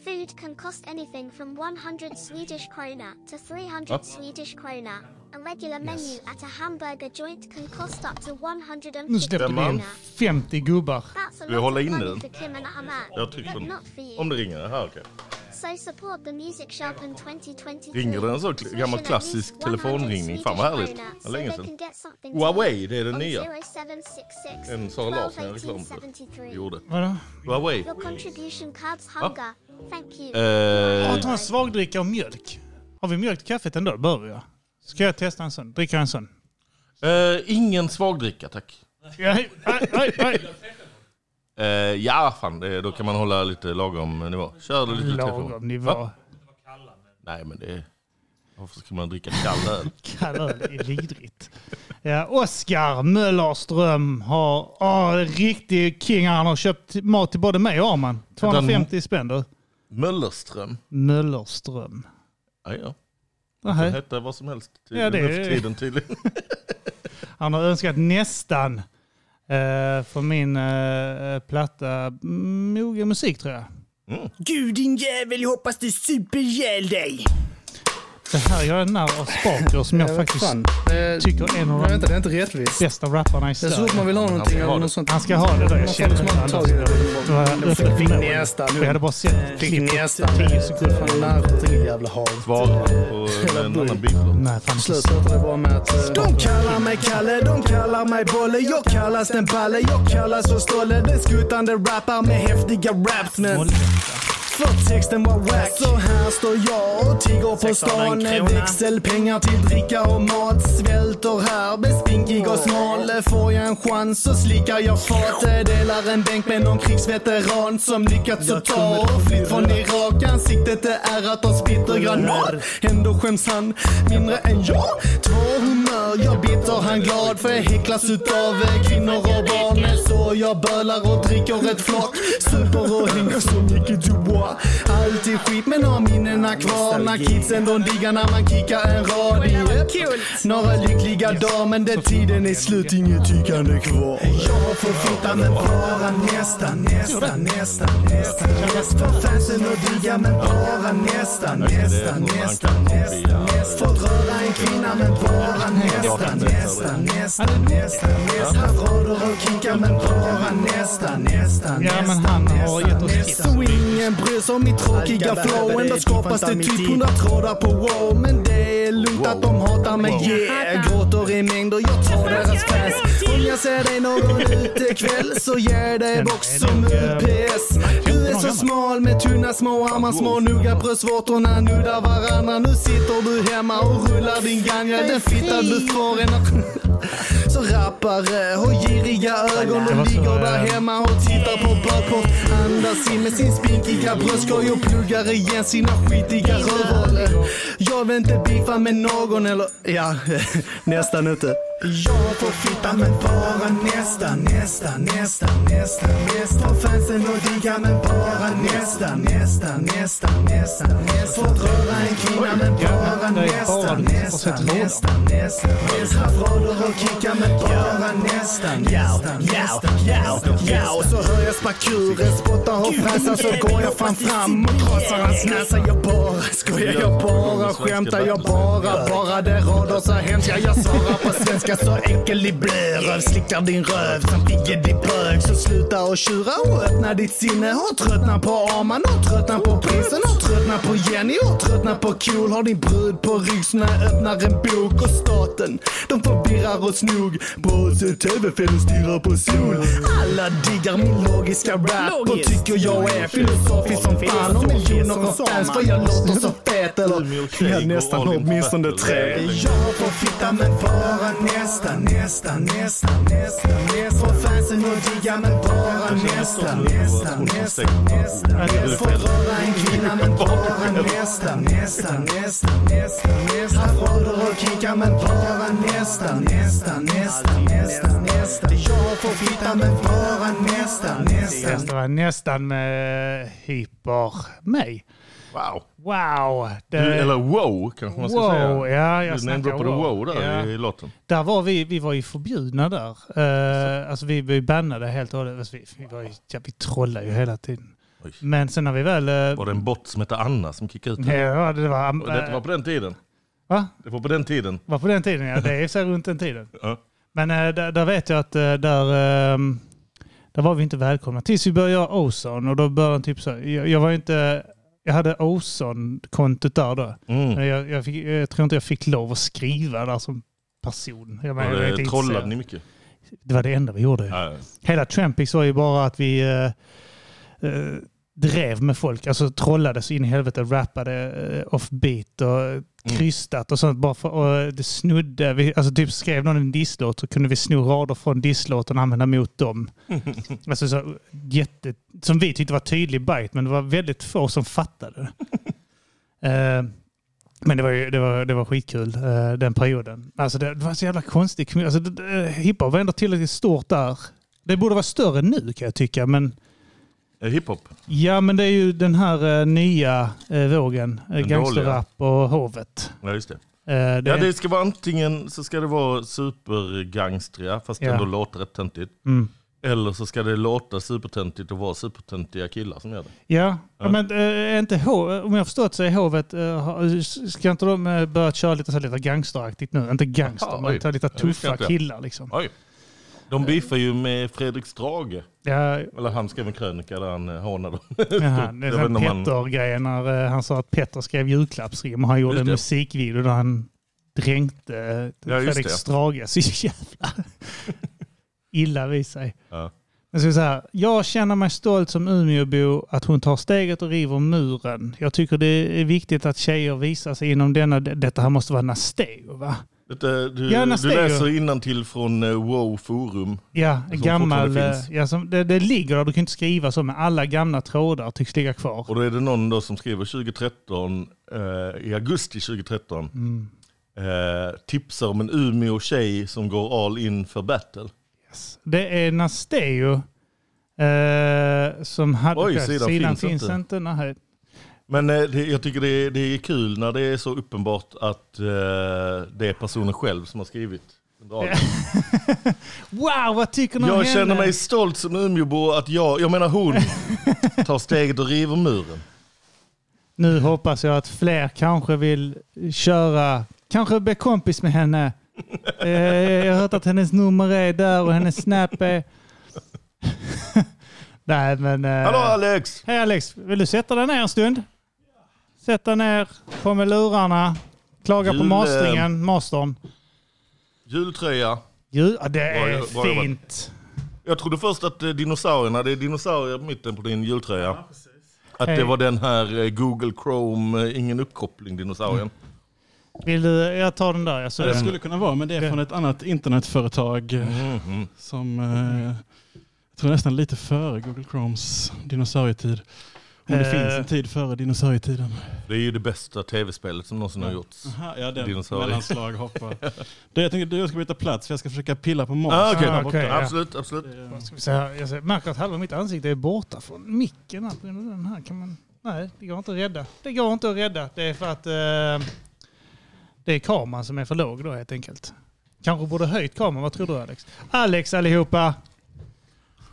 Food can cost anything from 100 Swedish krona to 300 Up. Swedish krona. A regular menu at a hamburger joint can cost up to 150 Nu släpper vi man. in 50 gubbar. That's a Vill du lot hålla of inne money den? for Kim and Ahmad, Jag trycker på but den. not for you. Om det ringer, här Ah, okej. So support the music shop in 2023. Ringer det en sån kl- gammal klassisk telefonringning? Fan vad härligt. Det var länge sedan. Huawei, det är den nya. En Sara Larsson jag reklam för. Gjorde. Vadå? Huawei. Your contribution curbs Va? hunger. Thank you. Eh. Jag tar en svagdricka och mjölk. Har vi mjölk i kaffet ändå? Behöver jag. Ska jag testa en sån? Dricka en sån. Eh, ingen svagdricka tack. Ja, aj, aj, aj. Eh, ja, fan, det, då kan man hålla lite lagom nivå. Kör lite Lagom nivå. Va? Nej, men det... Varför ska man dricka kall öl? *laughs* Kall öl är vidrigt. Ja, Oskar Möllerström har... Åh, en riktig king. Han har köpt mat till både mig och Arman. 250 spänn du. Möllerström? Möllerström. Ja, ja. Man Nähä. kan heta vad som helst Ja, tydligen, det är- nu för *laughs* tiden tydligen. Han har önskat nästan eh, för min eh, platta mm, Mogen musik tror jag. Mm. Du din jävel, hoppas du super ihjäl dig! Det här gör jag narr av Sparker som jag Ja, vad faktiskt fan. tycker är en av vänta, det är de inte rättvist. bästa rapparna i Det är så Sverige. fort man vill ha någonting eller något sånt. Han ska ha det då, jag Man får känner liksom det. inte tag i det. Annars- Fick Fick nästa nu. Jag hade bara sett Fick nästa. Du är fan narr, din jävla hav. Svara på eh, en annan bild. Nej, fan. Sluta det bara med att... eh, De kallar mig Kalle, de kallar mig Bolle Jag kallas den Balle, jag kallas för Stolle Den skuttande rappar med häftiga raps men för texten var wack Så här står jag och tigger 600 på stan krona. Växelpengar till dricka och mat Svälter här, blir spinkig och smal Får jag en chans så slickar jag fat Delar en bänk med någon krigsveteran Som lyckats att ta och flytt från Irak Ansiktet är ärrat av splittergranat Ändå skäms han mindre än jag Två humör, jag bitter, han glad För jag häcklas utav eh, kvinnor och barn Så jag bölar och dricker ett flak Super och hänger så mycket Dubois Alltid skit men har minnena kvar När kidsen de diggar när man kickar en rad i ett. Några lyckliga dagar men den tiden är slut, inget tyckande kvar Jag får flytta men bara nästan, nästan, nästan, nästan Mest för fansen och digga men bara nästan, nästan, nästan, nästan Fått röra en kvinna men bara nästan, nästan, nästan, nästan Nästan rader och kickar men bara nästan, nästan, Ja, men nästan han har gett oss tips. så ingen bryr sig om mitt tråkiga flow Ändå skapas det typ 100 trådar på wow Men det är lugnt att de hatar mig yeah Jag Gråter i mängder, jag tar deras fans Om jag ser dig någon utekväll så ger dig box som UPS Du är så smal med tunna små armar Små nugga bröstvårtorna nuddar varandra Nu sitter du hemma och rullar din ganja Den fittan du får en *laughs* så rappare och giriga ögon Det var och så, ligger där eh, hemma och tittar på böcker. Andas in med sin spinkiga bröstkorg och pluggar igen sina skitiga rövhål. Jag vill inte beefa med någon eller, ja, *laughs* nästan inte. Jag får fitta men bara nästan, nästan, nästan, nästan, nästan. Fansen och digga men bara nästan, nästan, nästan, nästan, nästan. Får röra en kvinna men bara nästan, nästan, nästan, nästan. Straffrader och kickar men bara nästan, nästan, nästan, nästan. Ja, och så hör jag sparkuren spottar och fräsar så går jag fan fram och krossar hans näsa. Jag bara skojar, jag bara skämtar, jag bara, bara det rader så hemskt. Ja, jag svarar på svenska Ja, så äcklig blir av. Slickar din röv samt ligger din bög. Så sluta och tjura och öppna ditt sinne. Har tröttnat på Arman, har tröttnat på prinsen, har tröttnat på Jenny, har tröttnat på Cool. Har din brud på rygg så när jag öppnar en bok. Och staten, de förvirrar oss nog. På sig tv-fällen stirrar på sol. Alla diggar min logiska rap och tycker jag är filosofisk som fan. Och miljoner av fans för jag låter så fet. Eller jag nästan har åtminstone tre. Jag får fitta men bara nästa, nästa, nästa, nästa, nästa. Får fansen att digga men bara nästa, nästa, nästa, nästa. Får röra en kvinna men bara nästa, nästa, nästa, nästa, nästa. Han håller och kickar men bara nästa, nästa, nästa, nästa, nästa. Jag får fitta men bara nästa, nästa, Det var Ehm, nästan med hyper mig. Wow. Wow. Det, Du, eller wow kanske man ska Wow, säga. ja, jag du snackar namedroppade wow. wow där Ja. i låten. Där var vi, vi var ju förbjudna där. Uh, alltså vi var ju bannade helt och hållet. Alltså, vi, vi, var ju, ja, vi trollade ju hela tiden. Men sen när vi väl... eh, Var det en bot som hette Anna som kickade ut den? Ja, det var... Och Det var på den tiden. Va? Det var på den tiden. var på den tiden, ja. Det är så runt den tiden. Ja. Men eh, där, där vet jag att eh, där, ehm, där var vi inte välkomna. Tills vi började göra Ozone och då började han typ så. här- Jag, jag var inte... Jag hade Ozone-kontot där då. Mm. Men Jag, jag, fick, jag tror inte jag fick lov att skriva där som person. Jag menar, Var jag var det- inte Eh, Trollade intresserad. ni mycket? Det var det enda vi gjorde. Hela Trampix var ju bara att vi eh, eh, drev med folk, alltså trollade så in i helvete, rappade eh, offbeat och eh, krystat och sånt. Bara för, och det snudde, vi, alltså typ skrev någon en disslåt så kunde vi sno rader från disslåten och använda mot dem. Alltså så, jätte, som vi tyckte var tydlig bite, men det var väldigt få som *laughs* fattade. Eh, men det var, ju, det var, det var skitkul eh, den perioden. Alltså det, det var så jävla konstig kommun. Alltså, det- det- hiphop var ändå tillräckligt stort där. Det borde vara större nu kan jag tycka. Men, Eh, Hiphop? ja, men det är ju den här eh, nya eh, vågen. Eh, Den Gangsterrap och hovet. Ja, just det. Eh, det- Ja, det ska vara antingen så ska det vara supergangstriga fast Ja. ändå låta rätt töntigt. Mm. Eller så ska det låta supertöntigt och vara supertöntiga killar som gör det. Ja, Ja. men eh, är inte H, om jag har förstått så är hovet, eh, har- ska inte de eh, börja köra lite, så här, lite gangsteraktigt nu? Inte gangster, Jaha, men oj. ta lite Ja, det visste jag tuffa inte. killar *laughs* liksom. Eh. Oj. De biffar ju med Fredrik Strage. Ja. Eller han skrev en krönika där han eh, hånar dem. *laughs* Jaha, det Jag är vet den inte om han- Petter-grejen när eh, han sa att Petter skrev julklappsrim och han gjorde Just en det. musikvideo där han dränkte eh, Ja, just Fredrik det. Strage. Så jävla illa vid sig. Ja. Men så är det så här, jag känner mig stolt som Umeåbo att hon tar steget och river muren. Jag tycker det är viktigt att tjejer visar sig inom denna... Detta här måste vara Nasteo va? Detta, du, Ja, du Nasteo. läser till från eh, Wow Forum. Ja, Som en fortfarande gammal... eh, finns. Ja, som, det, det ligger där, du kan inte skriva så, men alla gamla trådar tycks ligga kvar. Och då är det någon då som skriver 2013, eh, i augusti 2013, Mm. eh, tipsar om en Umeå tjej som går all in för battle. Det är Nasteo eh, som hade... Oj, sidan finns inte. inte. nej. Men eh, det, jag tycker det är, det är kul när det är så uppenbart att eh, det är personen själv som har skrivit. dragen. *laughs* Wow, vad tycker ni om Jag henne? känner mig stolt som Umeåbo att jag, jag *laughs* menar hon, tar steget och river muren. Nu hoppas jag att fler kanske vill köra, kanske bli kompis med henne. Eh, jag har hört att hennes nummer är där och hennes snap är... *laughs* Nej, men... eh, Hallå Alex! Hej Alex! Vill du sätta dig ner en stund? Sätt dig ner, på med lurarna, klaga på Jul, eh, masteringen, mastern. Jultröja. Jul, ja, det är jo- jobbat. fint. Jag trodde först att eh, dinosaurierna, det är dinosaurier på mitten på din jultröja. att Hej. det var den här eh, Google Chrome, eh, ingen uppkoppling dinosaurien. Mm. Vill du, jag tar den där. Jag såg det den. skulle kunna vara, men det är från ett annat internetföretag eh, Mhm. som eh, jag tror nästan lite före Google Chromes dinosaurietid. Om det Eh. finns en tid *laughs* före dinosaurietiden. Det är ju det bästa tv-spelet som någonsin har gjorts. Aha, ja, det Dinosaurier. mellanslag hoppar. *laughs* Det, jag tänkte du ska byta plats, för jag ska försöka pilla på Mars. Ah, okej. där borta. Okej, ja. Absolut, absolut. Det, eh, Ska vi se här, jag ser- märker att halva mitt ansikte är borta från micken. här på grund av Den här kan man... Nej, det går inte att rädda. Det går inte att rädda. Det är för att eh, det är kameran som är för låg då helt enkelt. Kanske borde höjt kameran. Vad tror du Alex? Alex allihopa!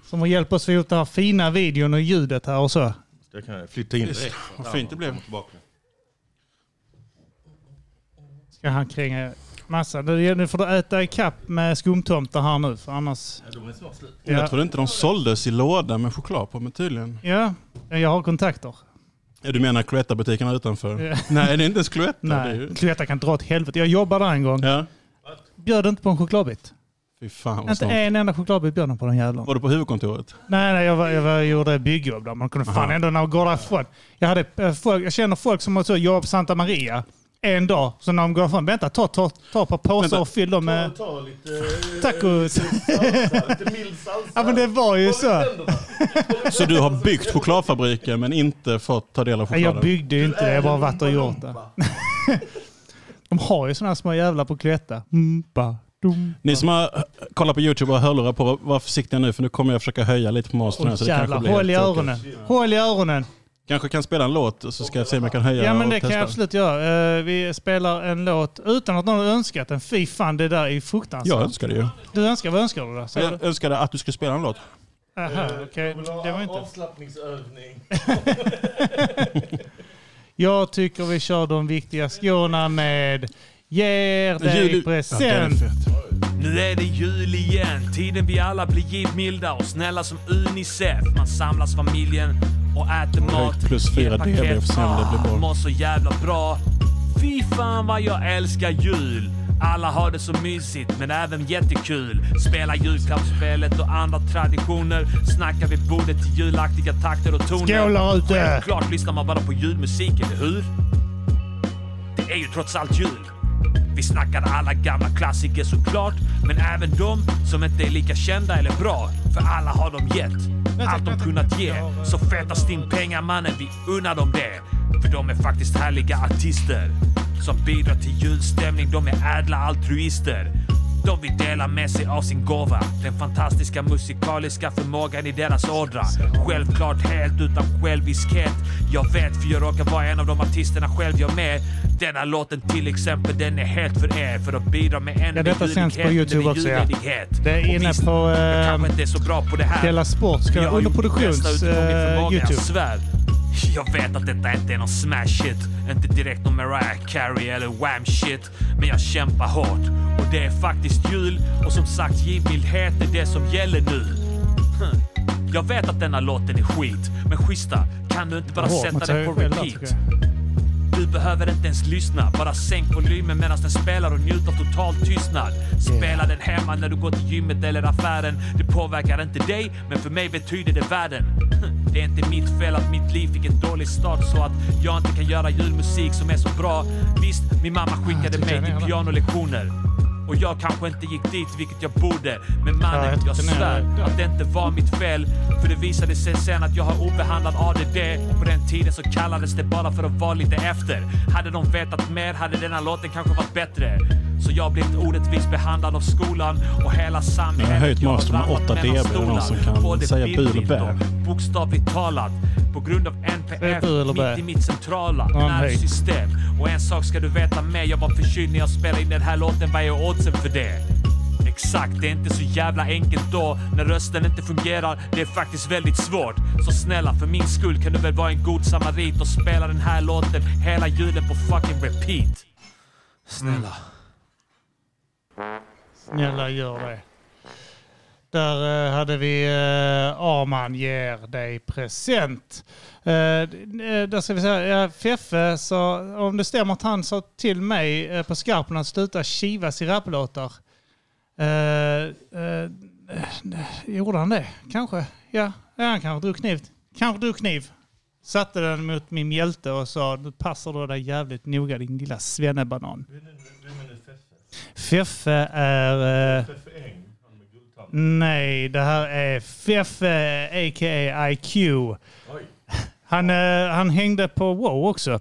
Som har hjälpt oss få ihop den här fina videon och ljudet här och så. Jag kan flytta in Just, direkt. vad fint det blev. Ska han kränga... Massa. Nu nu får du äta ikapp med skumtomtar här nu, för annars... Ja, de är så slut. Jag trodde inte de såldes i låda med choklad på, men tydligen. Ja, jag har kontakter. Ja, Du menar Cloetta-butikerna utanför? Ja. *laughs* Nej, det är inte ens Cloetta. Det är Nej, ju... Cloetta kan dra åt helvete. Jag jobbade där en gång. Bjöd inte på en chokladbit. Fy fan vad Inte snålt. en enda chokladbit bjöd de på den jävlarna. Var du på huvudkontoret? Nej, nej jag, var, jag var, gjorde byggjobb där. Man kunde fan Aha. ändå när man går därifrån. Jag, hade, eh, folk, jag känner folk som har så jobb på Santa Maria en dag. Så när de går därifrån, vänta, ta, ta, ta ett par påsar Vänta. och fyll dem med Ta *laughs* lite... tacos. Lite mild salsa. *laughs* ja men det var ju så. Så du har byggt chokladfabriken men inte fått ta del av Nej, chokladen? jag byggde ju inte det, jag bara varit och gjort det. *laughs* De har ju sådana här små jävlar på Cloetta. Mpa, dum. Ni som har eh, kollat på YouTube och har hörlurar på, var försiktiga nu för nu kommer jag försöka höja lite på monstren. här, Åh, så det kanske jävlar, blir håll i helt öronen. tråkigt. Håll i öronen. Kanske kan spela en låt och så ska jag se om jag kan höja Ja men och det kan testa. jag absolut göra. Eh, vi spelar en låt utan att någon har önskat den. Fy fan, det där är ju fruktansvärt. Jag önskar det ju. Du önskar, vad önskar du då? Sa du? Jag önskade att du skulle spela en låt. Aha, Eh, okej. Det var inte... Avslappningsövning. *laughs* Jag tycker vi kör de viktiga skorna med Ger dig Jul- present. Ja, den är Nu är det jul igen, tiden vi alla blir givmilda och snälla som Unicef. Man samlas familjen och äter mat. Högt plus fyra Paket. dB för sen om det blir Ah, bra. Mår så jävla bra. Fy fan vad jag älskar jul. Alla har det så mysigt men även jättekul. Spela julklappsspelet och andra traditioner. Snackar vid bordet till julaktiga takter och toner. Skål där ute! Självklart lyssnar man bara på julmusik, eller hur? Det är ju trots allt jul. Vi snackar alla gamla klassiker såklart, men även de som inte är lika kända eller bra. För alla har de gett allt de kunnat ge. Så fetast in pengar mannen, vi unnar dem det. För de är faktiskt härliga artister som bidrar till julstämning. De är ädla altruister. De vill dela med sig av sin gåva. Den fantastiska musikaliska förmågan i deras ådra. Självklart helt utan själviskhet. Jag vet för jag råkar vara en av de artisterna själv jag med. Denna låten till exempel, den är helt för er. För att bidra med en Ja, detta sänds på YouTube också ja. Det är inne på jag eh, kanske inte är så bra på det här. Della Sport. Ska Men jag har under gjort det produktions bästa utifrån min eh, förmåga, Jag YouTube. svär. Jag vet att detta inte är någon smash shit. Inte direkt någon Mariah Carey eller Wham shit. Men jag kämpar hårt. Och det är faktiskt jul. Och som sagt, givmildhet är det som gäller nu. Hm. Jag vet att denna låten är skit. Men schyssta, kan du inte bara Åh, man sätta tar den ju på själv där, repeat? tycker Du behöver inte ens lyssna. Bara sänk volymen medan den spelar och njut av total tystnad. Spela den hemma när du går till gymmet eller affären. Det påverkar inte dig, men för mig betyder det världen. *laughs* Det är inte mitt fel att mitt liv fick en dålig start så att jag inte kan göra julmusik som är så bra. Visst, min mamma skickade tyckte jag mig med, till pianolektioner. Och jag kanske inte gick dit, vilket jag borde. Men Ja, mannen, jag jag tyckte ni- svär att det inte var mitt fel. För det visade sig sen att jag har obehandlad ADD. På den tiden så kallades det bara för att vara lite efter. Hade de vetat mer hade denna låten kanske varit bättre. Så jag blev orättvist behandlad av skolan och hela Jag har samhället. höjt monstren med ramlat 8 dB. Är mellan det någon som stolar. kan Både säga bu eller bildligt bä? bokstavligt talat på grund av Säg NPF bu eller bä. mitt i mitt centrala Ja, men hej. nervsystem. Och en sak ska du veta med, jag var förkyld när jag spelade in den här låten. Vad är oddsen för det? Exakt, det är inte så jävla enkelt då när rösten inte fungerar. Det är faktiskt väldigt svårt. Så snälla, för min skull kan du väl vara en god samarit och spela den här låten hela julen på fucking repeat. Snälla. Snälla gör det. Där eh, hade vi eh, Arman ger dig present. Eh, eh, där ska vi säga, ja, Feffe sa, om det stämmer att han sa till mig eh, på skarpen att sluta kivas i rapplåtar. Eh, eh, eh, gjorde han det? Kanske. Ja, ja han kanske drog kniv. Kanske drog kniv. Satte den mot min mjälte och sa nu passar du dig jävligt noga din lilla svennebanan. Feffe är... eh, Nej, det här är Feffe a.k.a. IQ. Han, eh, han hängde på Wow också.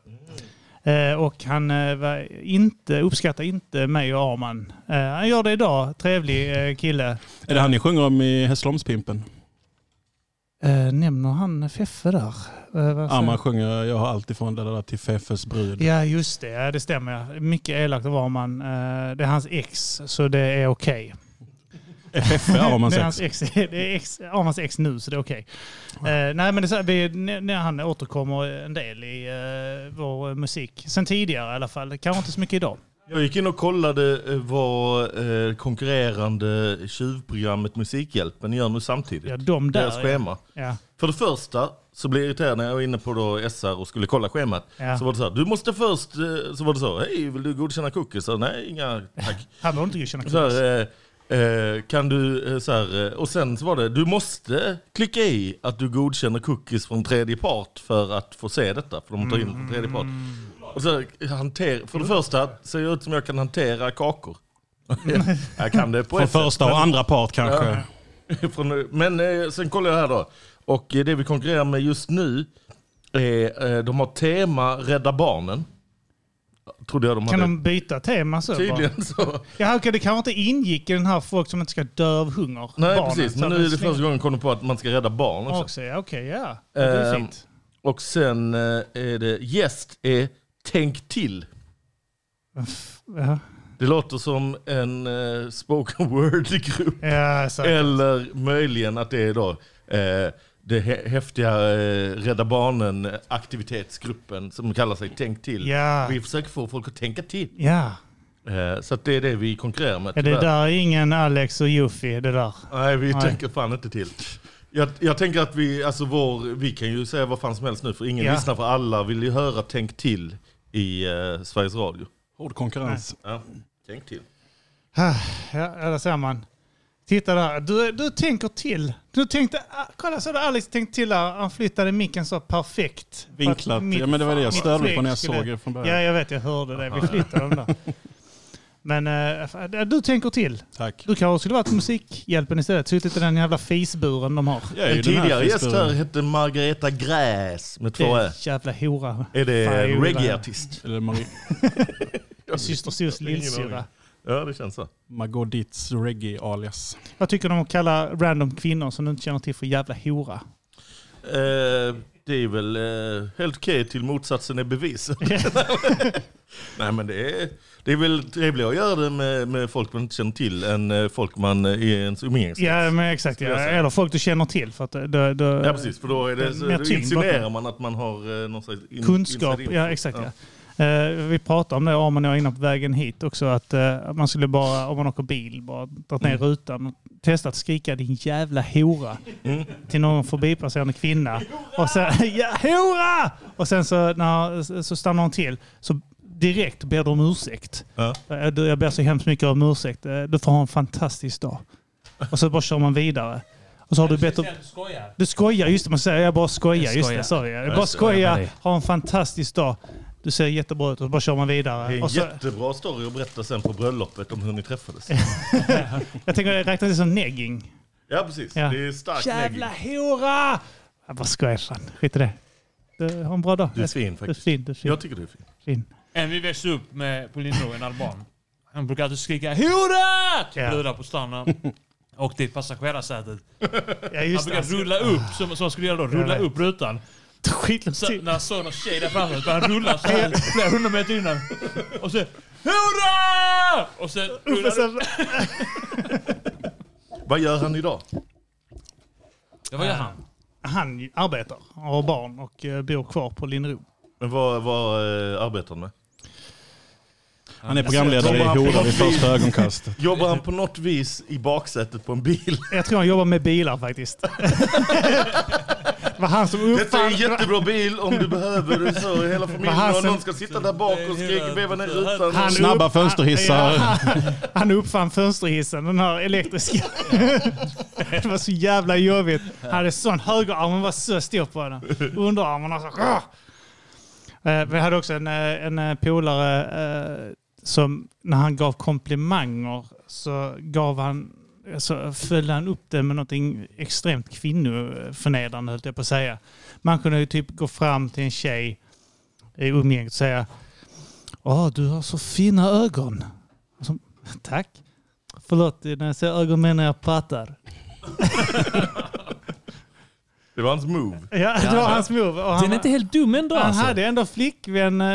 Eh, och han eh, var inte, uppskattar inte mig och Arman. Eh, han gör det idag. Trevlig eh, kille. Är det han ni sjunger om i Hässleholmspimpen? Eh, nämner han Feffe där? Eh, vad säger- Arman sjunger Jag har allt ifrån det där till Feffes brud. Ja, just det. Ja, det stämmer. Mycket elakt av Arman. Eh, det är hans ex, så det är okej. Feffe Armans det är hans ex. ex. Det är ex, Armans ex nu, så det är okej. Eh, nej, men det är så här, vi, när när han återkommer en del i eh, vår musik. Sen tidigare i alla fall. Kanske inte så mycket idag. Jag gick in och kollade eh, vad eh, konkurrerande tjuvprogrammet Musikhjälpen gör nu samtidigt. Ja, de där, Deras ja. schema. Ja. För det första så blev jag irriterad när jag var inne på då SR och skulle kolla schemat. Ja. Så var det så här, du måste först, eh, så var det så, hej vill du godkänna cookies? Så, Nej, inga tack. Han behöver inte godkänna Så cookies. här, eh, eh, kan du, eh, så här, eh, och sen så var det, du måste klicka i att du godkänner cookies från tredje part för att få se detta, för de tar in det från tredje part. Och så här, hanter, för det första ser jag ut som jag kan hantera kakor. jag kan det på Från ett sätt, första och men- andra part kanske. Ja. *laughs* Från, men eh, sen kollar jag här då. Och eh, det vi konkurrerar med just nu är, eh, de har tema Rädda Barnen. Trodde jag de Kan hade. de byta tema så? bara? eh, Tydligen så. Ja, okej, det kanske inte ingick i den här folk som inte ska dö av hunger. Nej Barnen, precis, så men nu de är det slänger- första gången jag kommer på att man ska rädda barn också. också. Ja, okej, ja. ja. Det är Ehm, fint. och sen eh, är det gäst är Tänk till. Ja. Det låter som en eh, spoken *laughs* word-grupp. Ja, säkert. Eller möjligen att det är då eh, det hä- häftiga eh, Rädda Barnen-aktivitetsgruppen som kallar sig Tänk till. Ja. Vi försöker få folk att tänka till. Ja. Eh, så att det är det vi konkurrerar med. Ja, det tyvärr. där är ingen Alex och Juffi, det där. Nej, vi Nej. tänker fan inte till. Jag, jag tänker att vi, alltså vår, vi kan ju säga vad fan som helst nu, för ingen Ja. lyssnar, för alla vill ju höra Tänk till i eh, Sveriges Radio. Hård konkurrens. Ja, tänk till. Ah, Ja, ja, där ser man. Titta där, du, du tänker till. Du tänkte, ah, kolla så där Alex tänkte till där. Han flyttade micken så perfekt. För att Vinklat. mitt- Ja, men det var det jag mitt störde mig på fläck när jag skulle- såg det från början. Ja, jag vet, jag hörde det. Vi Aha, ja. flyttade den där. Men eh, fan, ja, du tänker till. Tack. Du kanske skulle varit Musikhjälpen istället. Suttit i den jävla fisburen de har. En tidigare gäst här hette Margareta Gräs med två Det är Ä. jävla hora. Är det Fan, jag en gjorde reggaeartist? *laughs* Eller Marie... Syster Sus Ingen lillsyrra. aning. Ja, det känns så. Margot Ditts reggae alias. Vad tycker de om att kalla random kvinnor som du inte känner till för jävla hora? Eh, det är väl eh, helt okej till motsatsen *laughs* är bevis. *laughs* Nej men det är, det är väl trevligare att göra det med, med folk man inte känner till än eh, folk man eh, i ens umgängeskrets. Ja, men exakt. Ja. Skulle jag säga. Eller folk du känner till. För att det, det, Ja precis, för då, är det, är så, Eh, mer då tyngd insinuerar bakom. man att man har eh, någon slags in, Kunskap, inside info. ja exakt. Ja. Eh, vi pratade om det, Arman och jag, innan på vägen hit också. Att eh, att man skulle bara, om man åker bil, bara dra ner Mm. rutan och testa att skrika din jävla hora Mm. till någon förbipasserande kvinna. Och sen, ja, hora! Och sen så, när, så stannar hon till. Så direkt ber du om ursäkt. Ja. Eh, du, Jag ber så hemskt mycket om ursäkt. Eh, Du får ha en fantastisk dag. Och så bara kör man vidare. Och så har du bett om... Du skojar, just det. Man säger jag bara skojar. Jag Just skojar. det, sorry. Jag Jag bara skojar skojar. med dig. Ha en fantastisk dag. Du ser jättebra ut och så bara kör man vidare. Det är en Och så, jättebra story att berätta sen på bröllopet om hur ni träffades. *laughs* jag tänker det räknas det som negging. ja precis, Ja. det är starkt Jävla hora! Jag bara skojar fan. Skit i det. Du har en bra dag. Du är fin faktiskt. Du är fin, du är fin. Jag tycker du är fin. fin. En vi växte upp med på Lindro, en alban. Han brukade alltid skrika “Hurra!” till Ja. brudar på stan när han åkte i passagerarsätet. just han brukade det. rulla upp, som, som han skulle göra då, Jag rulla vet. upp rutan. Så, när han såg någon tjej där framför sig, började han rulla så här flera hundra meter innan. Och så “Hurra!” Och sen rullade han upp. Vad gör han idag? Det var ju han. Eh, Han arbetar, har barn och eh, bor kvar på Linnero. Men vad, vad eh, arbetar han med? Han är programledare i Jobbar han på Hora något vid första vis- ögonkastet. *laughs* Jobbar han på något vis i baksätet på en bil? Jag tror han jobbar med bilar faktiskt. *laughs* Det var han som uppfann... Detta är en jättebra bil om du behöver det så. Hela Vad familjen han och som- någon ska sitta där bak och skrika veva ner rutan. Han Snabba upp- fönsterhissar. Ja, *laughs* han, han uppfann fönsterhissen, den här elektriska. *laughs* det var så jävla jobbigt. Han hade sån högerarm, den var så stor på den. Underarmarna så... Ah! Eh, Vi hade också en, eh, en eh, polare eh, som när han gav komplimanger så gav han så följde han upp det med någonting extremt kvinnoförnedrande höll jag på att säga. Man kunde ju typ gå fram till en tjej i umgänget och säga Åh, du har så fina ögon. Och så, Tack. Förlåt, när jag säger ögon menar jag pattar. Det var hans move. Ja, det var hans move. Och han Den är var- inte helt dum ändå Han alltså. hade ändå flickvän eh,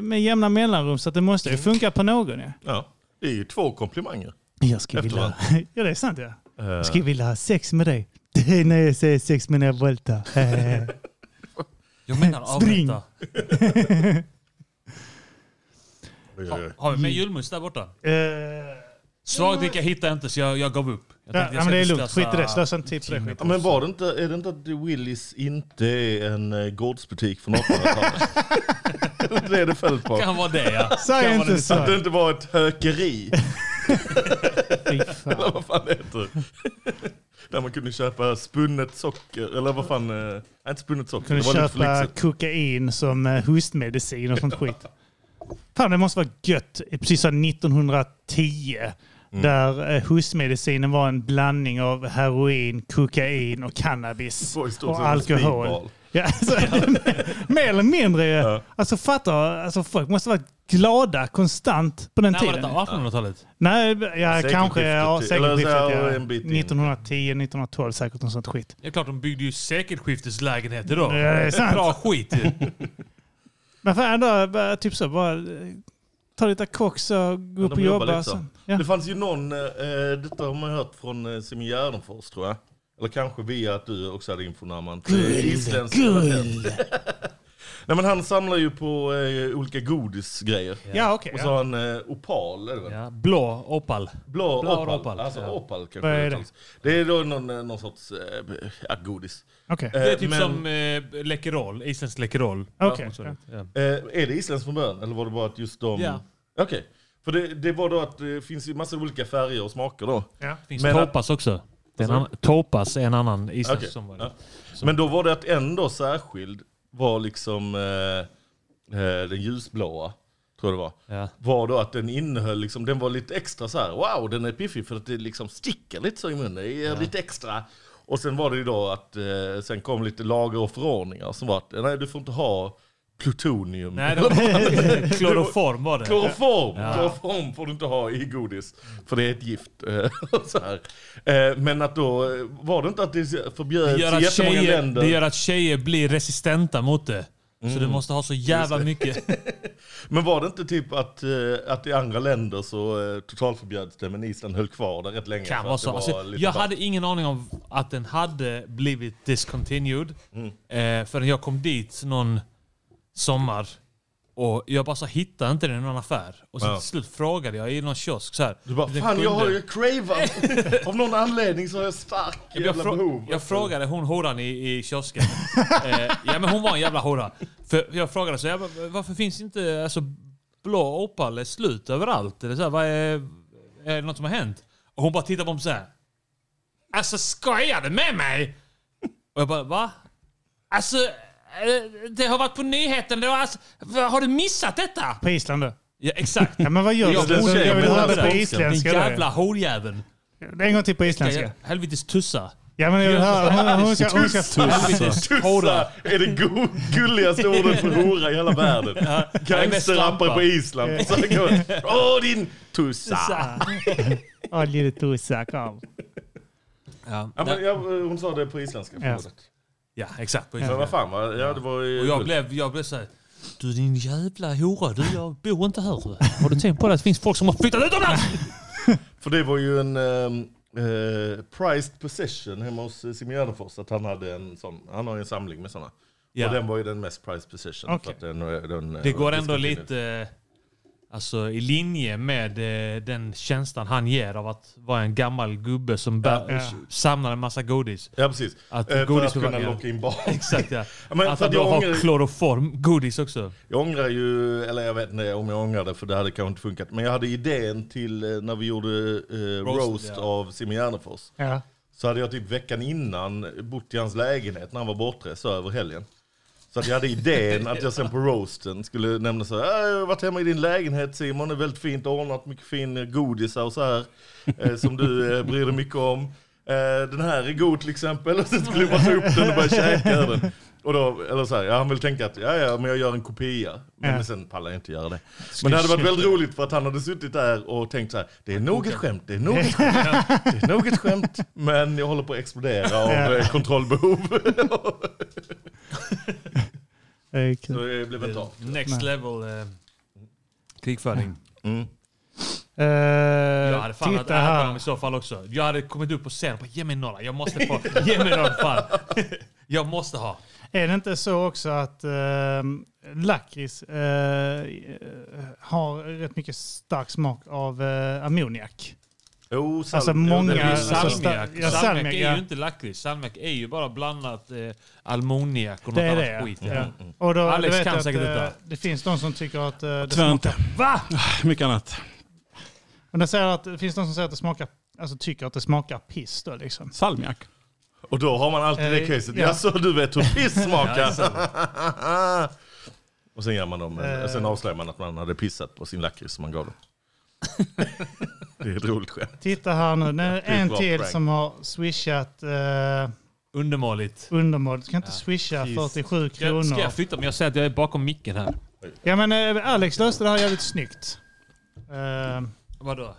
med jämna mellanrum så att det måste ju Mm. funka på någon. Ja. Ja, det är ju två komplimanger. Jag skulle Efter vilja- varandra. Ja, det är sant ja. Eh. Jag skulle vilja ha sex med dig. *laughs* Det är när jag säger sex menar jag volta. *laughs* Eh. *laughs* Jag menar avrätta. Spring! Oj, oj, Har, oj. har vi med julmust där borta? Eh, Svagdricka hittade jag inte så jag, jag gav upp. Jag Ja, tänkte ja, jag men det är ska lugnt. Skit i det. Slösa inte tid på det timme skiten. på Men var det inte, är det inte att Willys inte är en eh, gårdsbutik *laughs* från 1800-talet? det är det följt på. Kan vara det, ja. Säg Kan vara inte det. så. Att det inte var ett *laughs* hökeri. eller vad fan det heter. Där man kunde köpa spunnet socker, eller vad fan, eh, nej inte spunnet socker. Kunde det var lite för köpa lyxigt. kokain som eh, hostmedicin och *laughs* sånt skit. Fan, det måste vara gött. Precis som 1910. Mm. Där eh, hostmedicinen var en blandning av heroin, kokain och cannabis. stort Och sett en alkohol. speedball. *laughs* Ja, alltså, mer eller mindre. Ja. Alltså fatta, alltså, folk måste ha varit glada konstant på den När var tiden. detta? 1800-talet? Nej, ja, Sekelskiftet kanske ja, till- sekelskiftet. eller så här, Ja. en bit in. 1910, 1912 säkert något sånt skit. Det är klart de byggde ju sekelskifteslägenheter då. Ja, det är sant. Bra skit ju. Men för ändå, bara, typ så, bara eh, ta lite koks och gå Ja, upp och de jobbar jobba. alltså. lite så. sen. Det fanns ju någon, eh, detta har man hört från eh, Simon Gärdenfors tror jag. Eller kanske via att du också hade info när man Guld, guld. *laughs* Nej men han samlar ju på eh, olika godisgrejer. Ja, okej, Och så ja. har han eh, opal är det väl? Blå opal. Blå, Blå opal. opal, Alltså ja. opal kanske. Vad är det det? uttalas. Det är då någon, eh, någon sorts eh, ja, godis. Okej. Det är typ men- som eh, Läkerol, isländskt Läkerol. Okej, Ja, sorry. Ja. Eh, är det isländskt från början eller var det bara att just de... Ja. Okej. För det, det var då att det finns ju massa olika färger och smaker då. Ja. Finns Men att- Topas också. Det är en Vad sa annan, topas är en annan isländsk Okej, som var ja. Men då var det att en då särskild var liksom eh, eh, den ljusblåa, tror jag det var. Var då att den innehöll, liksom, den var lite extra så här, wow den är piffig för att det liksom sticker lite så i munnen, det är Ja. lite extra. Och sen var det ju då att, eh, sen kom lite lagar och förordningar som var att, nej du får inte ha plutonium. Nej, det *laughs* var- *laughs* kloroform var det. Kloroform! Ja. Kloroform får du inte ha i godis, för det är ett gift. eh, *laughs* och så här. Eh, Men att då, eh, var det inte att det förbjöds Det i gör, att jättemånga tjejer, länder? det gör att tjejer blir resistenta mot det. Så Mm. du måste ha så jävla Just det. mycket. *laughs* Men var det inte typ att, eh, att i andra länder så eh, totalförbjöds det men Island höll kvar det rätt länge? för Kan att vara det så. Alltså, lite jag bara- hade ingen aning om att den hade blivit discontinued. Mm. Eh, förrän jag kom dit någon sommar. Och jag bara så hittade inte den i någon affär. Och så Ja. till slut frågade jag i någon kiosk så här. Du bara, Fan jag har ju *laughs* cravat! Av någon anledning så har jag stark Jag, jävla frå- behov. jag frågade hon horan i, i kiosken. *laughs* eh, ja men hon var en jävla hora. För jag frågade så jag bara, varför finns inte alltså, blå opal är slut överallt? Eller så här, vad är, är det något som har hänt? Och hon bara tittade på mig så här. Alltså skojar du med mig? Och jag bara va? Alltså eh, det har varit på nyheten då. Alltså, vad, har du missat detta? På Island då? Ja exakt. Ja, men vad gör jag du? borde- Jag vill borde höra det där. på isländska. Din där. jävla horjäveln. En gång till på isländska. Helvetes tussa. Ja, men jag vill höra. Hon, hon, ska, hon ska Helvetes hora. Tussa är det go- *laughs* gulligaste ordet för hora i hela världen. Ja. Gangsterrappare på Island. Så här går det. Åh din tussa! Ja, lille tussa, kom. Ja, Ja, men jag, hon sa det på isländska. Ja. förlåt. Ja, exakt. Men vad fan, va? ja, det var ju... Och jag blev, jag blev såhär... Du din jävla hora, du jag bor inte här. Har du tänkt på det? Det finns folk som har flyttat utomlands! För det var ju en ehm, eh, prized possession hemma hos eh, Simon Gärdenfors. Att han, hade en sån, han har ju en samling med såna. Ja. Och den var ju den mest prized possession. Okej. För att den, eh, den, eh, Det går ändå discontinued. lite alltså, i linje med eh, den känslan han ger av att vara en gammal gubbe som bär, eh, Ja. samlar en massa godis. Ja, precis. Att Eh, för godis att kunna förvä- ja. locka in barn. *laughs* Exakt ja. Ja, men att han för att då jag har ångrar- kloroform godis också. Jag ångrar ju, eller jag vet inte om jag ångrar det för det hade kanske inte funkat. Men jag hade idén till eh, när vi gjorde eh, Roast, Roast, ja. av Simon Gärdenfors. Ja. Så hade jag typ veckan innan bott i hans lägenhet när han var bortrest så över helgen. Så att jag hade idén att jag sen på roasten skulle nämna så här, "Äh, jag har varit hemma i din lägenhet Simon, det är väldigt fint ordnat, mycket fin eh, godisar och så här. Eh, som du eh, bryr dig mycket om. Eh, den här är god till exempel. *laughs* Och sen skulle jag bara ta upp den och börja käka ur den. Och då, eller så här, ja, han vill tänka att ja, ja, men jag gör en kopia. Men Ja. sen pallar jag inte göra det. Men Skulle det hade varit köpa- väldigt roligt för att han hade suttit där och tänkt så här, det är nog ett skämt, det är nog ett skämt, det är nog ett skämt. Men jag håller på att explodera av eh, kontrollbehov. Så det blev inte av. Next level eh, krigföring. Mm. Eh, Jag hade fan varit titta ärlig med här. dem i så fall också. *laughs* Jag hade kommit upp på scen och bara ge mig några, jag måste få, ge mig några fan. Jag måste ha. Är det inte så också att eh, lakrits eh, har rätt mycket stark smak av eh, ammoniak? Jo, sal- alltså jo, det många... blir ju alltså, salmiak. sta- ja, salmiak salmiak, är ja. ju inte lakrits. Salmiak är ju bara blandat eh, almoniak och något Det är annat det, ja. skit. Mm, ja. Och då, Alex du vet kan att, säkert eh, detta. Det finns de som tycker att eh, det Tyvärr smakar... inte. Va? Ah, Mycket annat. Men det, säger att, det finns de som säger att det smakar... Alltså tycker att det smakar piss då liksom. Salmiak. Och då har man alltid det Eh, caset. ja. Jaså, du vet hur *laughs* piss Ja, smakar? *laughs* exakt. och sen, gör man dem, Eh. sen avslöjar man att man hade pissat på sin lakrits som *laughs* man gav dem. det är ett roligt skämt. Titta här nu, nu är det Det är en bra till prank. som har swishat... Eh, undermåligt. Undermåligt. Kan inte swisha Precis. 47 Ska jag- Ska kronor. jag flytta mig? Jag säger att jag är bakom micken här. Ja men eh, Alex löste det här jävligt snyggt. Eh, Vadå?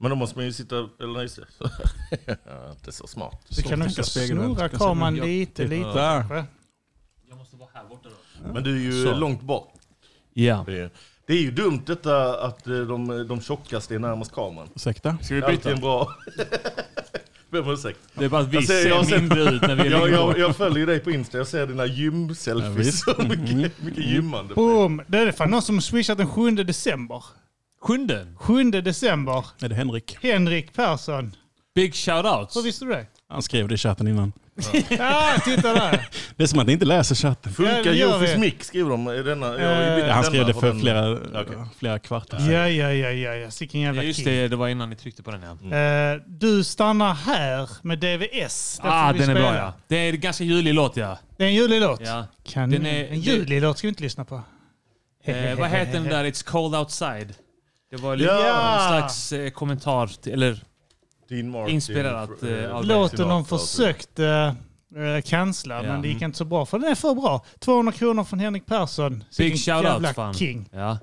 Men då måste man ju sitta... Eller nej, just det. Ja, *laughs* inte så smart. Du kan också snurra kameran lite, lite kanske. Jag måste vara här borta då. Men du är ju Så. långt bort. Ja. Det är, det är ju dumt detta att eh, de, de tjockaste är närmast kameran. Ursäkta? Ska vi byta? en bra... *laughs* Ber om ursäkt. Det är bara att vi Alltså, Jag ser jag mindre ut *laughs* när vi är jag, längre jag, bort. jag följer dig på Insta, jag ser dina Ja, gym-selfies. visst. Mm. så *laughs* Mm. mycket, mycket gymmande. Boom! Det är fan någon som har swishat den 7 december. Sjunde? 7 december. Är det Henrik? Henrik Persson. Big shoutouts. Hur visste du det? Han skrev det i *laughs* chatten innan. ah, titta där! Det är som att ni inte läser chatten. Ja, det gör vi. Mick skriver de. Är denna, jag har ju bytt Ja, han skrev denna det för den- flera, flera kvartar sedan. Ja, ja, ja, ja, ja. Sicken jävla Ja, just king. det, det var innan ni tryckte på den ja. Eh, du stannar här med DVS. Den Ah, får vi den är spela. bra ja. Det är en ganska julig låt ja. Det är en julig låt. ja. Kan, Den är- en julig låt ska vi inte lyssna på. Eh, vad heter den där It's cold outside? Det var lite Ja! en slags eh, kommentar till, eller Dean Martin, inspirerat eh, av Låten de Sinatra. försökte eh, cancella, Ja. Mm. men det gick inte så bra. För den är för bra. 200 kronor från Henrik Persson. Big Sicken jävla shoutout fan. king. Ja.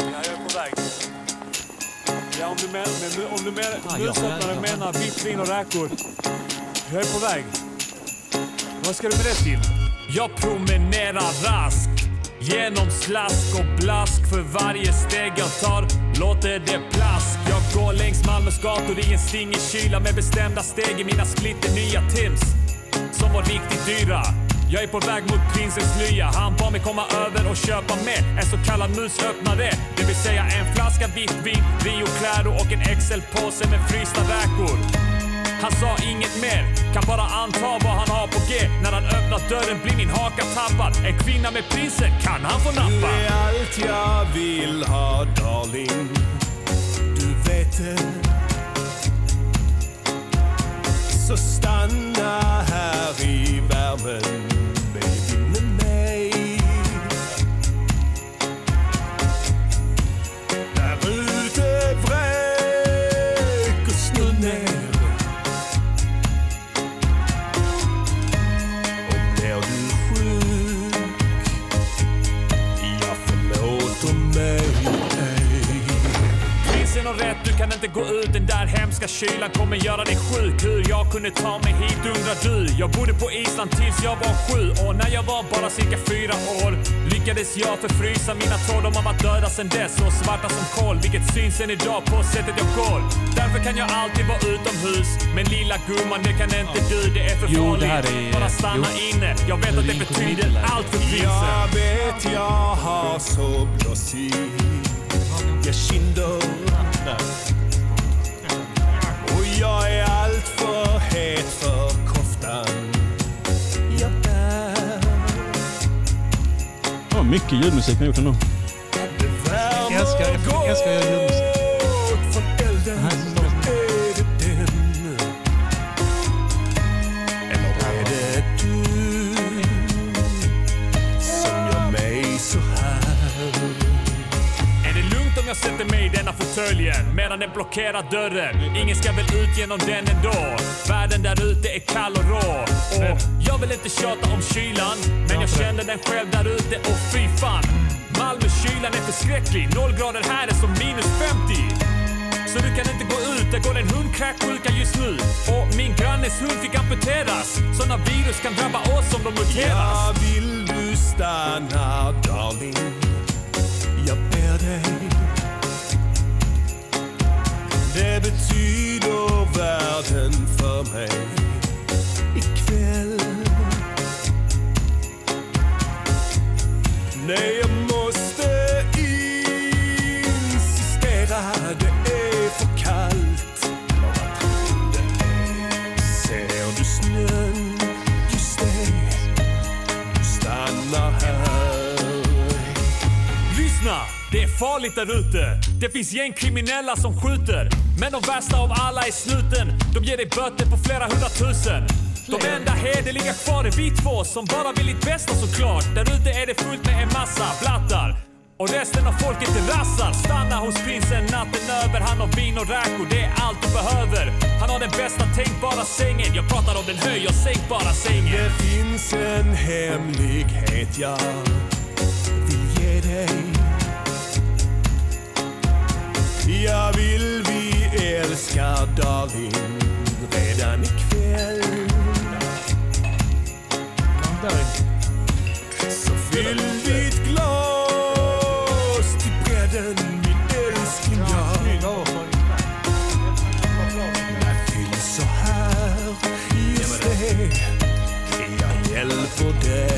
Jag är på väg. Ja, om du menar, men, om du menar, Ah, ah, ja, lösöppnare ja, ja. menar vitt vin och räkor. Jag är på väg. Vad ska du med det till? Jag promenerar raskt. Genom slask och blask för varje steg jag tar låter det plask. Jag går längs Malmös gator i en stingig kyla med bestämda steg i mina splitter nya Tims som var riktigt dyra. Jag är på väg mot prinsens lya. Han bad mig komma över och köpa med en så kallad musöppnare. Det vill säga en flaska vitt vin, Rio Claro och en XL-påse med frysta räkor. Han sa inget mer, kan bara anta vad han har på G. När han öppnat dörren blir min haka tappad. En kvinna med prinsen kan han få Du nappa. är allt jag vill ha darling Du vet det Så stanna här i värmen Baby med mig Där ute vräk och snö ner Och blir du sjuk jag förlåter mig Prinsen har rätt, du kan inte gå ut. Den där hemska kylan kommer göra dig sjuk. Hur jag kunde ta mig hit undrar du. Jag bodde på Island tills jag var sju och när jag var bara cirka fyra år lyckades jag förfrysa mina tår. De har varit döda sedan dess och svarta som kol, vilket syns än idag på sättet jag går. Därför kan jag alltid vara utomhus, men lilla gumman det kan inte du. Det är för Jo, farligt. det här är- Bara stanna jo. inne. Jag vet att det betyder allt för prinsen. Jag vet jag har så blåsiga kinder Och jag är allt för het för koftan jag bär Det var mycket ljudmusik ni har gjort ändå. Värme och gåt från elden Är det den? Eller är det du som gör mig så här? Är det lugnt om jag sätter mig i denna fåtöljen medan den blockerar dörren? Ingen ska väl ut genom den ändå? Världen där ute är kall och rå. Och jag vill inte tjata om kylan, men jag känner den själv där ute och fy fan. Malmökylan är förskräcklig. Noll grader här är som minus 50. Så du kan inte gå ut, det går en hund kräksjuka just nu. Och min grannes hund fick amputeras. Såna virus kan drabba oss om de muteras. Jag vill du stanna darling Jag ber dig Det betyder världen för mig här, det är för kallt. Ser du snön? Just det, stanna här. Lyssna! Det är farligt där ute. Det finns gängkriminella som skjuter. Men de värsta av alla är snuten. De ger dig böter på flera hundratusen. De enda hederliga kvar är vi två som bara vill ditt bästa såklart. Där ute är det fullt med en massa blattar. Och resten av folket är rassar. Stanna hos prinsen natten över. Han har vin och räkor, det är allt du behöver. Han har den bästa tänkbara sängen. Jag pratar om den höj och sänkbara sängen. Det finns en hemlighet jag vill ge dig. Jag vill vi älskar darling redan ikväll. Så fyll ditt glas till bredden min älskling jag. Fyll så här, just det. Jag hjälper dig.